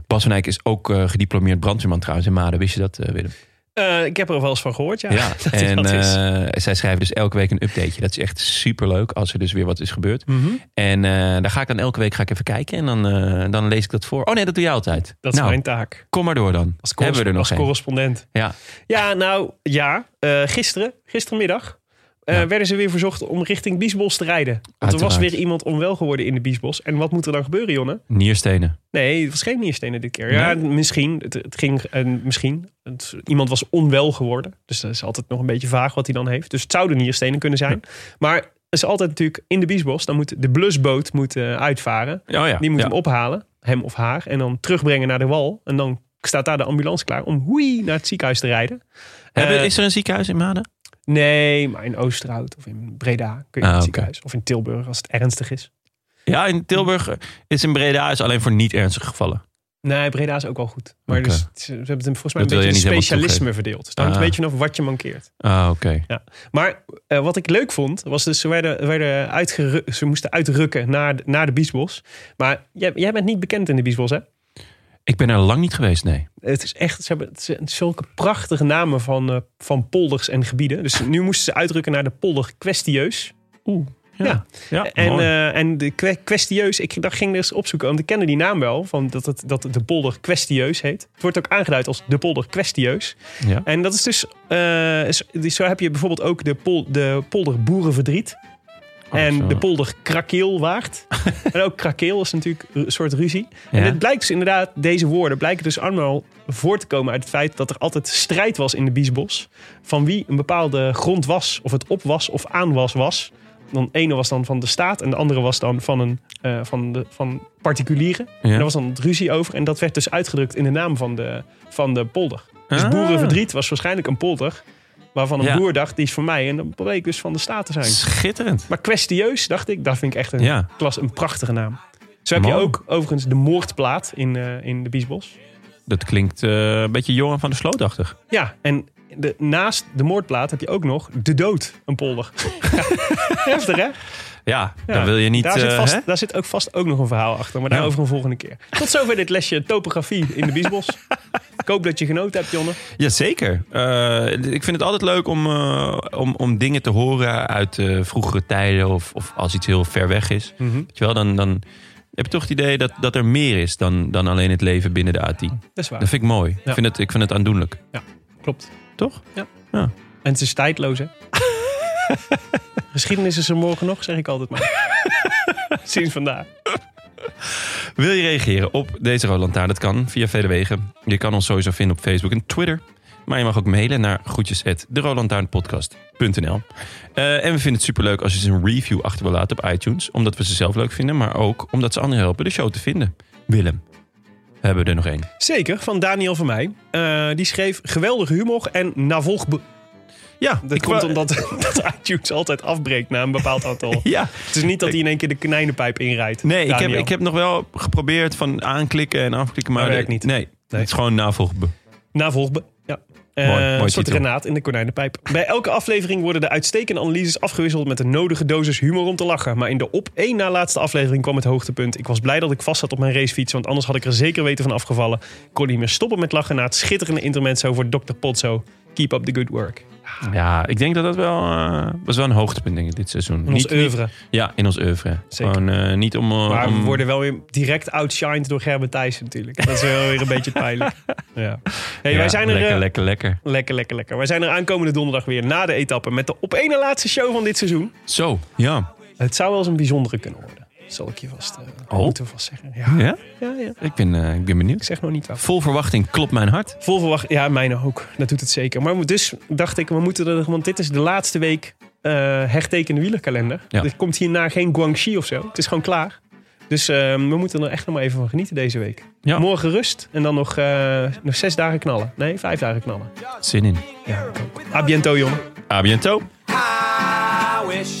[SPEAKER 1] Bas van Eyck is ook eh, gediplomeerd brandweerman trouwens in Maden. Wist je dat eh, Willem?
[SPEAKER 2] Eh, ik heb er wel eens van gehoord, ja. *laughs*
[SPEAKER 1] Ja,
[SPEAKER 2] dat hij
[SPEAKER 1] en
[SPEAKER 2] dat is.
[SPEAKER 1] eh, zij schrijven dus elke week een updateje. Dat is echt superleuk als er dus weer wat is gebeurd.
[SPEAKER 2] Mhm.
[SPEAKER 1] En eh, daar ga ik dan elke week ga ik even kijken en dan, eh, dan lees ik dat voor. Oh nee, dat doe jij altijd.
[SPEAKER 2] Dat is
[SPEAKER 1] nou,
[SPEAKER 2] mijn taak.
[SPEAKER 1] kom maar door dan.
[SPEAKER 2] Als,
[SPEAKER 1] Hebben we er nog
[SPEAKER 2] als
[SPEAKER 1] een?
[SPEAKER 2] correspondent.
[SPEAKER 1] Ja,
[SPEAKER 2] Ja, nou, ja. Eh, gisteren, gistermiddag... eh,
[SPEAKER 1] Ja.
[SPEAKER 2] werden ze weer verzocht om richting Biesbos te rijden. Want er was
[SPEAKER 1] Uiteraard.
[SPEAKER 2] weer iemand onwel geworden in de Biesbos. En wat moet er dan gebeuren, Jonne?
[SPEAKER 1] nierstenen.
[SPEAKER 2] Nee, het was geen nierstenen dit keer. Ja, misschien. Het, het ging en misschien. Het- iemand was onwel geworden. Dus dat is altijd nog een beetje vaag wat hij dan heeft. Dus het zouden nierstenen kunnen zijn. Maar het is altijd natuurlijk in de biesbos. Dan moet de blusboot moet, eh, uitvaren.
[SPEAKER 1] Oh ja.
[SPEAKER 2] Die moet
[SPEAKER 1] ja.
[SPEAKER 2] hem ophalen, hem of haar. En dan terugbrengen naar de wal. En dan staat daar de ambulance klaar om hoei naar het ziekenhuis te rijden.
[SPEAKER 1] Hebben,
[SPEAKER 2] Eh,
[SPEAKER 1] is er een ziekenhuis in Maden?
[SPEAKER 2] Nee, maar in Oosterhout of in Breda kun je naar het
[SPEAKER 1] Ah, oké.
[SPEAKER 2] ziekenhuis. Of in Tilburg als het ernstig is.
[SPEAKER 1] Ja, in Tilburg eh, is in Breda is alleen voor niet ernstige gevallen.
[SPEAKER 2] Nee, Breda is ook wel goed. Maar
[SPEAKER 1] Oké.
[SPEAKER 2] dus, ze hebben het hem volgens mij
[SPEAKER 1] Dat
[SPEAKER 2] een
[SPEAKER 1] wil je
[SPEAKER 2] beetje in
[SPEAKER 1] niet helemaal
[SPEAKER 2] specialisme verdeeld. Dus dan hangt
[SPEAKER 1] Ah.
[SPEAKER 2] een beetje vanaf wat je mankeert.
[SPEAKER 1] Ah, oké.
[SPEAKER 2] Maar eh, wat ik leuk vond, was dus ze, werden, werden uitgeru- ze moesten uitrukken naar, de- naar de Biesbos. Maar jij, jij bent niet bekend in de Biesbos, hè?
[SPEAKER 1] Ik ben er lang niet geweest, nee.
[SPEAKER 2] Het is echt, ze hebben ze- zulke prachtige namen van, eh, van polders en gebieden. Dus nu moesten ze uitrukken naar de polder Kwestieus.
[SPEAKER 1] Oeh. Ja.
[SPEAKER 2] Ja.
[SPEAKER 1] ja
[SPEAKER 2] En,
[SPEAKER 1] mooi.
[SPEAKER 2] eh, en de kwe- kwestieus, ik dacht, ging er eens opzoeken, want ik kende die naam wel, van dat, het, dat de polder kwestieus heet. Het wordt ook aangeduid als de polder kwestieus.
[SPEAKER 1] Ja.
[SPEAKER 2] En dat is dus, eh, is- dus zo heb je bijvoorbeeld ook de, pol, de polder boerenverdriet. en
[SPEAKER 1] Oh, zo.
[SPEAKER 2] de polder krakeelwaard. en ook krakeel is natuurlijk een soort ruzie. En
[SPEAKER 1] Ja.
[SPEAKER 2] dit blijkt dus inderdaad, deze woorden blijken dus allemaal voort te komen uit het feit dat er altijd strijd was in de Biesbos. Van wie een bepaalde grond was, of het op was of aan was, was. Dan de ene was dan van de staat en de andere was dan van, een, eh, van, de, van particulieren. En daar was dan het ruzie over. En dat werd dus uitgedrukt in de naam van de, van de polder. Dus
[SPEAKER 1] Ah.
[SPEAKER 2] boerenverdriet was waarschijnlijk een polder. Waarvan een
[SPEAKER 1] Ja.
[SPEAKER 2] boer dacht, die is voor mij. En dat bleek dus van de staat te zijn.
[SPEAKER 1] Schitterend.
[SPEAKER 2] Maar kwestieus, dacht ik, dat vind ik echt een,
[SPEAKER 1] Ja.
[SPEAKER 2] klas, een prachtige naam. Zo heb je
[SPEAKER 1] Mooi.
[SPEAKER 2] ook overigens de moordplaat in, eh, in de Biesbos.
[SPEAKER 1] Dat klinkt eh, een beetje Johan van der Slootachtig.
[SPEAKER 2] Ja, en de, naast de moordplaat heb je ook nog de dood, een polder. *laughs* Heftig, hè?
[SPEAKER 1] Ja,
[SPEAKER 2] Ja.
[SPEAKER 1] dan wil je niet...
[SPEAKER 2] Daar, zit
[SPEAKER 1] eh,
[SPEAKER 2] vast,
[SPEAKER 1] hè?
[SPEAKER 2] daar zit ook vast ook nog een verhaal achter, maar daarover een volgende keer. Tot zover dit lesje topografie in de Biesbos. ik hoop dat je genoten hebt, Jonne.
[SPEAKER 1] Jazeker. Eh, ik vind het altijd leuk om, eh, om, om dingen te horen uit eh, vroegere tijden. Of, of als iets heel ver weg is. Weet je wel, dan, dan heb je toch het idee dat, dat er meer is dan, dan alleen het leven binnen de A10.
[SPEAKER 2] Dat is waar.
[SPEAKER 1] Dat vind ik mooi.
[SPEAKER 2] Ja.
[SPEAKER 1] Ik, vind het, ik vind het aandoenlijk.
[SPEAKER 2] Klopt.
[SPEAKER 1] Toch?
[SPEAKER 2] En het is
[SPEAKER 1] *laughs*
[SPEAKER 2] tijdloos, hè? Geschiedenis is er morgen nog, zeg ik altijd maar. *laughs* Sinds vandaag.
[SPEAKER 1] Wil je reageren op deze Roland Taar? Dat kan via vele wegen. Je kan ons sowieso vinden op Facebook en Twitter. Maar je mag ook mailen naar groetjes Eh, en we vinden het superleuk als je ze een review achter wil laten op iTunes. Omdat we ze zelf leuk vinden, maar ook omdat ze anderen helpen de show te vinden. Willem, hebben we er nog één.
[SPEAKER 2] Zeker, van Daniel van mij. Eh, die schreef geweldige humor en navolg...
[SPEAKER 1] Ja,
[SPEAKER 2] Dat komt omdat *laughs* dat iTunes altijd afbreekt na een bepaald aantal.
[SPEAKER 1] *laughs* Ja,
[SPEAKER 2] Het is niet dat hij in één keer de konijnenpijp inrijdt.
[SPEAKER 1] nee, ik heb,
[SPEAKER 2] Daniel.
[SPEAKER 1] ik heb nog wel geprobeerd van aanklikken en afklikken, maar
[SPEAKER 2] Dat werkt
[SPEAKER 1] de-
[SPEAKER 2] niet.
[SPEAKER 1] Nee, het is gewoon navolgbe.
[SPEAKER 2] Navolg... Ja. Eh,
[SPEAKER 1] Mooi, mooi
[SPEAKER 2] een soort
[SPEAKER 1] titel.
[SPEAKER 2] renaat in de konijnenpijp. Bij elke aflevering worden de uitstekende analyses afgewisseld met de nodige dosis humor om te lachen. Maar in de op één na laatste aflevering kwam het hoogtepunt. Ik was blij dat ik vast zat op mijn racefiets, want anders had ik er zeker weten van afgevallen. Ik kon niet meer stoppen met lachen na het schitterende intermezzo voor Dr. Potso. Keep up the good work.
[SPEAKER 1] Ja, ik denk dat dat wel, eh, was wel een hoogtepunt denk ik, dit seizoen.
[SPEAKER 2] Ons oeuvre.
[SPEAKER 1] Ja, in ons oeuvre.
[SPEAKER 2] Zeker.
[SPEAKER 1] Gewoon eh, niet om... eh,
[SPEAKER 2] Maar we
[SPEAKER 1] om-
[SPEAKER 2] *laughs* worden wel weer direct outshined door Gerben Thijs natuurlijk. Dat is wel weer een beetje pijnlijk. Ja. Hey, wij zijn er,
[SPEAKER 1] lekker,
[SPEAKER 2] eh,
[SPEAKER 1] lekker, lekker.
[SPEAKER 2] lekker, lekker, lekker. Wij zijn er aankomende donderdag weer na de etappe met de op één na laatste show van dit seizoen.
[SPEAKER 1] Zo, ja.
[SPEAKER 2] Het zou wel eens een bijzondere kunnen worden. Zal ik je vast, eh,
[SPEAKER 1] Oh.
[SPEAKER 2] moeten we vast zeggen. Ja,
[SPEAKER 1] ja?
[SPEAKER 2] ja, ja.
[SPEAKER 1] Ik, ben, eh, ik ben
[SPEAKER 2] Ik
[SPEAKER 1] benieuwd.
[SPEAKER 2] zeg nog niet af.
[SPEAKER 1] Vol verwachting klopt mijn hart.
[SPEAKER 2] Vol verwacht. Ja, mijne ook. Dat doet het zeker. Maar we- dus dacht ik, we moeten er, want dit is de laatste week eh hertekende wielerkalender.
[SPEAKER 1] Ja.
[SPEAKER 2] Er komt hierna geen Guangxi of zo. Het is gewoon klaar. Dus eh, we moeten er echt nog maar even van genieten deze week.
[SPEAKER 1] Ja.
[SPEAKER 2] Morgen rust en dan nog, eh, nog zes dagen knallen. Nee, vijf dagen knallen.
[SPEAKER 1] Zin in.
[SPEAKER 2] A biento, jongen.
[SPEAKER 1] A bientôt.
[SPEAKER 4] I wish